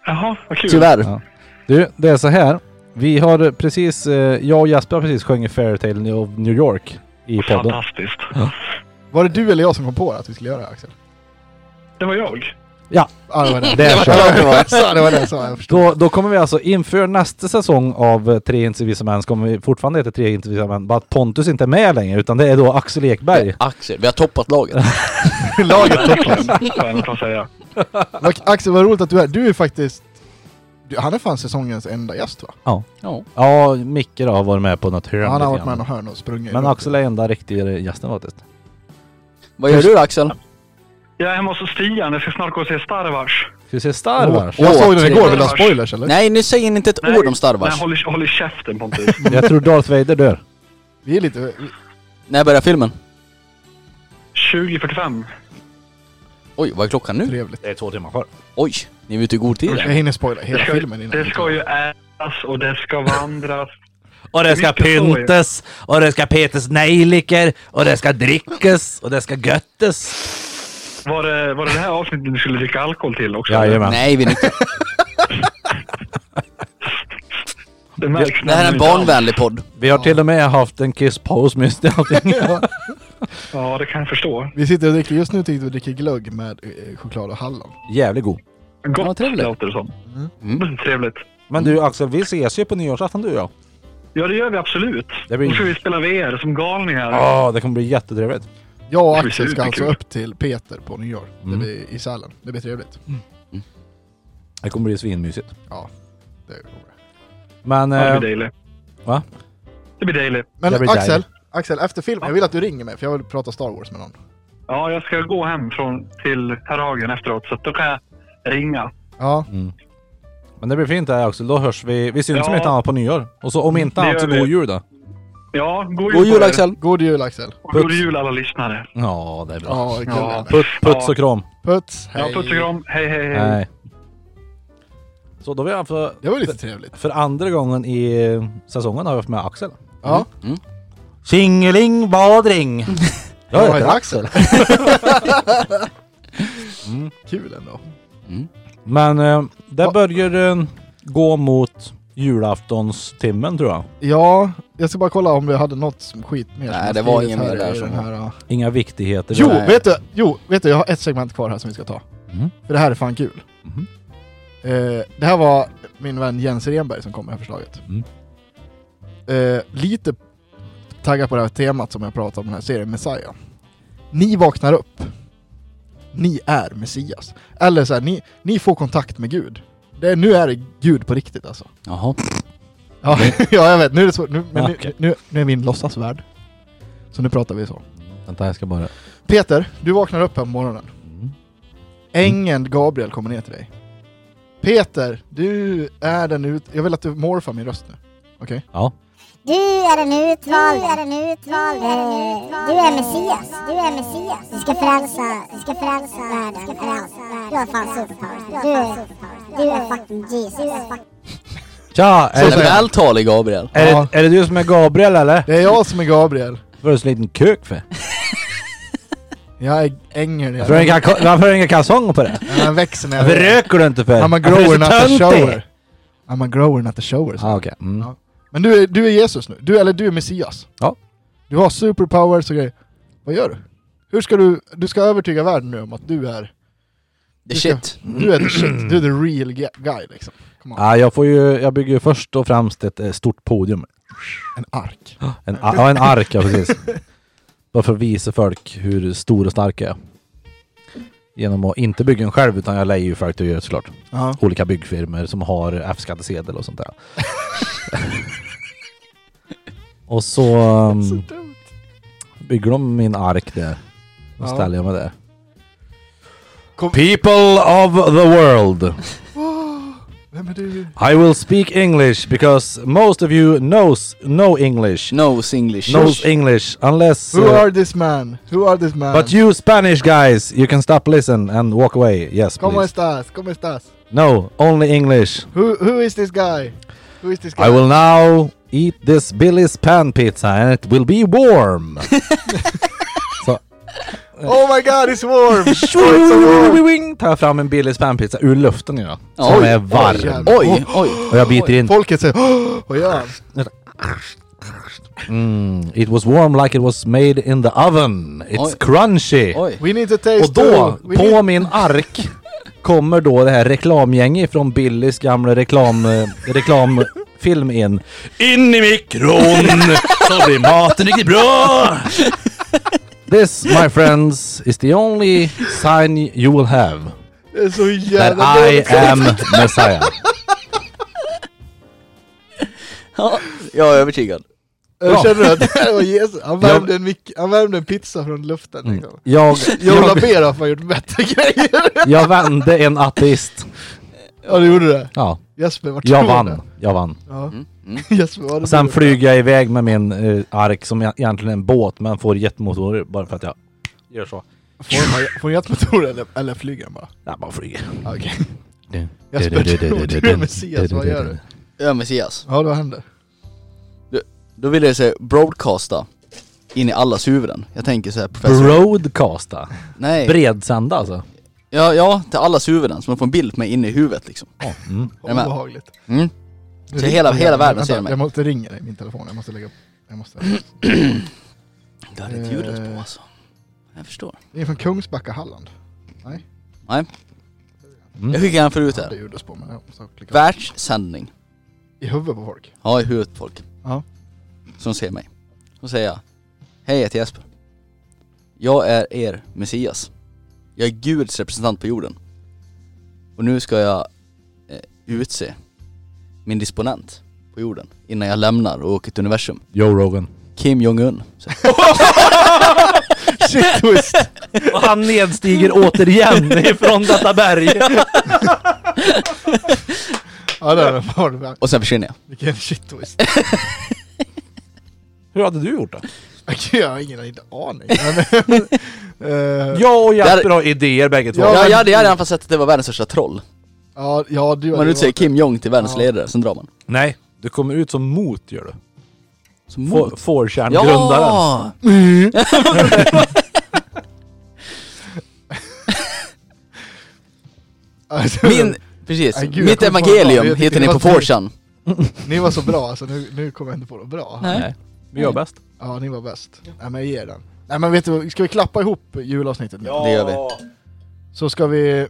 S5: Jaha, vad kul.
S1: Tyvärr.
S3: Ja. du, det är så här. Vi har precis, eh, jag och Jesper har precis sjungit Fairytale of New York i podden.
S5: Fantastiskt.
S2: Var det du eller jag som kom på att vi skulle göra det här, Axel?
S5: Det var jag.
S2: <laughs> Ja, det var det.
S3: Det är så.
S2: det var det jag sa, det var det jag sa. Jag
S3: <laughs>
S2: förstår.
S3: Då, då kommer vi alltså inför nästa säsong av eh, Tre inte visa män, så kommer vi fortfarande heta Tre inte visa män, bara att Pontus inte är med längre, utan det är då Axel Ekberg.
S1: Axel, vi har toppat
S2: <laughs>
S1: laget.
S2: Laget
S5: Verkligen. Skönt att säga.
S2: Vad- Axel, vad roligt att du är Du är faktiskt... Du, han är fan säsongens enda gäst va?
S1: Ja.
S3: Ja, Micke då har varit med på något hörn
S2: han har varit med
S3: lite grann.
S2: någon hörn och sprungit.
S3: Men
S2: runt.
S3: Axel är enda riktiga gästen faktiskt.
S1: Vad gör du då, Axel?
S5: Jag är hemma hos Stian. Jag ska snart gå och se Star Wars.
S3: Ska vi se
S2: Åh,
S3: Star Wars?
S2: och jag såg den igår,
S1: trevligt.
S2: vill du ha spoilers eller?
S1: Nej, nu säger ni inte ett
S5: Nej,
S1: ord om Star Wars.
S5: Nej, håll, i- håll i käften Pontus.
S3: Jag tror Darth Vader dör.
S2: Vi är lite... vi-
S1: När börjar filmen?
S5: 20.45.
S1: Oj, vad är klockan nu?
S2: Trevligt.
S3: Det är två timmar kvar.
S1: Oj, ni är ute i god tid.
S2: Jag hinner spoila hela
S5: Det ska-
S2: filmen innan.
S5: Det ska ju ätas och det ska vandras.
S3: Och det ska
S5: Mycket skoj.
S3: pyntas, och det ska petas nejlikor, och det ska drickas, och det ska göttes.
S5: Var det, var det det här avsnittet du skulle dricka alkohol till också?
S3: Jajamän.
S1: Nej, vi är
S5: <laughs>
S1: inte.
S5: Det, märks
S1: Det här är en
S5: nämligen inte alls.
S1: barnvänlig podd.
S3: Vi har till och med haft en kisspaus mitt i
S2: <laughs>
S3: allting.
S5: Ja, det kan jag förstå.
S2: Vi sitter och dricker, just nu tyckte vi dricker glögg med eh, choklad och hallon.
S3: <laughs> Jävligt god.
S1: Ja,
S5: Gott
S1: trevligt.
S5: låter det som.
S1: Mm.
S5: Trevligt.
S3: Men du Axel, vi ses ju på nyårsafton du och jag.
S5: Ja, det gör vi absolut.
S3: Det blir-
S5: Nu ska vi spela VR som galningar.
S3: Ja, det kommer bli jättetrevligt.
S2: Jag och
S5: Det blir
S2: Axel ska alltså
S5: superkul.
S2: upp till Peter på nyår. Det
S3: Mm.
S2: blir i Sälen. Det blir trevligt.
S5: Mm.
S3: Det kommer bli svinmysigt.
S2: Det är roligt.
S3: Men...
S5: Ja, det
S3: Eh,
S5: blir dejligt.
S3: va?
S5: Det blir dejligt.
S2: Men
S3: Jag blir
S2: Axel,
S3: dejlig.
S2: Axel, efter filmen, jag vill att du ringer mig för jag vill prata Star Wars med någon.
S5: Ja, jag ska gå hem från, till Terragen efteråt, så att då kan jag ringa.
S2: Ja,
S3: men det blir fint det här Axel, då hörs vi. Vi syns
S5: Ja.
S3: om inte annat på nyår. Och så om inte
S5: Det
S3: annat så
S5: gör vi.
S3: god jul då.
S5: Ja, god jul
S1: God
S5: på
S1: jul
S5: er.
S1: Axel!
S2: god jul Axel.
S5: Och god
S3: Puss.
S5: jul alla lyssnare.
S3: Ja, det är bra.
S2: Ja, kul.
S5: Ja.
S2: Puss,
S3: Puts, puts
S5: Ja.
S3: och kram.
S2: puts, hej.
S5: Ja, puss och kram. Hej, hej, hej.
S3: Nej. Mm. Så då har vi haft för,
S2: Det var lite trevligt.
S3: för andra gången i säsongen har vi haft med Axel.
S2: Ja,
S3: Tjingeling
S2: <laughs>
S3: badring!
S2: jag
S3: Jag
S2: heter
S3: heter
S2: Axel. <laughs> Kul ändå.
S3: Men eh, det
S2: Va-
S3: börjar eh, gå mot julaftonstimmen tror jag.
S2: Ja, jag ska bara kolla om vi hade något som skit mer. som
S1: Nej,
S2: jag
S1: det var
S2: skrivit
S1: inget mer
S2: här i
S1: där
S2: den
S1: som-
S2: här, ja.
S3: Inga viktigheter.
S2: Jo,
S1: Nej.
S2: vet du, jo, vet du, jag har ett segment kvar här som vi ska ta.
S3: Mm.
S2: För det här är fan kul.
S3: Mhm.
S2: Eh, det här var min vän Jens Renberg som kom med förslaget.
S3: Mm.
S2: Eh, lite taggad på det här temat som jag pratade om i den här serien, Messiah. Ni vaknar upp. Ni är Messias. Eller så här, ni, ni får kontakt med Gud. Det, nu är det Gud på riktigt alltså.
S1: Jaha.
S2: Ja, <laughs> ja jag vet, nu är det svårt. Nu, men
S3: Ja,
S2: nu,
S3: okej.
S2: nu, nu är vi i en låtsasvärld. Så nu pratar vi så.
S3: Vänta, jag ska bara... Mm.
S2: Peter, du vaknar upp här på morgonen. Ängeln Gabriel kommer ner till dig. Peter, du är den ut... Jag vill att du morfar min röst nu. Okej?
S3: Ja.
S6: Du är den utvalde. Du är den utvalde. Du är Messias. Du är Messias. Du ska frälsa, du ska frälsa världen. Du, ska frälsa världen. du har fan superpowers. Du är, du är fucking Jesus. Du är fucking
S3: Tja! Är
S1: Är det
S3: det,
S1: vältalig Gabriel?
S3: är, det, är det du som är Gabriel eller?
S2: Det är jag som är Gabriel.
S3: Varför är du så liten kuk för?
S2: Jag är ängel.
S3: Varför har du inga ka- varför har du inga kalsonger på dig?
S2: Han växer när
S3: Varför
S2: jag...
S3: röker du inte för?
S2: I'm a
S3: Varför är du
S2: grower
S3: så
S2: not a
S3: töntig?
S2: shower. I'm a grower not a shower. sa
S3: Ah,
S2: han.
S3: okej. Mm.
S2: Ja. Men du är, du är Jesus nu. Du, eller du är Messias.
S3: Ja.
S2: Du har superpowers och grejer. Vad gör du? Hur ska du... Du ska övertyga världen nu om att du är...
S1: The shit.
S2: Du är the shit. Du är the real ge- guy liksom. Come on.
S3: Ja, jag, får ju, jag bygger ju först och främst ett eh, stort podium.
S2: En ark.
S3: En, a- ja, en ark, ja precis. <laughs> Bara för att visa folk hur stor och stark jag är. Genom att inte bygga en själv, utan jag lejer ju folk till att göra det såklart.
S2: Ja.
S3: Olika byggfirmor som har F-skattesedel
S2: <laughs>
S3: och sånt där. och så um, bygger de min ark där. Och
S2: Ja.
S3: ställer jag mig där.
S2: Kom-
S3: People of the world!
S2: Vem är du?
S3: I will speak English because most of you knows no English.
S1: Knows English.
S3: Knows English unless
S2: Who
S3: uh,
S2: are this man? Who are this man?
S3: But you Spanish guys, you can stop listen and walk away. Yes,
S2: Como
S3: please.
S2: estas? Como estas?
S3: No, only English.
S2: Who, who is this guy? Who is this guy?
S3: I will now eat this Billy's pan pizza and it will be warm.
S2: Oh my god, it's warm!
S3: <laughs> Tar jag fram en Billy's pan pizza ur luften idag.
S1: Oj,
S3: Som är
S2: oj,
S3: varm.
S2: jävlar.
S1: Oj, oj.
S3: Och jag biter in.
S2: Folket säger "Åh, Vad gör han?
S3: Mm, it was warm like it was made in the oven. It's
S1: Oj.
S3: crunchy.
S2: <laughs>
S1: Oj.
S2: We need to taste
S3: Och då,
S2: too. We
S3: på
S2: need-
S3: min ark, kommer då det här reklamgänget från Billys gamla reklam, eh, reklamfilm in. In i mikron så blir maten riktigt bra! This my friends is the only sign you will have
S2: Det är så
S3: that
S2: jävla
S3: I
S2: dåligt.
S3: am Messiah.
S1: Ja, jag är övertygad.
S2: Jag känner du att det här var Jesus? Han värmde, en mick- han värmde en pizza från luften liksom.
S3: Jag,
S2: Jola
S3: jag,
S2: Bera har fan gjort bättre <laughs> grejer!
S3: jag vände en ateist.
S2: ja, du gjorde det.
S3: Ja,
S2: Jesper, vart
S3: jag
S2: tror du
S3: vann.
S2: det?
S3: Jag vann.
S2: Ja.
S1: mm.
S2: <laughs> Jesper, vad
S3: Och
S2: det
S3: sen
S2: blev.
S3: flyger jag iväg med min eh, ark som e- egentligen är en båt men får jetmotorer bara för att jag gör så.
S2: Får man- Får man jetmotor eller, eller flyger han bara?
S3: Nej, man flyger.
S2: Ja, Okej. Jesper, du- du är Messias, vad gör du?
S1: Ja, Messias.
S2: Ja, vad händer?
S1: Då vill jag säga broadcasta in i allas huvuden. Jag tänker så här professor.
S3: Broadcasta.
S1: Nej.
S3: Bredsända alltså.
S1: Ja, ja, till allas huvuden. Så man får en bild på mig inne i huvudet liksom.
S3: Mm.
S1: Är du med?
S2: Obehagligt.
S1: Mm.
S2: Nu
S1: Så
S2: ringer
S1: hela-
S2: jag.
S1: hela världen
S2: Vänta,
S1: ser mig.
S2: Jag måste ringa dig, min telefon. Jag måste lägga upp. Jag måste.
S1: Det hade ett ljudlöst på alltså. Jag förstår.
S2: Det är från Kungsbacka, Halland.
S1: Jag skickar gärna förut
S2: Det är
S1: här.
S2: ljudlöst på men jag måste klicka.
S1: Världssändning.
S2: I huvudet på folk.
S1: Ja, i huvudet på folk.
S2: Ja.
S1: Som ser mig. Så säger jag. Hej, jag heter Jesper. Jag är er Messias. Jag är Guds representant på jorden. Och nu ska jag eh, utse min disponent på jorden innan jag lämnar och åker till universum.
S3: Joe Rogan.
S1: Kim Jong-Un. Så-
S2: Shit twist!
S3: Och han nedstiger återigen ifrån detta berg.
S2: <laughs> Ja där är fan.
S1: Och sen försvinner jag.
S2: Vilken shit twist.
S3: Hur hade du gjort det?
S2: Okej, Jag har ingen inte aning. Men, eh,
S3: Jag
S1: Där-
S3: och Jesper har idéer bägge två.
S2: Ja,
S1: Ja,
S2: men-
S1: jag hade, jag hade i alla fall sett att det var världens största troll.
S2: ja, ja, du
S1: Man
S2: du-
S1: utser Kim Jong till världens
S2: Ja.
S1: ledare, sen drar man.
S3: Nej, du kommer ut som mot gör du.
S1: Så
S3: Få-
S1: mot.
S3: Fårkärngrundaren.
S1: Ja!
S2: Alltså,
S1: Min, precis,
S2: Nej, gud, jag
S1: mitt
S2: kommer på det. Jag
S1: evangelium
S2: tycker
S1: hittar
S2: det
S1: ni på
S2: var trist.
S1: 4chan.
S2: Ni var så bra alltså, nu, nu kommer jag inte på det bra.
S3: Nej. Vi gör bäst.
S2: Ja, ni var bäst. Nej men ge er den. Nej men vet du vad, ska vi klappa ihop julavsnittet nu?
S1: Det gör vi.
S2: Så ska vi...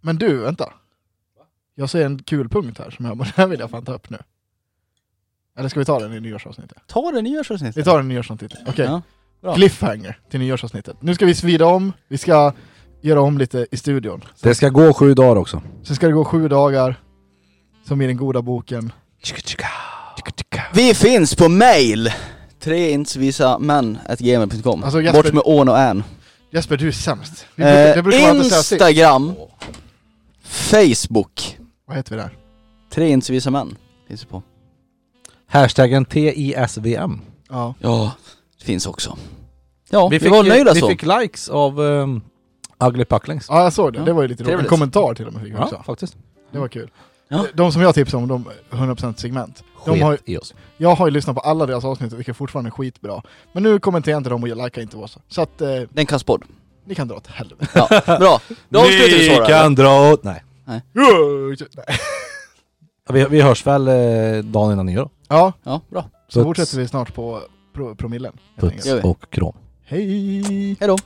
S2: Men du, vänta. Jag ser en kul punkt här som jag <laughs> den här vill jag fan ta upp nu. Eller ska vi ta den i nyårsavsnittet?
S1: Ta den i
S2: Vi
S1: nyårsavsnittet.
S2: tar den i nyårsavsnittet. Okej.
S1: Ja.
S2: Bra. Cliffhanger till nyårsavsnittet. Nu ska vi svida om, vi ska göra om lite i studion.
S3: Det ska gå sju dagar också.
S2: Sen ska det gå sju dagar, som i den goda boken.
S1: Vi finns på mail! Treintsvisamän.gmail.com
S2: Alltså, Jesper-
S1: Bort med ån och än.
S2: Jesper, du är sämst. Vi brukar-
S1: Eh,
S2: det brukar man alltid säga sist.
S1: Instagram, Facebook.
S2: Vad heter vi där?
S1: Tre inte så visa män. Finns det på.
S3: Hashtaggen TISVM.
S2: Ja.
S1: Ja, det finns också. Ja, vi,
S3: fick
S1: var
S3: ju-
S1: nöjda
S3: Vi
S1: så.
S3: fick likes av um, Ugly Pucklings.
S2: ja, jag såg det.
S1: Ja.
S2: Det var ju lite roligt.
S1: Trevligt.
S2: En kommentar till och med fick vi
S3: Ja,
S2: också.
S3: faktiskt.
S2: Det var kul.
S1: Ja.
S2: De som jag tipsade om, de 100% segment. De
S3: Sket
S2: har,
S3: i oss.
S2: jag har ju lyssnat på alla deras avsnitt och tycker fortfarande är skitbra. Men nu kommenterar jag inte dem och jag likar inte oss. Så att eh,
S1: Den kan spådd.
S2: ni kan dra
S1: <laughs>
S2: åt helvete.
S1: Ja, bra. Då avslutar vi så då.
S3: Ni
S1: eller?
S3: kan dra åt... Nej.
S2: Nej.
S3: Vi, vi hörs väl eh, dagen innan nyår.
S2: ja,
S1: Ja, bra.
S2: så
S3: Puts.
S2: fortsätter vi snart på pro- promillen. helt
S3: Puts
S2: enkelt.
S1: gör vi.
S3: och krom.
S2: Hej!
S1: Hejdå.